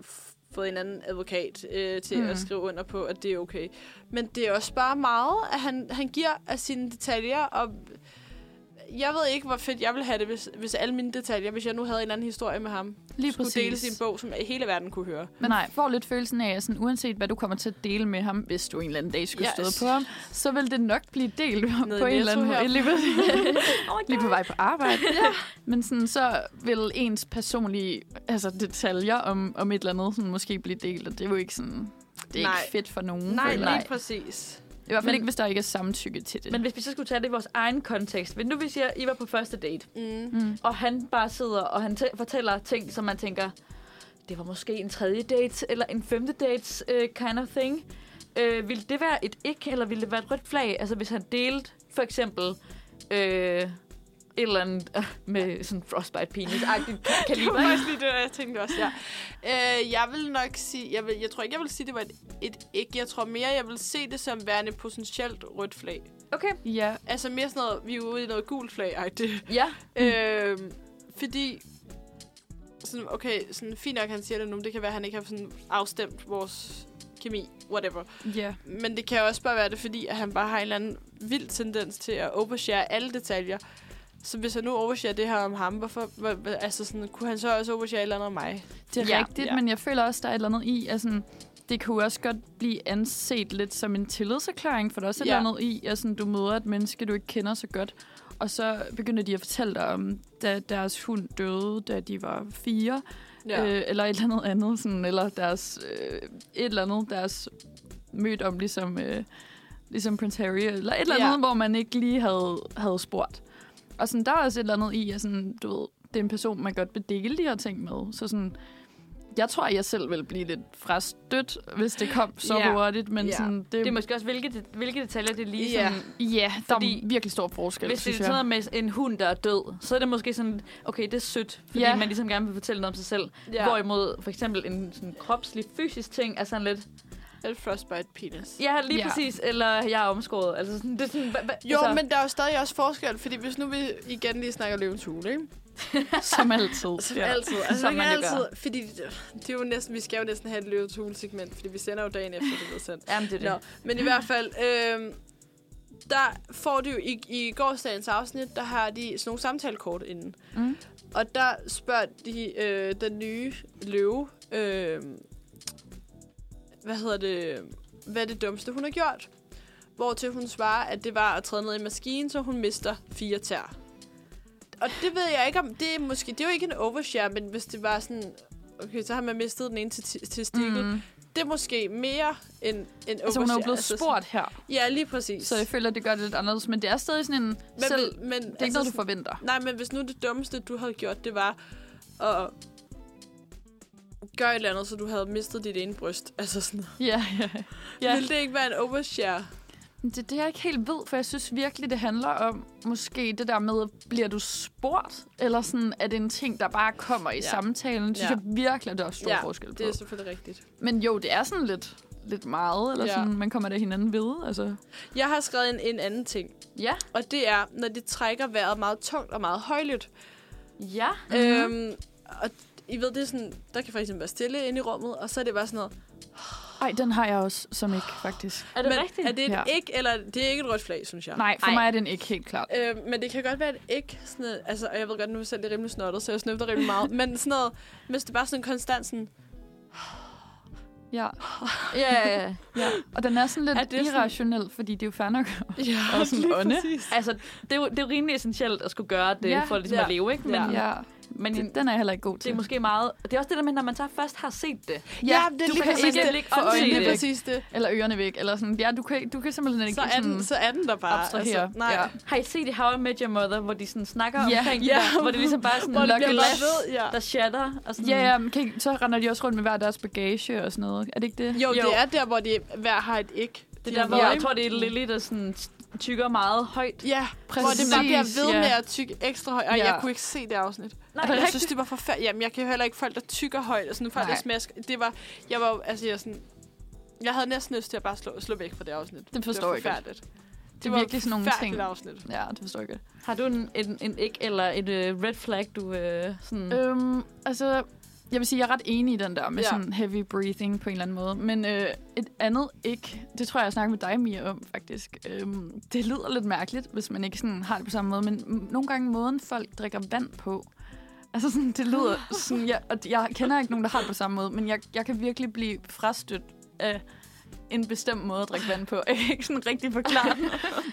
A: fået en anden advokat øh, til mm. at skrive under på, at det er okay. Men det er også bare meget, at han, han giver af sine detaljer, og jeg ved ikke, hvor fedt jeg ville have det, hvis, hvis alle mine detaljer, hvis jeg nu havde en anden historie med ham,
C: Lige
A: skulle dele
C: præcis.
A: sin bog, som hele verden kunne høre.
C: Man Nej. får lidt følelsen af, at sådan, uanset hvad du kommer til at dele med ham, hvis du en eller anden dag skulle
A: Ja,
C: yes. stå på ham, så vil det nok blive delt
A: Nede i
C: på en eller anden
A: Netto
C: måde.
A: her.
C: Lige,
A: (laughs)
C: oh lige på vej på arbejde. ja. Men sådan, så vil ens personlige altså, detaljer om, om et eller andet sådan, måske blive delt, og det er jo ikke sådan... Det er Nej.
A: Nej.
C: ikke fedt for nogen.
A: Mm. Nej,
C: føler
A: lige
C: jeg.
A: præcis.
C: I hvert fald
B: Men-
C: ikke, hvis der ikke er samtykke til det.
B: Men hvis vi så skulle tage det i vores egen kontekst. Men nu vi siger, at I var på første date,
A: Mm.
C: mm.
B: og han bare sidder, og han tæ- fortæller ting, som man tænker, det var måske en tredje date, eller en femte date uh, kind of thing. Uh, ville det være et ikke, eller ville det være et rødt flag? Altså hvis han delte for eksempel... Uh, et eller andet (laughs) øh, med sådan frostbite penis
C: (laughs)
B: agtigt
A: (laughs) Det var
B: kaliber.
C: Oh
B: ikke?
A: faktisk lige det, jeg tænkte også, ja. Øh, jeg vil nok sige, jeg, vil, jeg tror ikke, jeg vil sige, det var et, et ikke. Jeg tror mere, jeg vil se det som værende potentielt rødt flag.
B: Okay,
C: Ja,
A: Altså mere sådan noget, vi er ude i noget gult flag -agtigt.
B: ja.
A: Mm. Øh, fordi, sådan, okay, sådan, fint nok, han siger det nu, men det kan være, at han ikke har sådan afstemt vores kemi, whatever.
C: ja.
A: Men det kan også bare være det, fordi at han bare har en eller anden vild tendens til at overshare alle detaljer. Så hvis han nu overshare det her om ham, hvorfor, hvor, hvor- altså sådan, kunne han så også overshare et eller andet om mig?
C: Det er
B: Ja.
C: ja, rigtigt,
A: Ja.
C: ja. men jeg føler også, der er et eller andet i, at sådan, det kunne også godt blive anset lidt som en tillidserklæring, for der er også et
A: Ja.
C: eller andet i, at sådan, du møder et menneske, du ikke kender så godt, og så begynder de at fortælle dig om, da deres hund døde, da de var fire, ja. øh, eller et eller andet andet, sådan, eller deres, øh, et eller andet, deres mødt om, ligesom, øh, ligesom Prince Harry, eller et eller
A: Ja.
C: andet, ja. hvor man ikke lige havde, havde spurgt. Og sådan, der er også et eller andet i, at sådan, du ved, det er en person, man godt vil dele de her ting med. Så sådan, jeg tror, jeg selv ville blive lidt frastødt, hvis det kom så
A: Ja.
C: ja. hurtigt, men
A: Ja.
C: ja. sådan, det,
B: Det er måske også, hvilke, det- hvilke detaljer det er lige
A: Ja.
B: sådan,
C: Øhm. ja, der
B: fordi-
C: er virkelig stor forskel,
B: Hvis det er
C: synes
B: sådan
C: jeg.
B: noget med en hund, der er død, så er det måske sådan, okay, det er sødt, fordi
C: Ja.
B: man ligesom gerne vil fortælle noget om sig selv. Ja. Hvorimod for eksempel en sådan kropslig, fysisk ting er sådan lidt,
A: Et frostbite penis.
B: ja, lige ja.
C: Ja.
B: præcis, eller jeg er omskåret. Altså sådan, det er sådan, hva, hva,
A: Jo,
B: altså,
A: altså, men der er jo stadig også forskel, fordi hvis nu vi igen lige snakker løvens hule, ikke?
B: Uh,
C: Som altid.
A: Som ja.
B: (laughs)
A: altid. Altså,
B: Som
A: Som man
B: man jo
A: altid, fordi det, det er jo næsten, vi skal jo næsten have et løvens hule segment, fordi vi sender jo dagen efter, det bliver sendt.
B: Jamen, det er det.
A: Nå, men i hvert fald, øh, der får de jo i, i gårsdagens afsnit, der har de sådan nogle samtalekort inden.
C: Mm.
A: Og der spørger de øh, den nye løve, øh, hvad hedder det, hvad er det dummeste, hun har gjort? Hvortil hun svarer, at det var at træde ned i maskinen, så hun mister fire tær. Og det ved jeg ikke om, det er måske, det er jo ikke en overshare, men hvis det var sådan, okay, så har man mistet den ene til, til stikkel. Mm.
C: Mm.
A: Det er måske mere end, end overshare.
C: Altså, hun er jo blevet
A: sådan-
C: spurgt her.
A: Ja, lige præcis.
C: Så jeg føler, det gør det lidt anderledes, men det er stadig sådan en
A: men,
C: selv...
A: vil- men, altså
C: Det er ikke noget, du forventer.
A: Nej, men hvis nu det dummeste, du havde gjort, det var at gøre et eller andet, så du havde mistet dit ene bryst. Altså sådan
C: Ja, ja.
A: ja.
C: ja.
A: Ville det ikke være en overshare?
C: Det er det, jeg ikke helt ved, for jeg synes virkelig, det handler om måske det der med, bliver du spurgt? Eller sådan, er det en ting, der bare kommer i
A: Ja.
C: ja. samtalen? Det synes
A: Ja.
C: ja. jeg virkelig, at der er stor
A: Ja,
C: ja, forskel på.
A: Det er selvfølgelig rigtigt.
C: Men jo, det er sådan lidt, lidt meget, eller
A: Ja.
C: ja. sådan, man kommer da hinanden ved. Altså.
A: Jeg har skrevet en, en anden ting,
B: Ja,
A: og det er, når det trækker vejret meget tungt og meget højlydt.
B: Mhm. ja.
A: Mm-hmm. Øhm, og I ved, det er sådan, der kan for eksempel være stille inde i rummet, og så er det bare sådan noget.
C: Ej, den har jeg også som ikke, faktisk.
B: Er det
A: men
B: rigtigt?
A: Er det et
C: Ja.
A: ikke, eller det er ikke et rødt flag, synes jeg.
C: Nej, for
B: Ej.
C: Ej. mig er den ikke helt klart.
A: Øh, men det kan godt være, at ikke sådan noget, altså, og jeg ved godt, nu er jeg selv lidt rimelig snottet, så jeg snøfter rimelig meget, men sådan noget, hvis det bare er sådan konstant sådan,
C: Ja.
B: Ja, ja, ja.
C: ja. Og den er sådan lidt
A: Er
C: er
A: det sådan-
C: irrationel, fordi det er jo fair nok.
A: ja,
C: Og sådan
A: lige
C: ånde.
A: præcis.
B: Altså, det er, jo, det er jo rimelig essentielt at skulle gøre det,
C: Ja.
B: for ligesom ja.
A: Ja.
B: at leve, ikke? Men,
A: Ja.
C: Ja.
B: Men det,
C: Den er jeg heller ikke god
B: det
C: til.
B: er måske meget... Det er også det der med, når man så først har set det.
C: ja,
A: det er
C: du
A: lige
C: kan
A: præcis
C: ikke
A: det.
B: lægge
C: få
B: øjnene
C: øjnene
A: Det er
C: væk.
A: præcis det.
C: Eller ørerne væk. Eller sådan. Ja, du kan, du kan simpelthen ikke
A: Så er, den,
C: sådan
A: så er den der bare. altså,
C: abstrahere.
A: nej.
C: Ja.
B: Har I set i How I Met Your Mother, hvor de sådan snakker
C: Ja.
B: omkring
A: Ja.
B: det der, hvor det ligesom bare er sådan
A: Hvor det
B: et
A: bliver
B: glas,
A: bare ved, ja.
B: der shatter. Og sådan,
A: Mm.
C: Ja, ja, men kan ikke, så render de også rundt med hver deres bagage og sådan noget. Er det ikke det?
A: Jo,
B: Jo.
A: det er der, hvor de hver har et ikke.
B: Det er der, hvor
C: Ja.
B: jeg tror, det er Lily, der sådan tykker meget højt.
A: Ja, hvor det
C: Præcis,
A: bare bliver ved
C: ja.
A: med at tykke ekstra højt. Og
C: Ja.
A: jeg kunne ikke se det afsnit. Altså,
B: Nej,
A: Jeg synes, det var forfærdeligt. Jamen, jeg kan jo heller ikke folk, der tykker højt, og sådan folk, der
C: Nej.
A: smasker. Det var, jeg var jo- altså, jeg sådan, jeg havde næsten lyst til at bare slå, slå væk fra det afsnit.
C: forstår jeg
A: det
C: godt.
A: var forfærdeligt.
C: det,
A: Det
C: er
A: var
C: virkelig sådan nogle ting.
A: forfærdeligt afsnit.
C: Ja, det forstår jeg godt.
B: Har du en, en, en ikke eller et uh, red flag, du uh, sådan... Øh.
C: Øhm, altså, jeg vil sige, jeg er ret enig i den der med ja.
A: Ja.
C: sådan heavy breathing på en eller anden måde. Men øh, et andet ikke, det tror jeg, jeg snakker med dig, Mia, om faktisk. Øhm, det lyder lidt mærkeligt, hvis man ikke sådan har det på samme måde, men m- nogle gange måden folk drikker vand på. Altså sådan, det
B: (laughs)
C: lyder sådan, jeg, og jeg kender ikke nogen, der har det på samme måde, men jeg, jeg kan virkelig blive frastødt af en bestemt måde at drikke vand på. Jeg kan ikke sådan
B: (laughs)
C: rigtig forklare den,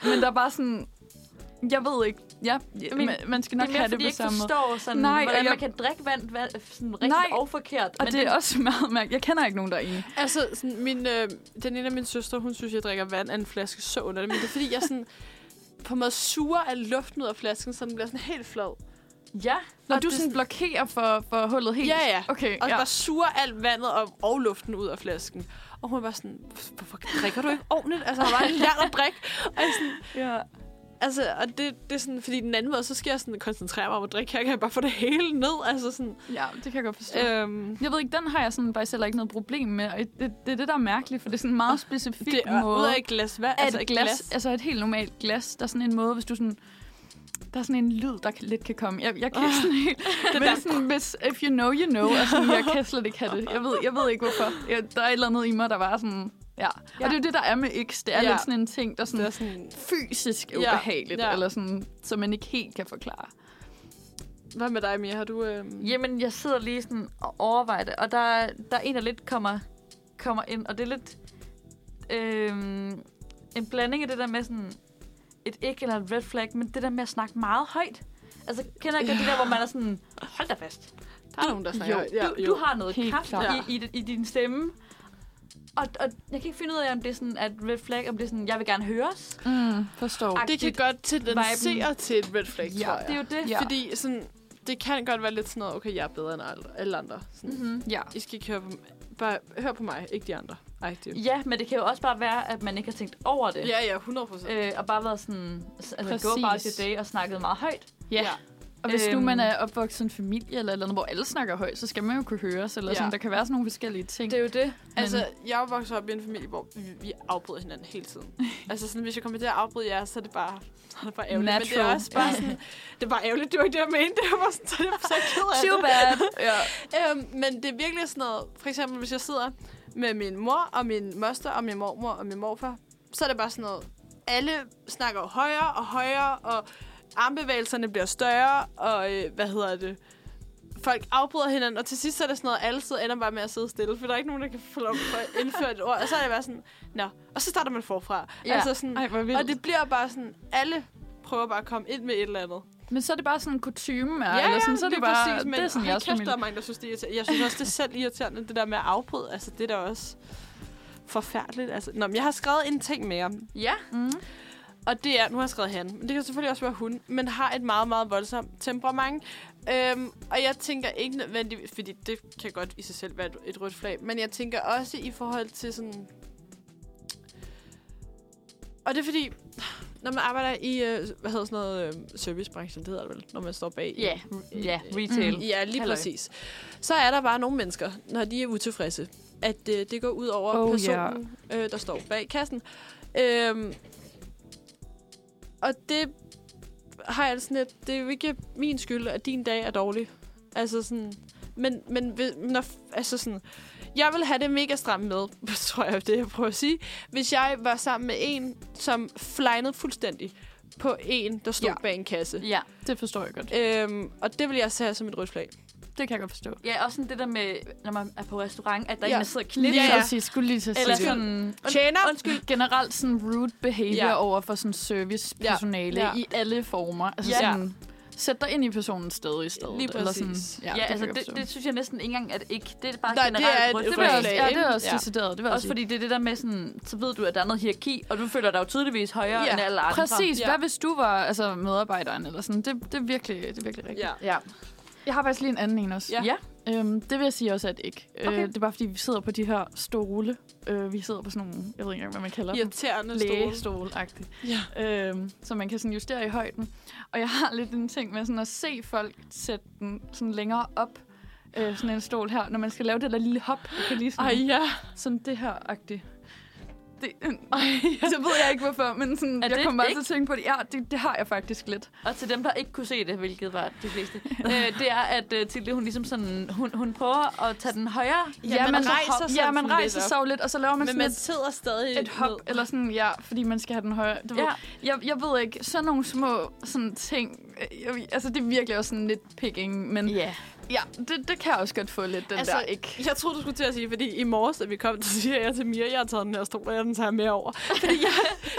C: men der er bare sådan, jeg ved ikke, ja,
B: Men
C: men, man skal nok
B: det er mere,
C: have det
B: fordi
C: på
B: jeg ikke
C: samme måde.
B: forstår, sådan,
C: Nej,
B: Nej, hvordan
C: og jeg-
B: man kan drikke vand, vand sådan rigtigt
C: Nej,
B: og forkert.
C: Og det er også meget mærkeligt. Jeg kender ikke nogen, der er enige.
A: Altså, sådan, min, øh, den ene af mine søstre, hun synes, jeg drikker vand af en flaske så under det, men det er fordi, jeg sådan på en måde suger af luften ud af flasken, så den bliver sådan helt flad.
B: Ja,
C: Når
A: Og
C: du
A: det-
C: sådan blokerer for, for hullet helt?
A: Ja, ja.
C: Okay,
A: Og
C: ja.
A: ja. bare suger alt vandet og, og luften ud af flasken. Og hun var sådan, hvorfor drikker du ikke ordentligt? Altså, der var en lær at drikke. Og jeg sådan,
C: ja.
A: altså, og det, det er sådan, fordi den anden måde, så skal jeg sådan koncentrere mig om at drikke. Her kan jeg bare få det hele ned. Altså sådan,
C: ja, det kan jeg godt forstå. Øh.
A: øhm,
C: Jeg ved ikke, den har jeg sådan faktisk heller ikke noget problem med. Og det, det er det, der er mærkeligt, for det er sådan en meget specifik
A: Ah, det er
C: måde.
A: ud af et glas vand.
C: altså et glas, glas, altså et helt normalt glas, der er sådan en måde, hvis du sådan... Der er sådan en lyd, der kan, lidt kan komme. Jeg, jeg
A: Ah.
C: kan ikke sådan helt...
A: (laughs)
C: Det men sådan, hvis, if you know, you know. Og sådan, jeg kan slet ikke have det. Jeg ved, jeg ved ikke, hvorfor. Jeg, der er et eller andet i mig, der var sådan... Ja. ja. Og det er jo det, der er med X. Det er ja.
A: Ja.
C: lidt sådan en ting, der sådan...
A: Det er sådan,
C: fysisk
A: Ja,
C: ubehageligt, ja,
A: ja.
C: eller sådan, som man ikke helt kan forklare.
A: hvad med dig, Mia? Har du... Øhm,
B: jamen jeg sidder lige sådan og overvejer det, og der, er- der er en, der lidt kommer, kommer ind, og det er lidt øh, en blanding af det der med sådan et ikke eller et red flag, men det der med at snakke meget højt. Altså, kender jeg ja. det der, hvor man er sådan, hold da fast.
A: der er nogen, der snakker.
C: Jo,
A: ja,
B: du, du har noget
C: Helt
B: kraft
A: klart.
B: i, i, i din stemme. Og, og jeg kan ikke finde ud af, om det er sådan, at red flag, om det er sådan, jeg vil gerne høres.
C: Mm, forstår.
A: Det kan godt
B: viben.
A: tendensere til et red flag,
C: Ja,
A: tror
B: Det er
A: jeg.
B: jo det.
C: Ja.
A: Ja. Fordi sådan, det kan godt være lidt sådan noget, okay, jeg er bedre end alle- alle andre. Sådan,
B: Mm-hmm.
C: Ja.
A: I skal ikke høre på, m- bare hør på mig, ikke de andre. Ej, det
B: Ja, men det kan jo også bare være, at man ikke har tænkt over det.
A: Ja, ja, 100 procent.
B: Øh, og bare været sådan, altså, go
C: Præcis.
B: about your day og snakket meget højt.
C: ja. Og hvis nu
B: Øhm.
C: man er opvokset i en familie eller et eller andet, hvor alle snakker højt, så skal man jo kunne høres, eller
A: Ja.
C: sådan. Der kan være sådan nogle forskellige ting.
B: Det er jo det.
A: Altså, jeg er jo vokset op i en familie, hvor vi, vi afbryder hinanden hele
C: (laughs)
A: tiden. altså, sådan, hvis jeg kommer til at afbryde jer, så er det bare, så er det bare ærgerligt. Men det er
C: Natural.
A: også bare
C: (laughs)
A: sådan, det er bare ærgerligt, det var ikke det, jeg mente. (laughs) Det var sådan, så er jeg så ked af
B: Too
A: det.
B: bad.
C: ja.
A: Øhm, men det er virkelig sådan noget, for eksempel hvis jeg sidder med min mor og min moster og min mormor og min morfar, så er det bare sådan noget, alle snakker højere og højere, og armbevægelserne bliver større, og øh, hvad hedder det, folk afbryder hinanden, og til sidst så er det sådan noget, alle sidder ender bare med at sidde stille, for der er ikke nogen, der kan få lov at indføre et ord, og så er det bare sådan, nå, og så starter man forfra.
B: Ja.
A: Altså sådan,
C: Ej, hvor vildt.
A: og det bliver bare sådan, alle prøver bare at komme ind med et eller andet.
C: Men så er det bare sådan en kutume, ja, eller sådan, så er det
A: lige
C: bare,
A: præcis, men
C: det er sådan,
A: hold
C: jeg
A: kæft, der er
C: familie.
A: mange, der synes, det er irriterende. Jeg synes også, det er selv irriterende, det der med at afbryde. Altså, det er da også forfærdeligt. Altså, nå, men jeg har skrevet en ting mere,
B: (laughs) Ja.
C: Mm.
A: og det er, nu har jeg skrevet han, men det kan selvfølgelig også være hun, men har et meget, meget voldsomt temperament. Øhm, og jeg tænker ikke nødvendigvis, fordi det kan godt i sig selv være et, et rødt flag, men jeg tænker også i forhold til sådan... Og det er fordi, når man arbejder i, øh, hvad hedder sådan noget, øh, servicebranchen, det hedder det vel, når man står bag i-
B: Ja, ja retail.
A: Ja,
B: Mm.
A: lige
B: Halløj.
A: Halløj. præcis. Så er der bare nogle mennesker, når de er utilfredse, at øh, det går ud over
C: Oh,
A: oh, personen, yeah. øh, der står bag kassen. Øhm, og det har jeg det sådan lidt, det er jo ikke min skyld, at din dag er dårlig. Altså sådan, men, men hvis- når, altså sådan, jeg vil have det mega stramt med, (laughs) tror jeg, det er, jeg prøver at sige, hvis jeg var sammen med en, som flejnede fuldstændig på en, der stod
C: Ja.
A: ja. bag en kasse.
B: Ja.
C: Det forstår jeg godt.
A: Øhm, og det vil jeg så have som et rødt flag.
C: Det kan jeg godt forstå.
B: Ja, også sådan det der med, når man er på restaurant, at der er
A: Ja.
B: ja. en, der sidder og
C: Lige
B: knipser.
C: ja,
A: Ja,
C: ja.
A: ja.
C: præcis, skulle lige til at
B: Eller
C: sige det.
B: sådan,
A: Tjener!
C: Undskyld. Generelt sådan rude behavior ja.
A: Ja.
C: over for sådan servicepersonale ja.
A: Ja.
C: Ja. i alle former. Altså ja.
A: Ja.
C: sådan, Sæt dig ind i personens sted i stedet.
A: Lige præcis.
C: Sådan, ja,
B: Ja, ja
C: det
B: altså,
C: kan jeg
B: det,
C: godt
B: det,
C: forstå.
B: synes jeg næsten ikke engang, at ikke... Det er bare
A: Nej, det
B: generelt
A: er et
B: rødt
A: var
C: det var
A: jeg
B: flag,
C: også,
A: slet
C: ja, det er
A: ikke.
C: også
A: Ja.
C: decideret. Det var
B: Også fordi det er det der med sådan, så ved du, at der er noget hierarki, og du føler dig jo tydeligvis højere
A: Ja,
B: end alle andre.
C: Præcis.
A: Ja.
C: Hvad hvis du var altså, medarbejderen eller sådan? Det, det, er virkelig, det er virkelig rigtigt.
A: Ja.
B: Ja.
C: Jeg har faktisk lige en anden en også.
B: Ja. ja.
C: Øhm, det vil jeg sige også, at ikke.
B: Okay.
C: Okay. Øh, det er bare, fordi vi sidder på de her stole. Øh, vi sidder på sådan nogle, jeg ved ikke engang, hvad man kalder dem.
A: Irriterende stole.
C: Lægestol-agtigt.
A: Ja.
C: Øhm, så man kan sådan justere i højden. Og jeg har lidt en ting med sådan at se folk sætte den sådan længere op. Øh, sådan en stol her. Når man skal lave det der lille hop, jeg kan lige sådan,
A: Ej, ja.
C: sådan det her-agtigt. Det,
A: (laughs)
C: øh, så ved jeg ikke, hvorfor, men sådan,
B: Er
C: jeg
B: det
C: kommer bare
B: ikke-
C: til at tænke på det. Ja, det, det har jeg faktisk lidt.
B: Og til dem, der ikke kunne se det, hvilket var de fleste, øh, det er, at øh, Tilde, hun ligesom sådan, hun, hun prøver at tage den højere.
A: Ja, man
C: og så
A: rejser
C: hop-
A: sig
C: Ja,
A: sådan
C: man
A: lidt
C: rejser
A: op.
C: sig jo lidt, og så laver man
A: Men
C: sådan
A: man
C: et
A: sidder stadig
C: et hop,
A: ned.
C: eller sådan, ja, fordi man skal have den højere. Du ja. ved,
B: Ja.
C: jeg, jeg ved ikke, sådan nogle små sådan ting, øh, jeg, altså det er virkelig også sådan lidt picking, men
B: Ja.
C: ja, det, det kan jeg også godt få lidt, den
A: Altså,
C: altså, der ikke.
A: (laughs) Jeg troede, du skulle til at sige, fordi i morges, da vi kom, så siger jeg til Mia, jeg har taget den her stol, og jeg den tager med over. Fordi jeg,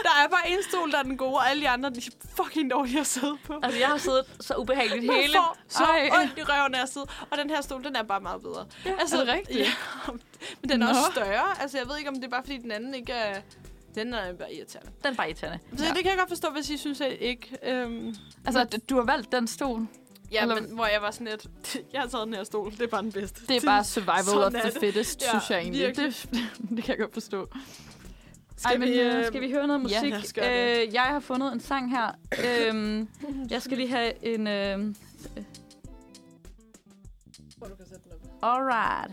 A: der er bare en stol, der er den gode, og alle de andre, de er fucking dårlige at sidde på.
B: Altså, jeg har siddet så ubehageligt
A: Jeg
B: hele.
A: får så
C: Ej.
A: ondt i røven af at sidde, og den her stol, den er bare meget bedre. Ja, altså,
C: er det rigtigt?
A: (laughs) Ja, men den er
C: Nå.
A: også større. Altså, jeg ved ikke, om det er bare, fordi den anden ikke er... Den er bare irriterende.
B: Den er bare irriterende.
A: Så ja. det kan jeg godt forstå, hvis I synes, at ikke... Øhm,
C: Altså, at du har valgt den stol.
A: ja,
C: Eller-
A: men, hvor jeg var sådan lidt... (laughs) Jeg har taget den her stol, det er bare den bedste.
C: Det er bare survival
A: Sådan
C: of
A: er det.
C: the fittest,
A: Ja,
C: synes jeg egentlig.
A: virkelig.
C: Det, det kan jeg godt forstå.
A: Skal
B: Ej, men,
A: vi,
B: øh,
A: øh,
B: skal vi høre noget
A: ja,
B: musik?
A: lad os gøre det.
B: øh, jeg har fundet en sang
A: (laughs)
B: her. øhm, jeg skal lige have en... Øh,
A: Hvor du kan sætte den op.
B: Alright.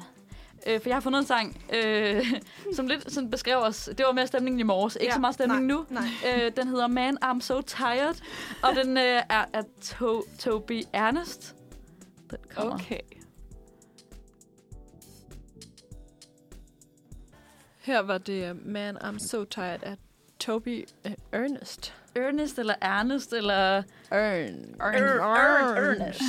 B: Øh, for jeg har fundet en sang, øh, (laughs) som lidt sådan beskrev os. Det var mere stemningen i morges. Ikke
A: Ja,
B: ja, så meget stemning
A: nej,
B: nu.
A: nej.
B: Øh, den hedder Man, I'm So Tired. Og den øh, er af to- Toby Ernest. Den kommer. Okay.
A: Her var det øh, Man, I'm so tired af Toby øh, Ernest.
B: Ernest eller Ernest eller...
A: Ern.
B: Ern- Ernest.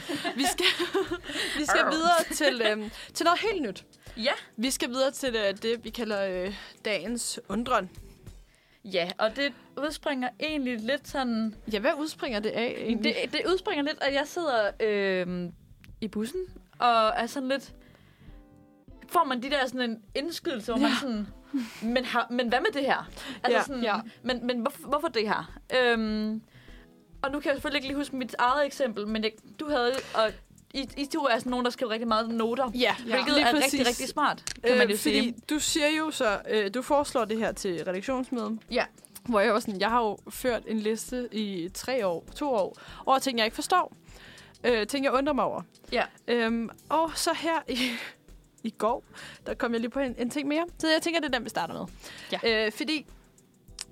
A: (laughs) Vi skal, (laughs) vi skal videre til, øhm, til noget helt nyt.
B: Ja.
A: Vi skal videre til øh, det, vi kalder øh, dagens undren.
B: Ja, og det udspringer egentlig lidt sådan...
A: Ja, hvad udspringer det af egentlig?
B: Det, det udspringer lidt, at jeg sidder øh, i bussen og er sådan lidt... Får man de der sådan en indskydelse, hvor ja. man sådan... Men, har, men hvad med det her? Altså
A: Ja,
B: ja, sådan,
A: ja.
B: ja. Men, men hvorfor, hvorfor det her? Øhm, og nu kan jeg selvfølgelig ikke lige huske mit eget eksempel, men jeg, du havde... Og I, I to er sådan nogen, der skriver rigtig meget noter.
A: ja,
B: Hvilket
A: lige
B: er
A: præcis.
B: rigtig, rigtig smart, kan øh, man jo
A: fordi
B: sige.
A: du siger jo så, øh, du foreslår det her til redaktionsmødet.
B: Ja.
A: Hvor jeg var sådan, jeg har jo ført en liste i tre år, to år, over ting, jeg ikke forstår. Øh, ting, jeg undrer mig over.
B: Ja.
A: Øhm, og så her i, (laughs) i går, der kom jeg lige på en, en ting mere. Så jeg tænker, det er den, vi starter med. Ja. Øh, fordi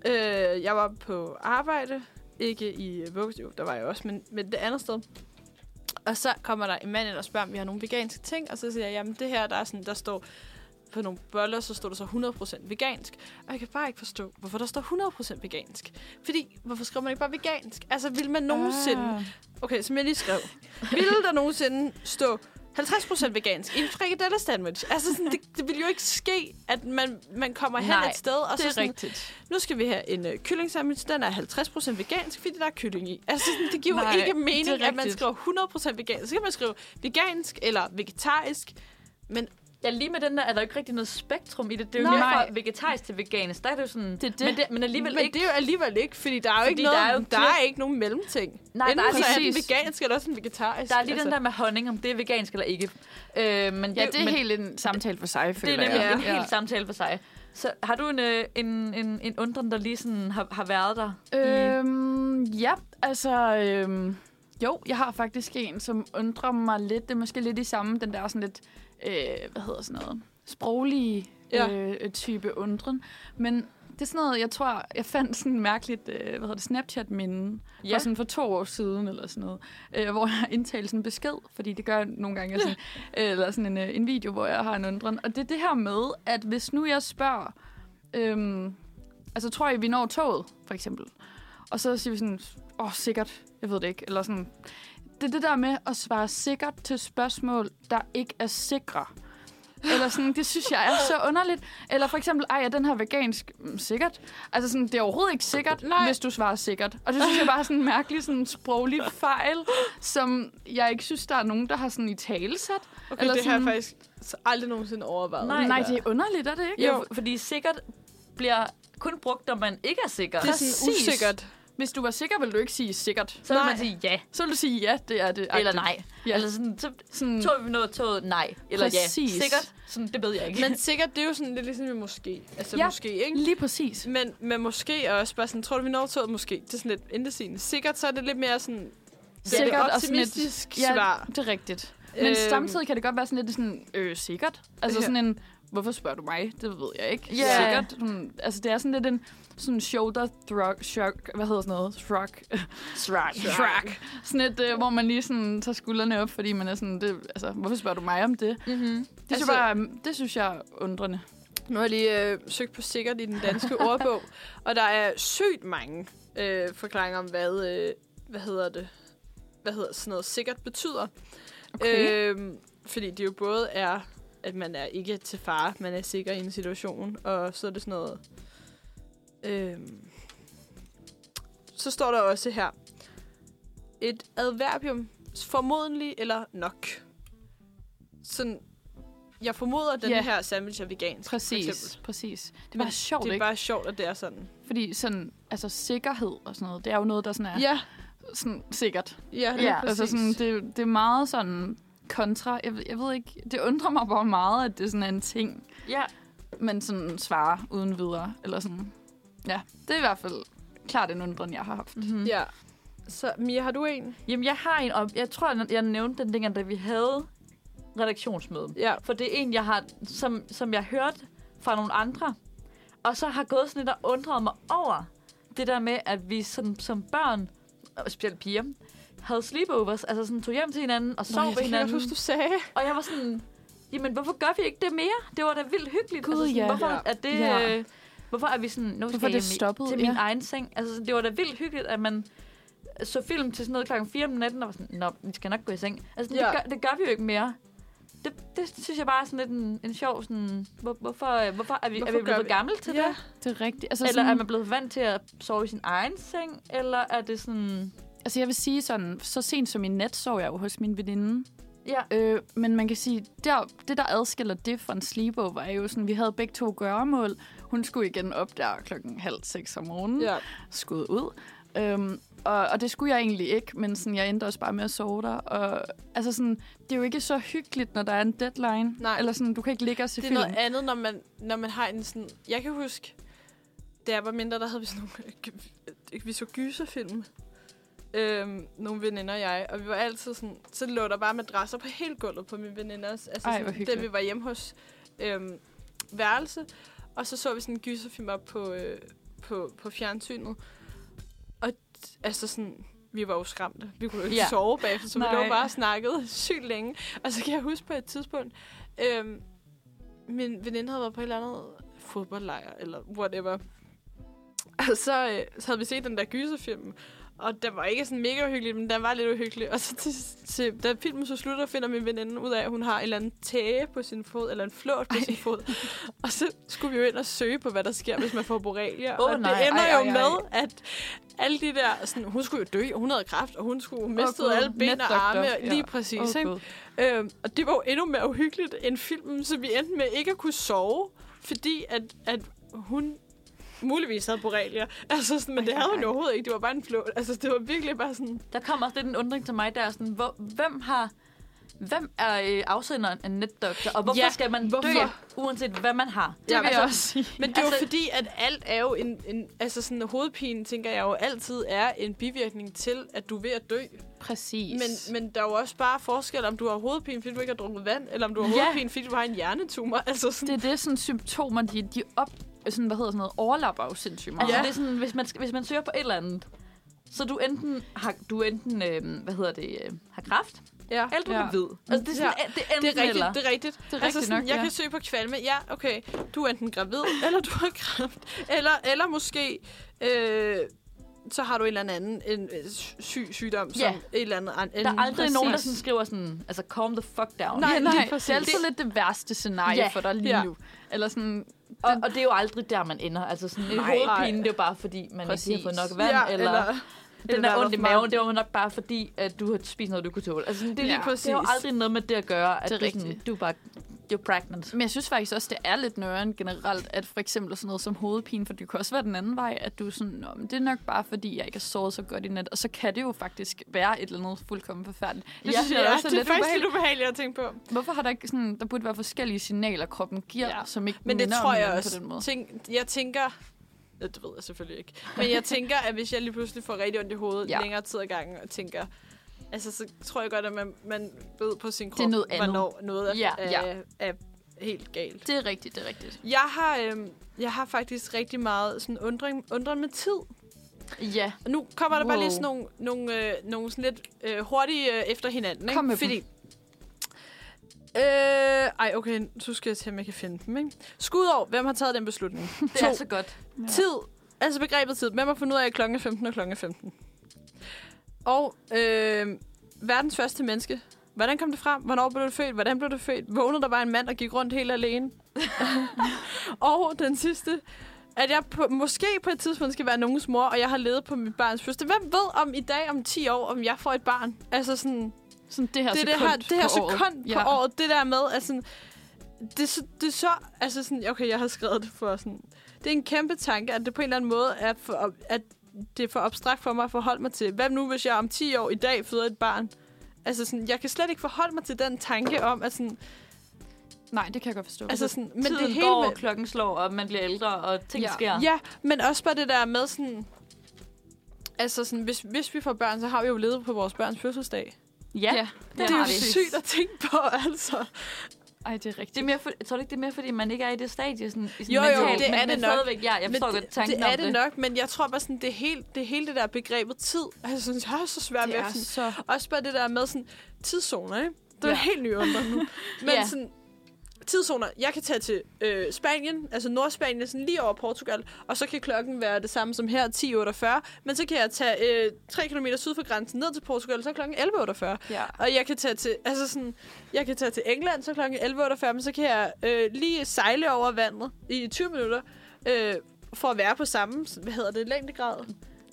A: øh, jeg var på arbejde, ikke i øh, vuggestue, der var jeg også, men, men det andet sted. Og så kommer der en mand ind og spørger, om vi har nogle veganske ting, og så siger jeg, jamen det her, der, er sådan, der står på nogle boller, så står der så 100% vegansk. Og jeg kan bare ikke forstå, hvorfor der står 100% vegansk. Fordi, hvorfor skriver man ikke bare vegansk? Altså, vil man nogensinde...
C: Ah.
A: Okay, som jeg lige
B: (laughs)
A: skrev. Ville der nogensinde stå 50% vegansk i en frikadelle sandwich? Altså, sådan, det, det vil jo ikke ske, at man, man kommer hen
B: Nej,
A: et sted, og
C: Det
A: så
C: er
A: sådan,
C: rigtigt.
A: nu skal vi have en øh, kylling sandwich, den er 50% vegansk, fordi der er kylling i. Altså, sådan, det giver
C: Nej,
A: jo ikke
C: det er
A: mening, at man
C: rigtigt.
A: skriver 100% vegansk. Så kan man skrive vegansk eller vegetarisk.
B: Ja, lige med den der er der jo ikke rigtig noget spektrum i det. Det er jo
A: Nej.
B: mere fra vegetarisk til veganisk. Der er det jo sådan...
C: Det er det.
B: Men, det, men alligevel
A: Men
B: ikke...
A: det er jo alligevel ikke, fordi der er jo
B: Fordi
A: ikke, noget,
B: der er jo
A: der
B: klir-
A: er ikke nogen mellemting.
B: Nej,
A: Enten
B: der er
A: så er den
C: præcis.
A: vegansk, eller også den vegetarisk.
B: Der er lige altså. den der med honning, om det er vegansk eller ikke. Øh, men
C: Ja, det er
B: men
C: helt en samtale for sig,
B: det er
C: føler
B: nemlig
C: jeg.
B: en helt samtale for sig. Så har du en, øh, en, en, en undren, der lige sådan har, har været der?
C: Mm. Øh, Øhm, ja, altså... Øhm, jo, jeg har faktisk en, som undrer mig lidt. Det er måske lidt i samme, den der sådan lidt... Øh, hvad hedder sådan noget? Sproglige
A: Ja.
C: ja. øh, type undren. Men det er sådan noget, jeg tror, jeg fandt sådan en mærkeligt, øh, hvad hedder det, Snapchat-minde ja.
B: Ja.
C: for sådan for to år siden eller sådan noget, øh, hvor jeg har indtalt sådan en besked, fordi det gør jeg nogle gange, jeg sådan, øh, eller sådan en, øh, en video, hvor jeg har en undren. Og det er det her med, at hvis nu jeg spørger, øhm, altså tror jeg, vi når toget, for eksempel, og så siger vi sådan, åh, oh, sikkert, jeg ved det ikke, eller sådan. Det er det der med at svare sikkert til spørgsmål, der ikke er sikre. Eller sådan, det synes jeg er så underligt. Eller for eksempel, ej, er den her vegansk? Mm, sikkert. Altså sådan, det er overhovedet ikke sikkert, Nej. hvis du svarer sikkert. Og det synes jeg bare er sådan en mærkelig sådan, sproglig fejl, som jeg ikke synes, der er nogen, der har sådan i talesat.
A: Okay, Eller det sådan, har jeg faktisk aldrig nogensinde overvejet.
C: Nej, Nej, det er underligt, er det ikke?
B: Jo, fordi sikkert bliver kun brugt, når man ikke er sikker.
A: Det er sådan
C: præcis.
A: usikkert.
C: Hvis du var sikker, ville du ikke sige sikkert.
B: Så vil
A: Nej.
B: man sige ja,
C: Så ville du sige, ja, det er det.
B: eller nej.
C: Ja.
B: Ja. Eller sådan, så
C: Sådan,
B: tog vi noget toget, nej. Eller
C: Præcis.
B: ja, sikkert. Sådan, det ved jeg ikke.
A: Men
B: (laughs)
A: sikkert, det er jo sådan lidt ligesom i måske. Altså
C: Ja.
A: ja. måske, ikke?
C: lige præcis.
A: Men, men måske er også bare sådan, tror du, vi når toget måske? Det er sådan lidt indesigende. Sikkert, så er det lidt mere sådan,
C: Sikkert
A: det er et
C: og sådan et-
A: optimistisk svar.
C: det er rigtigt. Men øhm, samtidig kan det godt være sådan lidt sådan, øh, sikkert. Altså
A: Ja.
C: sådan en, hvorfor spørger du mig? Det ved jeg ikke.
B: Ja.
C: Sikkert. Sådan, altså det er sådan lidt en sådan shoulder thrug, shrug, hvad hedder sådan noget? Shrug.
B: Shrug.
C: (laughs) Shrug. Sådan et, øh, hvor man lige sådan tager skuldrene op, fordi man er sådan, det, altså, hvorfor spørger du mig om det? Det,
B: Mm-hmm.
C: altså, synes,
A: Altså-
C: jeg bare, det synes jeg er undrende.
A: Nu har jeg lige øh, søgt på sikkert i den
C: (laughs)
A: danske ordbog, og der er sygt mange øh, forklaringer om, hvad, øh, hvad hedder det? Hvad hedder sådan noget sikkert betyder.
C: Okay.
A: Øh, fordi det jo både er, at man er ikke til fare, man er sikker i en situation, og så er det sådan noget... Øh, så står der også her, et adverbium, formodentlig eller nok. Sådan, jeg formoder, at den
C: Ja.
A: her sandwich er vegansk. for eksempel.
C: Præcis, præcis. Det er bare sjovt,
A: Det er
C: ikke?
A: bare sjovt, at det er sådan.
C: Fordi sådan, altså sikkerhed og sådan noget, det er jo noget, der sådan er
A: Ja,
C: sådan, sikkert.
A: ja, lige
C: Ja,
A: præcis.
C: altså sådan, det, det er meget sådan kontra. Jeg, ved- jeg ved ikke, det undrer mig bare meget, at det sådan er en ting,
B: Ja,
C: man sådan svarer uden videre. Eller sådan. Ja, det er i hvert fald klart en undren, jeg har haft. Mm-hmm.
A: Ja. Så Mia, har du en?
B: Jamen, jeg har en om... Jeg tror, jeg nævnte den dengang, da vi havde redaktionsmøde.
A: Ja.
B: For det er en, jeg har, som, som jeg hørte fra nogle andre. Og så har gået sådan lidt og undret mig over det der med, at vi som, som børn, og specielt piger, havde sleepovers. Altså sådan tog hjem til hinanden og sov ved hinanden.
A: huske, du sagde.
B: Og jeg var sådan, jamen hvorfor gør vi ikke det mere? Det var da vildt hyggeligt. Altså
C: Gud,
B: sådan,
C: ja.
B: Hvorfor
A: Ja.
B: er det...
C: Ja.
B: Øh, hvorfor er vi sådan, nu
C: Hvorfor er
B: skal jeg
C: det
B: hjem i-
C: stoppet?
B: til min
C: Ja.
B: egen seng? Altså, sådan, det var da vildt hyggeligt, at man så film til sådan noget klokken 4 om natten, og var sådan, nå, vi skal nok gå i seng. Altså, ja.
A: Ja.
B: det, gør, det gør vi jo ikke mere. Det, det synes jeg bare er sådan lidt en, en sjov sådan, hvor, hvorfor, øh, hvorfor er vi, hvorfor er
A: Hvorfor
B: vi
A: gør
B: blevet
A: vi-
B: for gamle til
A: Ja.
B: det?
C: Det er rigtigt. Altså,
B: Eller
C: sådan,
B: er man blevet vant til at sove i sin egen seng? Eller er det sådan...
C: altså, jeg vil sige sådan, så sent som i nat sov jeg jo hos min veninde.
B: Ja,
C: Øh, men man kan sige, der, det der adskiller det fra en sleepover, er jo sådan, vi havde begge to gøremål. Hun skulle igen op der klokken halv seks om morgenen.
A: Ja.
C: skud ud. Øhm, og, og det skulle jeg egentlig ikke, men sådan, jeg endte også bare med at sove der. Og, altså sådan, det er jo ikke så hyggeligt, når der er en deadline.
A: Nej.
C: Eller sådan, du kan ikke ligge og se
A: Det er
C: film.
A: noget andet, når man, når man har en sådan... Jeg kan huske, da jeg var mindre, der havde vi sådan nogle... øh, Vi så gyserfilm. Øhm, nogle veninder og jeg, og vi var altid sådan, så lå der bare madrasser på hele gulvet på mine veninders, altså
C: Ej, hvor
A: sådan,
C: hyggeligt.
A: da vi var hjemme hos øhm, værelse, og så så vi sådan en gyserfilm op på, øh, på, på fjernsynet, og t- altså sådan, vi var jo skræmte, vi kunne jo ikke
C: Ja.
A: ja. sove bagefter, så vi
C: Nej.
A: lå bare og snakkede (laughs) sygt længe, og så kan jeg huske på et tidspunkt, øhm, min veninde havde været på et eller andet fodboldlejr, eller whatever. Og så, øh, så havde vi set den der gyserfilm, og den var ikke sådan mega uhyggelig, men den var lidt uhyggelig. Og så til, til, da filmen så slutter, finder min veninde ud af, at hun har en eller anden tæge på sin fod, eller en flåt på ej. sin fod. Og så skulle vi jo ind og søge på, hvad der sker, hvis man får borrelia.
B: Åh,
A: og
B: nej.
A: det ender
C: Ej,
A: jo
C: ej, ej.
A: med, at alle de der... Sådan, hun skulle jo dø, og hun havde kræft, og hun skulle miste
C: Gud,
A: alle ben og
C: netdoktor.
A: arme.
C: Ja.
A: Lige præcis,
C: Åh,
A: ikke?
C: Gud.
A: Øhm, og det var jo endnu mere uhyggeligt end filmen, så vi endte med ikke at kunne sove, fordi at, at hun muligvis havde borrelia. Altså, sådan, men det havde hun jo overhovedet ikke. Det var bare en flå. Altså, det var virkelig bare sådan...
B: Der kommer også lidt en undring til mig, der er sådan, hvor, hvem har... Hvem er øh, afsenderen af netdoktor, og hvorfor ja,
A: Ja,
B: skal man hvorfor? dø,
A: hvorfor?
B: uanset hvad man har?
C: Det
A: Ja,
C: vil
A: altså-
C: jeg også sige.
A: Men det er
B: Altså-
A: jo fordi, at alt er jo en, en... Altså, sådan hovedpine, tænker jeg jo altid, er en bivirkning til, at du er ved at dø.
C: Præcis.
A: Men, men der er jo også bare forskel, om du har hovedpine, fordi du ikke har drukket vand, eller om du har
C: Ja.
A: hovedpine, fordi du har en hjernetumor. Altså, sådan,
C: det er det, sådan symptomer, de, de op, sådan, hvad hedder sådan noget, overlapper jo sindssygt meget.
B: Altså, ja.
A: Ja.
B: det er sådan, hvis man, hvis man søger på et eller andet, så du enten har, du enten, øh, hvad hedder det, øh, har kræft,
A: ja.
B: eller du
C: Ja.
B: ja. er hvid. Altså, det er sådan,
A: Ja.
B: ja. det er
A: Det
B: enten
A: er rigtigt,
B: eller.
A: det er rigtigt.
C: Det er rigtigt
A: altså sådan,
C: nok,
A: jeg
C: ja.
A: kan søge på kvalme. Ja, okay. (laughs) Du er enten gravid, eller du har kræft. Eller, eller måske... Øh, så har du en eller anden en, øh, syg sygdom, som
B: Ja.
A: et eller andet... an- En,
B: Der er aldrig
C: præcis.
B: nogen, der sådan skriver sådan, altså calm the fuck down.
A: Nej,
C: Ja,
A: lige
C: nej, det
A: præcis.
C: er altid lidt det værste scenarie
B: Ja.
C: for dig lige
A: Ja.
C: nu. Eller sådan,
B: Og, og, det er jo aldrig der, man ender. Altså sådan, en
A: Nej.
B: hovedpine, det er jo bare fordi, man
C: Præcis.
B: ikke har fået nok vand,
A: ja,
B: eller, eller den
A: eller
B: der ondt i
A: for meget.
B: maven, det var nok bare fordi, at du har spist noget, du kunne tåle. Altså sådan, det, er
A: Lige
B: jo- det er jo
A: præcis.
B: aldrig noget med det at gøre, at
C: Det
B: det
C: er
B: er du, sådan,
C: rigtigt.
B: du er bare, you're pregnant.
C: men jeg synes faktisk også, det er lidt nøren generelt, at for eksempel sådan noget som hovedpine, for det kan også være den anden vej, at du er sådan, Nå, men det er nok bare fordi, jeg ikke har sovet så godt i nat, og så kan det jo faktisk være et eller andet fuldkommen forfærdeligt. Det
B: Ja,
C: synes jeg
A: Ja,
C: også er
A: det er
C: lidt
A: faktisk
C: ubehageligt.
A: lidt ubehageligt at tænke på.
C: Hvorfor har der ikke sådan, der burde være forskellige signaler, kroppen giver,
A: Ja.
C: ja. som ikke
A: Men det
C: minder om
A: tror jeg
C: hinanden på den
A: også.
C: måde.
A: Tænk, jeg tænker... Ja, det ved jeg selvfølgelig ikke. Men jeg tænker, at hvis jeg lige pludselig får rigtig ondt i hovedet
C: Ja.
A: ja. længere tid ad gangen, og tænker... Altså, så tror jeg godt, at man, man ved på sin krop,
C: er noget andet.
A: hvornår noget er,
C: Ja,
A: ja,
C: ja.
A: ja. Er, er helt galt.
C: Det er rigtigt, det er rigtigt.
A: Jeg har, øhm, jeg har faktisk rigtig meget sådan undring, undren med tid.
C: Ja,
A: Og Nu kommer der bare
C: Wow.
A: lige sådan nogle, nogle, øh, nogle sådan lidt øh, hurtige øh, efter hinanden. Ikke?
C: Kom med dem.
A: Fordi, Øh, ej, okay, så skal jeg se, om jeg kan finde dem, ikke? Skudår, hvem har taget den beslutning?
C: (laughs)
B: Det er så godt.
C: Ja.
A: Tid, altså begrebet tid. Hvem har fundet ud af at klokken er 15 og klokken er 15? Og øh, verdens første menneske. Hvordan kom det frem? Hvornår blev du født? Hvordan blev du født? Vågnede der bare en mand og gik rundt helt alene? og den sidste. At jeg på, måske på et tidspunkt skal være nogens mor, og jeg har levet på mit barns fødsel. Hvem ved om i dag, om 10 år, om jeg får et barn? Altså sådan,
C: sådan det her
A: det, er
C: sekund
A: det her, det her
C: Altså på
A: sekund
C: året.
A: på året, det der med, at sådan, det, er så- det er så, altså sådan, okay, jeg har skrevet det for sådan, det er en kæmpe tanke, at det på en eller anden måde er for, op- at det er for abstrakt for mig at forholde mig til. Hvad nu, hvis jeg om 10 år i dag føder et barn? Altså sådan, jeg kan slet ikke forholde mig til den tanke om, at sådan,
C: Nej, det kan jeg godt forstå.
A: altså sådan, men
B: Men
A: det
B: Tiden
A: er
B: det
A: hele
B: går,
A: med-
B: og klokken slår, og man bliver ældre, og ting
C: Ja.
B: ja. sker.
A: Ja, men også bare det der med sådan, altså sådan, hvis, hvis vi får børn, så har vi jo levet på vores børns fødselsdag.
B: ja.
C: Ja.
B: Det,
A: det er jo
B: har vi.
A: sygt at tænke på, (laughs) altså.
C: Ej, det er rigtigt.
B: Det er mere for, jeg tror du ikke, det er mere, fordi man ikke er i det stadie sådan, i sådan
A: Jo, jo,
B: mentalt,
A: det
B: men,
A: er
B: men
A: det nok.
B: stadigvæk, ja, jeg
A: Men
B: forstår godt
A: det-
B: tanken
A: det er
B: om
A: det, nok, men jeg tror bare sådan, det, hele, det hele det der begrebet tid, (laughs) altså jeg synes, jeg har så svært ved at sådan,
C: så...
A: også bare det der med sådan, tidszoner, ikke? Det er
C: Ja.
A: ja. helt ny under
B: (laughs)
A: nu. Men
B: Ja.
A: ja. sådan, tidszoner, jeg kan tage til øh, Spanien, altså Nordspanien, sådan lige over Portugal, og så kan klokken være det samme som her, 10.48, men så kan jeg tage øh, 3 km syd for grænsen ned til Portugal, så er klokken 11.48.
C: Ja.
A: Og jeg kan tage til, altså sådan, jeg kan tage til England, så klokken 11.48, men så kan jeg øh, lige sejle over vandet i 20 minutter, øh, for at være på samme, hvad hedder det, længdegrad?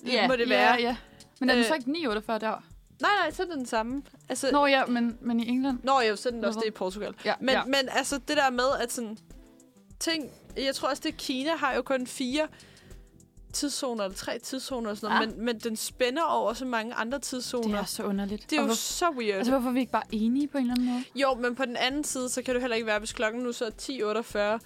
B: Ja.
A: Må det være?
C: Ja, ja. Men er den
A: Øh,
C: så ikke 948 der?
A: Nej, nej, så er det den samme. Altså,
C: Nå ja, men, men i England?
A: Nå, jo, sådan er det også
C: Nå,
A: det i Portugal.
C: Ja,
A: Men,
C: ja.
A: ja. men altså, det der med, at sådan... Ting, jeg tror også, det er Kina har jo kun fire tidszoner, eller tre tidszoner og sådan noget, men, men den spænder over så mange andre
C: Ah. det
A: tidszoner.
C: er så underligt.
A: Det er
C: Og
A: jo
C: hvor,
A: så weird.
C: Altså,
A: Altså,
C: hvorfor er vi ikke bare enige på en eller anden måde?
A: jo, men på den anden side, så kan du heller ikke være, hvis klokken nu så er 10.48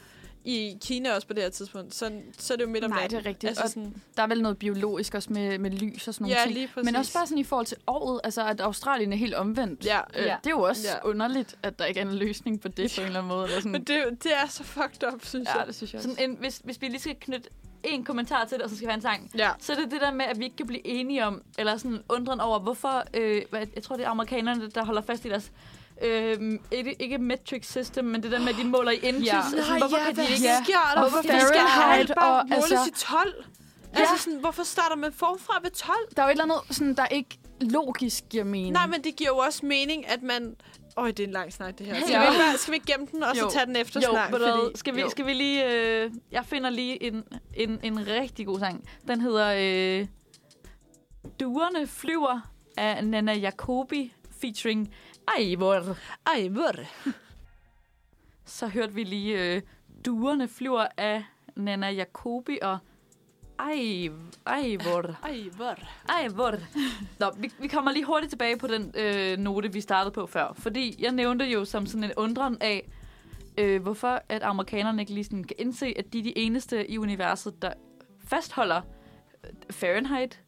A: i Kina også på det her tidspunkt, så, så er det jo midt om
C: Nej,
A: natten.
C: det er rigtigt.
A: Altså
C: Og-
A: sådan,
C: Der er vel noget biologisk også med, med lys og sådan nogle
A: Ja,
C: ting.
A: lige præcis.
C: Men også bare sådan i forhold til året, altså at Australien er helt omvendt.
A: Ja.
C: Øh,
B: Ja.
C: Det er jo også
A: Ja.
C: underligt, at der ikke er en løsning på det på en eller anden måde. Eller
A: (laughs)
C: sådan.
A: men det, er jo- det er så fucked up, synes
C: ja,
A: jeg.
C: det synes jeg også.
B: Sådan en, hvis, hvis vi lige skal knytte en kommentar til det, og så skal vi have en sang,
A: Ja.
B: så er det det der med, at vi ikke kan blive enige om, eller sådan undren over, hvorfor, øh, hvad- jeg tror, det er amerikanerne, der holder fast i deres, øh, ikke, ikke metric system, men det der med, at de måler i inches.
C: Ja.
B: Altså, sådan, hvorfor kan de ikke...
A: ja, sker der?
C: Hvorfor
A: de skal
C: Fahrenheit
A: alle bare
C: og-
A: måles
C: altså-
A: i 12? Altså sådan, hvorfor starter man forfra ved 12?
C: Der er jo et eller andet, sådan, der ikke logisk giver mening.
A: Nej, men det giver jo også mening, at man... Øj, det er en lang snak, det her. Skal,
C: Ja.
A: vi, ikke bare, skal vi ikke gemme den, og
C: Jo.
A: så tage den efter
B: Jo,
A: snak?
B: ved du hvad,
A: Fordi...
B: skal vi,
C: jo.
B: skal vi lige... Øh, jeg finder lige en, en, en rigtig god sang. Den hedder øh, Duerne flyver af Nana Jacobi featuring Eivor.
A: Eivor.
B: (laughs) Så hørte vi lige øh, Duerne flyver af Nana Jacobi og Eiv- Eivor.
A: Eivor.
B: Ej, hvor det. Nå, vi, vi kommer lige hurtigt tilbage på den øh, note, vi startede på før. Fordi jeg nævnte jo som sådan en undren af, øh, hvorfor at amerikanerne ikke lige sådan kan indse, at de er de eneste i universet, der fastholder øh, Fahrenheit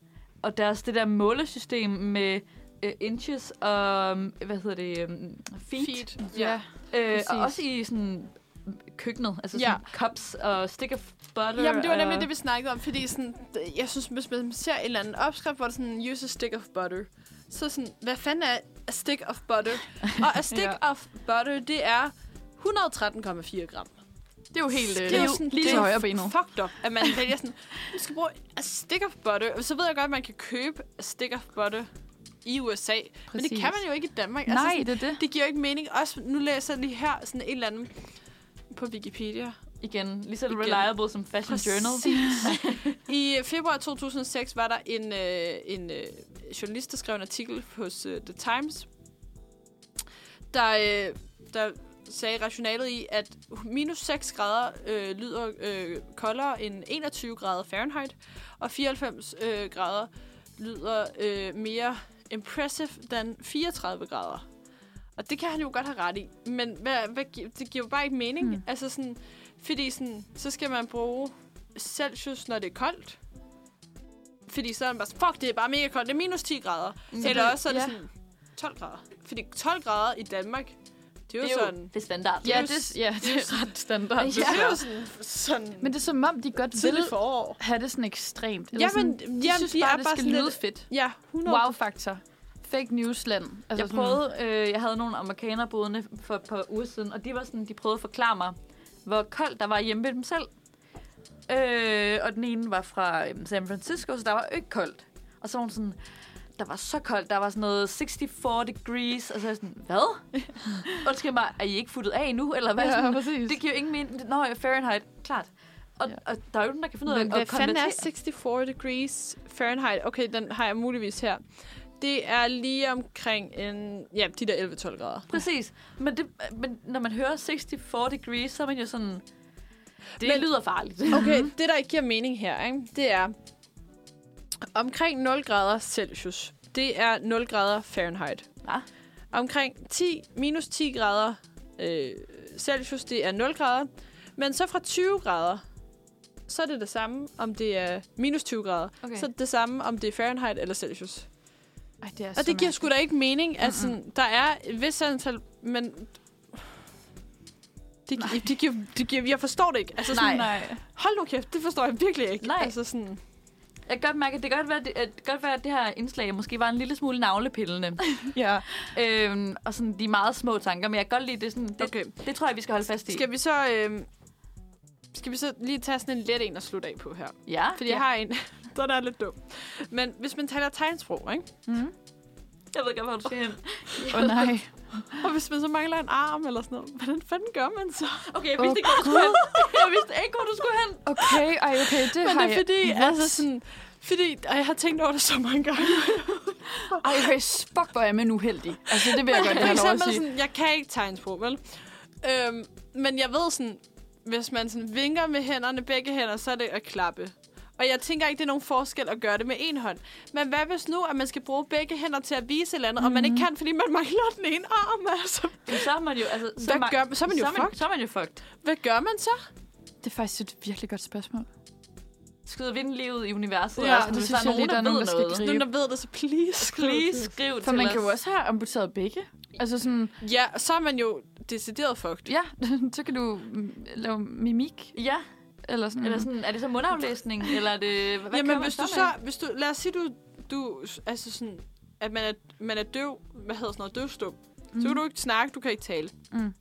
B: og deres det der målesystem med øh, inches og, øh, hvad hedder det, øh, feet. feet.
C: Ja.
B: Øh, og
C: præcis.
B: også i sådan køkkenet, altså
A: Ja.
B: sådan cups og stick of butter.
A: Jamen, det var nemlig
B: og,
A: det, vi snakkede om, fordi sådan, d- jeg synes, hvis man ser en eller anden opskrift, hvor der sådan, use a stick of butter, så sådan, hvad fanden er a stick of butter? Og a stick
C: Ja.
A: of butter, det er 113,4 gram.
C: Det er jo helt... øh,
A: Det er jo sådan,
C: lige
A: det
C: til
A: er
C: højre benet.
A: fucked up, at man vælger sådan, du skal bruge altså, sticker butter. Så ved jeg godt, at man kan købe sticker butter i USA. Præcis. Men det kan man jo ikke i Danmark. Altså,
C: Nej,
A: sådan,
C: det er det.
A: det giver jo ikke mening. Også nu læser jeg lige her sådan en eller anden på Wikipedia.
B: Igen, lige så
A: Igen.
B: reliable som Fashion Journal.
A: (laughs) I februar 2006 var der en, øh, en øh, journalist, der skrev en artikel hos øh, The Times, der, øh, der sagde rationalet i, at minus 6 grader øh, lyder øh, koldere end 21 grader Fahrenheit, og 94 øh, grader lyder øh, mere impressive than 34 grader. Og det kan han jo godt have ret i, men hvad, hvad, gi- det giver jo bare ikke mening.
C: Hmm.
A: Mm. Altså sådan, fordi sådan, så skal man bruge Celsius, når det er koldt. Fordi så er man bare sådan, fuck, det er bare mega koldt. Det er minus 10 grader.
B: Mm.
A: Så Eller også så er det
B: ja.
A: sådan 12 grader. Fordi 12 grader i Danmark, det er jo,
B: Det er jo
A: sådan...
B: det er standard.
C: Ja, det, ja, det
A: (laughs)
C: er ret standard.
A: Ja. Det er jo sådan... sådan
C: Men det er som om, de godt vil
A: tidligt forår.
C: have det sådan ekstremt. Eller
A: Jamen,
C: sådan,
A: jamen,
C: de synes
A: de
C: bare,
A: er
C: det
A: bare
C: skal
A: sådan
C: lyde
A: lidt-
C: fedt.
A: Ja, 100.
C: Wow-faktor. Fake Altså newsland.
B: Jeg prøvede, øh, jeg havde nogle amerikanere boende for et par uger siden, og de var sådan, de prøvede at forklare mig, hvor koldt der var hjemme ved dem selv. Øh, og den ene var fra øhm, San Francisco, så der var jo ikke koldt. Og så var hun sådan, der var så koldt, der var sådan noget 64 degrees, og så er jeg sådan,
A: (laughs)
B: hvad? Undskyld mig, er I ikke futtet af endnu, eller hvad?
C: Ja,
B: Sådan,
C: præcis.
B: det giver jo ingen mening. Nå, ja, Fahrenheit, klart. Og,
C: Ja.
B: ja. og der er jo ikke nogen, der kan finde ud af
A: Men hvad
B: at
A: fanden er
B: konvertere.
A: 64 degrees Fahrenheit? Okay, den har jeg muligvis her. Det er lige omkring en... Ja, de der 11-12 grader.
B: Præcis. Men, det, men når man hører 64 degrees, så er man jo sådan... Det men,
A: Men-
B: lyder farligt.
A: Okay, det der ikke giver mening her, ikke? det er omkring 0 grader Celsius. Det er 0 grader Fahrenheit.
B: Ja.
A: Omkring 10, minus 10 grader øh, Celsius, det er 0 grader. Men så fra 20 grader, så er det det samme, om det er minus 20 grader.
B: Okay.
A: Så er det det samme, om det er Fahrenheit eller Celsius.
C: Ej, det er
B: Altså,
A: Og det giver sgu da ikke mening. Altså, der er et vist antal, men... Det, gi- det, giver, det giver, jeg forstår det ikke. Altså, sådan,
C: Nej.
A: Hold nu kæft, det forstår jeg virkelig ikke.
B: Nej.
A: Altså, sådan,
B: Jeg kan godt mærke, at det kan godt være, at det, at det kan godt være, at det her indslag måske var en lille smule navlepillende.
C: Ja.
B: øhm, og sådan de meget små tanker, men jeg kan godt lide det. Sådan, det,
A: Okay.
B: det tror jeg, vi skal holde fast i.
A: skal vi så... Øh, skal vi så lige tage sådan en let en og slutte af på her?
B: Ja.
A: Fordi jeg har en, (laughs) der er lidt dum. Men hvis man taler tegnsprog, ikke?
C: Mm.
B: Jeg ved godt, hvor du skal hen.
C: Åh oh, nej.
A: Og hvis man så mangler en arm eller sådan noget, hvordan fanden gør man så?
B: Okay, jeg
C: Åh,
B: vidste ikke, hvor du skulle hen. Jeg vidste ikke, hvor du skulle hen.
C: Okay, ej, okay, det
A: Men
C: har
A: det er
C: jeg...
A: fordi, altså sådan... Fordi, og jeg har tænkt over det så mange gange.
C: Ej, okay, fuck, hvor er jeg men uheldig. Altså, det vil jeg godt
A: (laughs) For
C: have lov at
A: eksempel
C: sige.
A: sådan, jeg kan ikke tegnsprog, vel? Øhm, men jeg ved sådan, hvis man sådan vinker med hænderne, begge hænder, så er det at klappe. Og jeg tænker ikke, det er nogen forskel at gøre det med en hånd. Men hvad hvis nu, at man skal bruge begge hænder til at vise et eller andet, mm. og man ikke kan, fordi man mangler den ene arm, (laughs) altså.
B: Jamen, så er man jo... Altså, så
A: Hvad
B: man,
A: gør man? Så er man jo
B: så er man,
A: fucked.
B: så er man jo fucked.
A: Hvad gør man så?
C: Det er faktisk et virkelig godt spørgsmål.
B: Skyder vinden lige ud i universet.
A: Ja,
B: altså,
C: det
B: hvis
C: synes
B: der er
C: jeg
B: nogen,
C: lige,
B: der,
C: der er nogen,
B: ved
C: der skal
B: noget.
A: Hvis nogen, der ved det, så please. skriv
B: Please skriv
C: For
B: til
C: man
B: os.
C: kan jo også have amputeret begge. Altså sådan,
A: det. Ja, så er man jo decideret fucked.
C: ja, (laughs) så kan du mm, lave mimik,
B: Ja,
C: eller sådan.
B: eller sådan, er det så mundaflæsning, eller er det... Hvad kører
A: Jamen,
B: man
A: hvis du
B: med?
A: så... Hvis du, lad os sige, du, du altså sådan, at man er, man er døv. Hvad hedder sådan noget? Døvstum. Mm. Så kan du ikke snakke, du kan ikke tale.
C: Mm.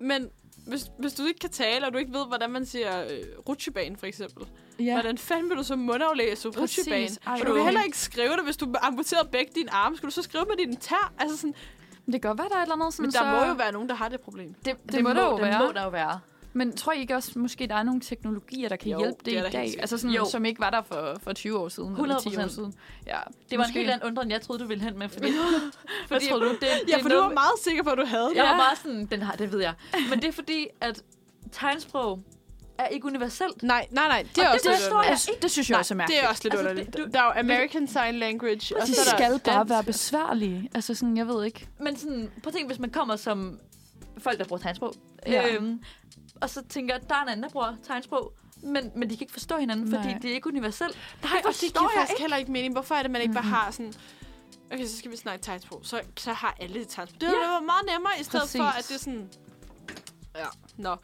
A: Men hvis, hvis du ikke kan tale, og du ikke ved, hvordan man siger øh, rutsjebane, for eksempel. Ja.
C: Ja.
A: Hvordan fanden vil du så mundaflæse
C: Præcis.
A: rutsjebane?
C: Ej,
A: Og du
C: okay.
A: kan heller ikke skrive det, hvis du amputerer begge dine arme. Skal du så skrive med din tær? Altså sådan, mm,
C: Det kan godt være, der er et eller andet sådan,
A: men der
C: så...
A: må jo være nogen, der har det problem.
B: Det, det,
C: må der jo
B: det
C: være.
B: må der jo være.
C: Men tror I ikke også, måske der er nogle teknologier, der kan
A: Jo,
C: hjælpe det,
A: det er der
C: i dag?
A: helt sikkert.
C: Altså sådan,
B: Jo.
C: som ikke var der for, for 20 år siden, 100 eller 10 år
B: 100%.
C: siden. Ja,
B: Det var en
C: måske.
B: helt anden undren, jeg troede, du ville hen med. Fordi, fordi troede du? Det, det
A: Ja,
B: er
A: for du
B: noget
A: var meget sikker på, at du havde det.
B: Jeg var bare sådan, den har, det ved jeg. Men det er fordi, at tegnsprog er ikke universelt.
A: Nej, nej, nej. Det er
B: Og
A: også
B: det
A: lidt
B: forstår
A: underligt.
B: jeg
C: Altså, det synes jeg også er
A: Det
C: mærkeligt.
A: er også lidt
B: Altså,
A: underligt.
B: det- du-
A: der er jo American Sign Language, og
C: De
A: så er der
C: skal bare
A: dansk.
C: være besværlige. Altså sådan, jeg ved ikke.
B: Men sådan, prøv at tænke, hvis man kommer som folk, der bruger tegnsprog.
C: Ja.
B: Ja. Øhm, og så tænker jeg, der er en anden, der bruger tegnsprog. Men, men de kan ikke forstå hinanden, fordi
C: Nej.
B: det er ikke universelt.
A: Nej, og det
B: forstår
A: giver
B: jeg
A: faktisk ikke. heller ikke mening. Hvorfor er det, man ikke bare har sådan... Okay, så skal vi snakke tegnsprog. Så, så har alle et tegnsprog. Det
B: Ja.
A: ville ja. være meget nemmere, i stedet
C: Præcis.
A: Præcis. for, at det er sådan... Ja, nå.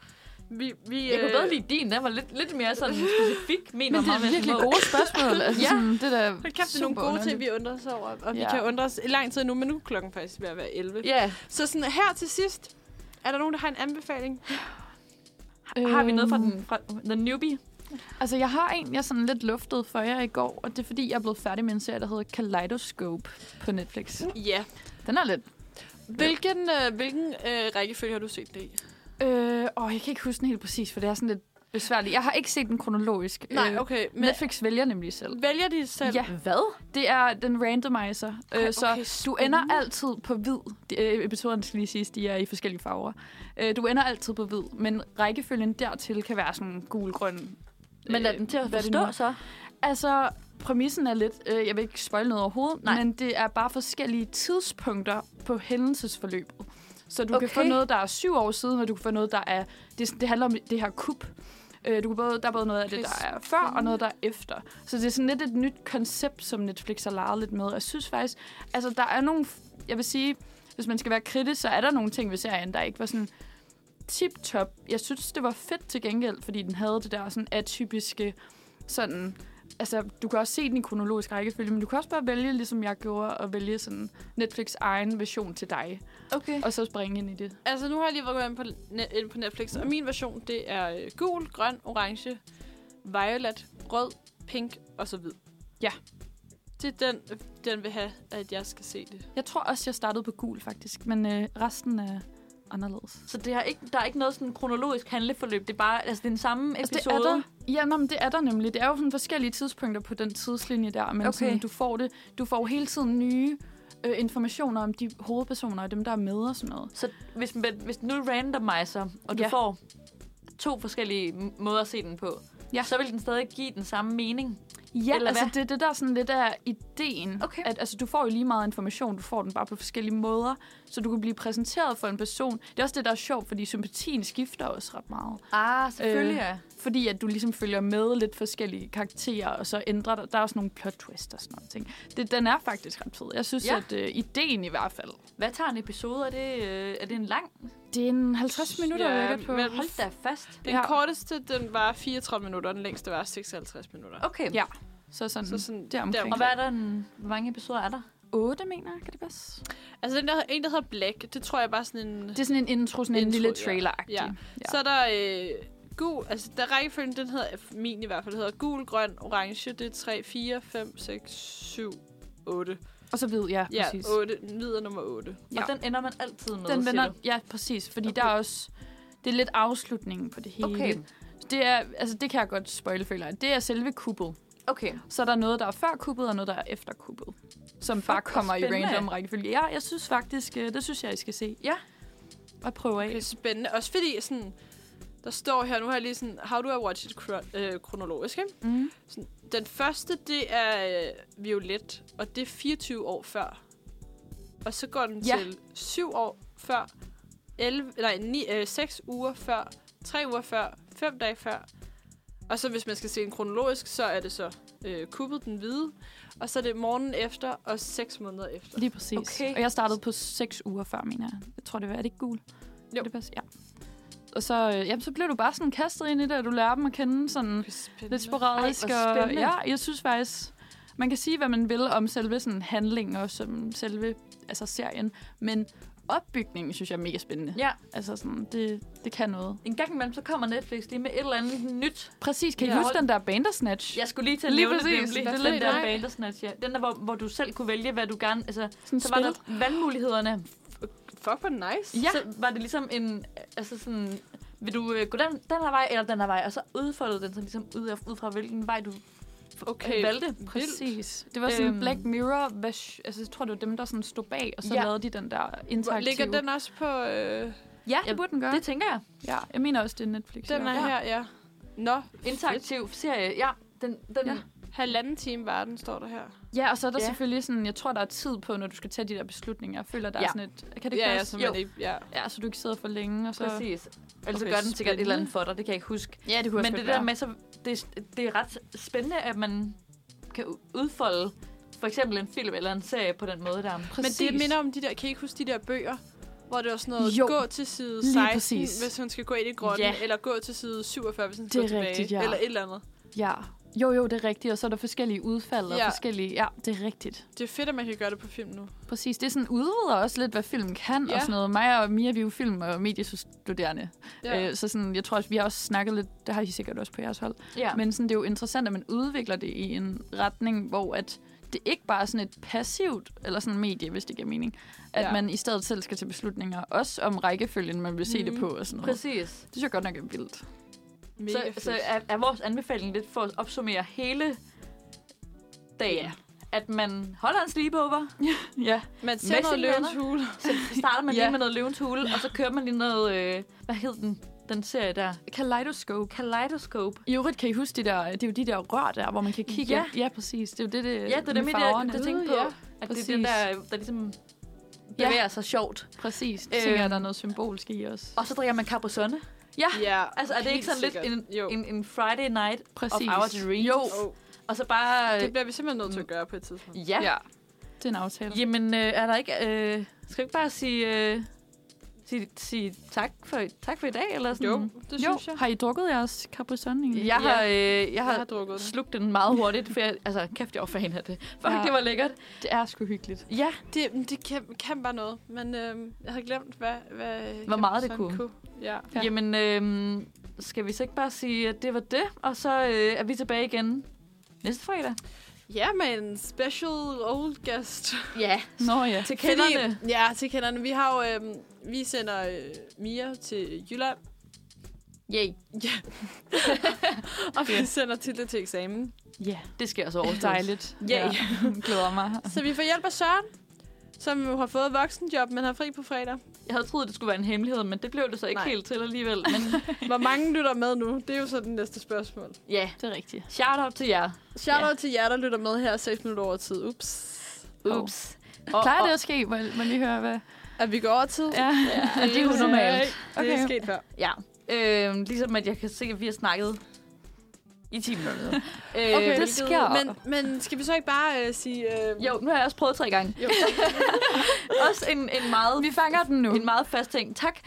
A: Vi, vi, øh,
B: Jeg kunne bedre lide din, den var lidt, lidt mere
C: (laughs)
B: sådan specifik. Men,
C: Øh, Men det er virkelig (laughs) gode spørgsmål. Altså,
B: Ja.
C: sådan, det der
A: Hold kæft, det er nogle gode ting, vi undrer os over. Og
C: Ja.
A: vi kan undre os i lang tid nu, men nu er klokken faktisk ved at være 11.
B: Ja,
A: Så sådan her til sidst, er der nogen, der har en anbefaling?
B: Har vi noget fra den, fra den newbie?
C: Øhm, Altså, jeg har en, jeg sådan lidt luftede for jer i går, og det er fordi, jeg er blevet færdig med en serie, der hedder Kaleidoscope på Netflix.
A: Ja.
C: Den er lidt...
A: Hvilken, øh, hvilken øh, rækkefølge har du set det i?
C: Øh, åh, jeg kan ikke huske den helt præcis, for det er sådan lidt besværligt. Jeg har ikke set den kronologisk.
A: Nej,
C: Øh,
A: okay. Men
C: Netflix vælger nemlig selv.
A: vælger de
B: Øh,
A: selv?
C: Ja. Hvad? Det er den randomizer. Ej, okay,
A: okay,
C: så du ender altid på hvid. De, øh, episoderne skal lige siges, de er i forskellige farver. Øh, du ender altid på hvid, men rækkefølgen dertil kan være sådan gul-grøn.
B: Men er
C: øh,
B: den til at
C: hvad det
B: forstå
C: nu er.
B: så?
C: Altså, præmissen er lidt... Øh, jeg vil ikke spoil noget overhovedet,
B: Nej.
C: Nej. men det er bare forskellige tidspunkter på hændelsesforløbet. Så du okay. kan få
B: Okay.
C: noget, der er syv år siden, og du kan få noget, der er... Det, er sådan- det handler om det her kup. Øh, Du kan både, der er både noget af det, der er før, og noget, der er efter. Så det er sådan lidt et nyt koncept, som Netflix har leget lidt med. Og jeg synes faktisk, altså der er nogle... f- Jeg vil sige, hvis man skal være kritisk, så er der nogle ting ved serien, der ikke var sådan tip-top. Jeg synes, det var fedt til gengæld, fordi den havde det der sådan atypiske sådan... Altså, du kan også se den i kronologisk rækkefølge, men du kan også bare vælge, ligesom jeg gjorde, at vælge sådan Netflix egen version til dig,
A: Okay.
C: og så springe ind i det.
A: Altså, nu har jeg lige været inde på, ne- inde på Netflix, og min version, det er øh, gul, grøn, orange, violet, rød, pink og så hvid.
C: Ja.
A: Det er den, øh, den vil have, at jeg skal se det.
C: Jeg tror også, jeg startede på gul, faktisk, men øh, resten er anderledes.
B: Så det har ikke, der er ikke noget sådan kronologisk handleforløb. Det er bare altså, det er den samme
C: Altså,
B: episode.
C: det er der. Ja, nå, men det er der nemlig. Det er jo sådan forskellige tidspunkter på den tidslinje der, men okay. sådan,
B: Okay.
C: du får det. Du får jo hele tiden nye øh, informationer om de hovedpersoner og dem, der er med og sådan noget.
B: Så hvis, man, hvis den nu randomiser, og du
C: Ja.
B: ja. får to forskellige m- måder at se den på,
C: Ja.
B: ja. så vil den stadig give den samme mening.
C: Ja,
B: Eller
C: altså
B: hvad?
C: det er det, der er sådan lidt af ideen.
B: Okay.
C: At, altså, du får jo lige meget information, du får den bare på forskellige måder, så du kan blive præsenteret for en person. Det er også det, der er sjovt, fordi sympatien skifter også ret meget.
B: Ah,
C: selvfølgelig,
B: ja.
C: Fordi at du ligesom følger med lidt forskellige karakterer, og så ændrer der, der er også nogle plot twists og sådan noget. ting. Det, den er faktisk ret fed. Jeg synes,
B: Ja.
C: ja. at øh, ideen i hvert fald
B: Hvad tager en episode? Er det, øh, er det en lang?
C: Det er en 50 minutter,
A: Ja,
C: jeg ligger på.
A: men-
B: Hold da fast.
A: Den
C: Ja.
A: ja. korteste, den var 34 minutter, og den længste var 56 minutter.
B: Okay.
C: Ja. Så sådan,
A: Så sådan
C: det er omkring.
B: Og hvad er der en, hvor mange episoder er der?
C: 8, mener jeg, kan det passe?
A: Altså, den der, en, der hedder Black, det tror jeg bare sådan en...
C: Det er sådan en intro, sådan en
A: Intro,
C: lille
A: ja.
C: trailer-agtig.
A: Ja.
C: Ja.
A: Så er der øh, gul, altså der rækkefølgen, den hedder, min i hvert fald, hedder gul, grøn, orange, det er 3, 4, 5, 6, 7, 8.
C: Og så ved jeg,
A: Ja,
C: præcis.
A: 8, hvid er nummer 8.
B: Ja. Og den ender man altid med,
C: den
B: siger
C: vender,
B: du?
C: ja, præcis, fordi okay. der er også... Det er lidt afslutningen på det hele.
B: Okay.
C: Det, er, altså, det kan jeg godt spoil, føler jeg. Det er selve kuppet.
B: Okay.
C: Så er der noget, der er før kuppet, og noget, der er efter kuppet. Som Fuck, bare
B: hvor
C: kommer i
B: spændende.
C: random rækkefølge. Ja, jeg synes faktisk, øh, det synes jeg, I skal se.
B: Ja.
C: Og prøve af.
A: Det er spændende, også fordi sådan, der står her, nu har jeg lige sådan, how do I watch it kro- øh, kronologisk, ikke?
C: Mm.
A: Sådan, den første, det er øh, Violet, og det er 24 år før. Og så går den
C: Ja.
A: ja. til 7 år før, 11, nej, 9, øh, 6 uger før, 3 uger før, 5 dage før. Og så hvis man skal se den kronologisk, så er det så øh, kuppet den hvide, og så er det morgenen efter og 6 måneder efter.
C: Lige præcis.
B: Okay.
C: Og jeg startede på 6 uger før, mener jeg. Jeg tror, det var. Er det ikke gul?
A: Jo.
C: Det passe? ja. Og så, øh, jamen, så blev du bare sådan kastet ind i det, og du lærer dem at kende sådan lidt
B: Ej,
C: sporadisk.
B: hvor
C: og,
B: spændende.
C: ja, jeg synes faktisk, man kan sige, hvad man vil om selve sådan handlingen og som selve altså serien, men opbygningen synes jeg er mega spændende.
B: Ja,
C: Altså sådan, det, det kan noget.
B: en gang imellem, så kommer Netflix lige med et eller andet nyt.
C: Præcis, kan I
B: Ja.
C: huske den der Bandersnatch?
B: Jeg skulle lige til at
C: Lige
B: nævne det,
C: præcis.
B: nemlig.
C: Hvad
B: den,
C: for
B: den
C: en?
B: der
C: Nej.
B: Bandersnatch, ja. Den der, hvor, hvor du selv kunne vælge, hvad du gerne... Altså,
C: Sådan
B: så var der valgmulighederne.
A: Fuck, hvor nice.
C: Ja.
B: Ja. Så var det ligesom en... Altså sådan... Vil du øh, gå den, den her vej, eller den her vej? Og så udfoldede den sig ligesom ud, af, ud fra, hvilken vej du
A: Okay.
B: valgte.
C: Præcis. Det var sådan
B: Øhm.
C: øhm. Black Mirror, vers- altså jeg tror, det var dem, der sådan stod bag, og så ja.
B: Ja.
C: lavede de den der
A: Hvor-
C: interaktive.
A: Ligger den også på... Øh,
C: Ja,
B: Ja,
C: det burde den gøre.
B: Det tænker jeg.
C: Ja, jeg mener også, det er Netflix.
A: den
C: ja.
A: er her, ja. Nå,
B: Interaktiv serie, ja. Den, den,
C: Ja.
B: ja.
A: halvanden time var den, står der her.
C: Ja, og så er der ja.
B: Ja.
C: selvfølgelig sådan, jeg tror, der er tid på, når du skal tage de der beslutninger. Jeg føler, der ja. er
B: Ja.
C: sådan et... Kan det ikke
A: Ja, ja,
C: passe?
A: så
B: Jo.
A: man ikke... Ja.
C: ja, så du ikke sidder for længe, og så...
B: Præcis. Eller så
A: Okay,
B: gør den sikkert et
A: spændende.
B: eller andet for dig, det kan jeg ikke huske.
C: Ja, det kunne
B: Men det der med, så det, det er ret spændende, at man kan u- udfolde for eksempel en film eller en serie på den måde der.
C: Præcis.
A: Men det minder om de der, kan I ikke huske de der bøger, hvor det var sådan noget,
C: Jo,
A: jo, gå til side
C: lige
A: 16,
C: præcis.
A: hvis hun skal gå ind i grønne,
B: Ja.
A: ja. eller gå til side 47, hvis hun
C: Det
A: skal
C: er
A: gå tilbage,
C: rigtigt, ja.
A: eller et eller andet.
C: Ja, Jo, jo, det er rigtigt, og så er der forskellige udfald og
A: Ja.
C: forskellige... Ja, det er rigtigt.
A: Det er fedt, at man kan gøre det på film nu.
C: Præcis, det er sådan udvider også lidt, hvad film kan ja.
A: Ja.
C: og sådan noget. Mig og Mia, vi er jo film- og mediestuderende. Ja.
A: Ja.
C: Øh, så sådan, jeg tror også, vi har også snakket lidt, det har I sikkert også på jeres hold,
B: Ja. Men,
C: Men sådan, det er jo interessant, at man udvikler det i en retning, hvor at det ikke bare er sådan et passivt, eller sådan medie, hvis det giver mening. At ja.
A: Ja.
C: man i stedet selv skal tage beslutninger, også om rækkefølgen, man vil se mm. det
A: Mhm.
C: på og sådan noget.
B: præcis.
C: Det synes jeg godt nok er vildt.
A: Mega
B: Så,
A: fedt.
B: så er, er vores anbefaling lidt for at opsummere hele dagen.
C: Ja.
B: At man holder en sleepover,
C: Ja,
A: man ser
B: Med
A: noget
B: sine
A: løvens hule.
C: (laughs)
B: så starter man
C: Ja.
B: lige med noget løvens hule, og så kører man lige noget, øh, hvad hed den, den serie der?
C: kaleidoskop.
B: Kaleidoscope.
C: I øvrigt kan I huske de der, det er jo de der rør der, hvor man kan kigge.
B: Ja.
C: ind. ja præcis. Det er jo det, det
B: Ja, det er
C: Øh, med
B: nemlig det, jeg kom
C: farverne.
B: til at tænke på.
C: Ja,
B: At det er den
C: præcis.
B: der, der ligesom
C: Ja.
B: bevæger sig sjovt.
C: præcis. Det tænker
B: Øhm.
C: jeg, der er noget symbolsk i også.
B: Og så drikker man Capri-Sonne.
A: (laughs) Ja,
B: Altså, er det ikke sådan
A: sikkert.
B: lidt
A: Jo.
B: en, en Friday night
C: Præcis.
B: of our dreams?
C: Jo.
A: Oh,
B: Og så bare... øh,
A: det bliver vi simpelthen nødt til at gøre på et tidspunkt.
B: ja. ja.
C: ja. Det er en aftale.
B: Jamen, øh, er der ikke... Øh, skal vi ikke bare sige... Øh, sige, sige tak, for, tak for i dag, eller sådan?
A: Jo, det
C: jo,
A: synes jeg.
C: har I drukket jeres Capri Sun egentlig?
B: Jeg har, øh, jeg
A: Jeg har
B: har
A: drukket den.
B: slugt den meget hurtigt, for jeg, altså, kæft, jeg var fan af det. Fuck,
C: Ja.
B: ja. det var lækkert.
C: Det er sgu hyggeligt.
B: Ja,
A: Det, det kan, kan bare noget, men øh, jeg havde glemt, hvad, hvad
B: Hvor meget det
A: Capri-Sun
B: kunne.
A: Ja.
C: Ja.
B: ja. jamen, øh, skal vi så ikke bare sige, at det var det, og så øh, er vi tilbage igen næste fredag?
A: ja, med en special old guest.
B: Ja.
C: Nå ja.
B: Til kenderne.
A: Fordi, ja, til kenderne. Vi har jo, øh, vi sender øh, Mia til Jylland,
B: Yay.
A: (laughs) og vi sender Tilde til eksamen.
C: Ja,
B: Det sker så over
C: dejligt.
B: Ja.
C: Glæder mig.
A: Så vi får hjælp af Søren, som jo har fået voksenjob, men har fri på fredag.
B: Jeg havde troet, det skulle være en hemmelighed, men det blev det så ikke
A: Nej.
B: helt til alligevel.
C: (laughs)
B: Men
A: Hvor mange lytter med nu? Det er jo så det næste spørgsmål.
B: ja,
C: Det er rigtigt.
B: shout out til jer.
A: Shout out ja. til jer, der lytter med her 6 minutter over tid. Ups.
B: Ups.
C: Og, Plejer
B: og,
C: det at ske? Må, må lige høre, hvad...
A: At vi går over tid?
C: Ja, ja det er jo normalt.
A: Okay. Det
C: Okay.
A: er sket før.
B: Ja, øh, ligesom at jeg kan se, at vi har snakket i 10 minutter.
C: (laughs)
B: øh,
C: Okay, det
B: hvilket-
C: sker.
A: Men, men skal vi så ikke bare øh, sige... Øh,
B: Jo, nu har jeg også prøvet tre gange.
A: Jo.
B: (laughs) også en, en meget...
C: Vi fanger den nu.
B: En meget fast ting. Tak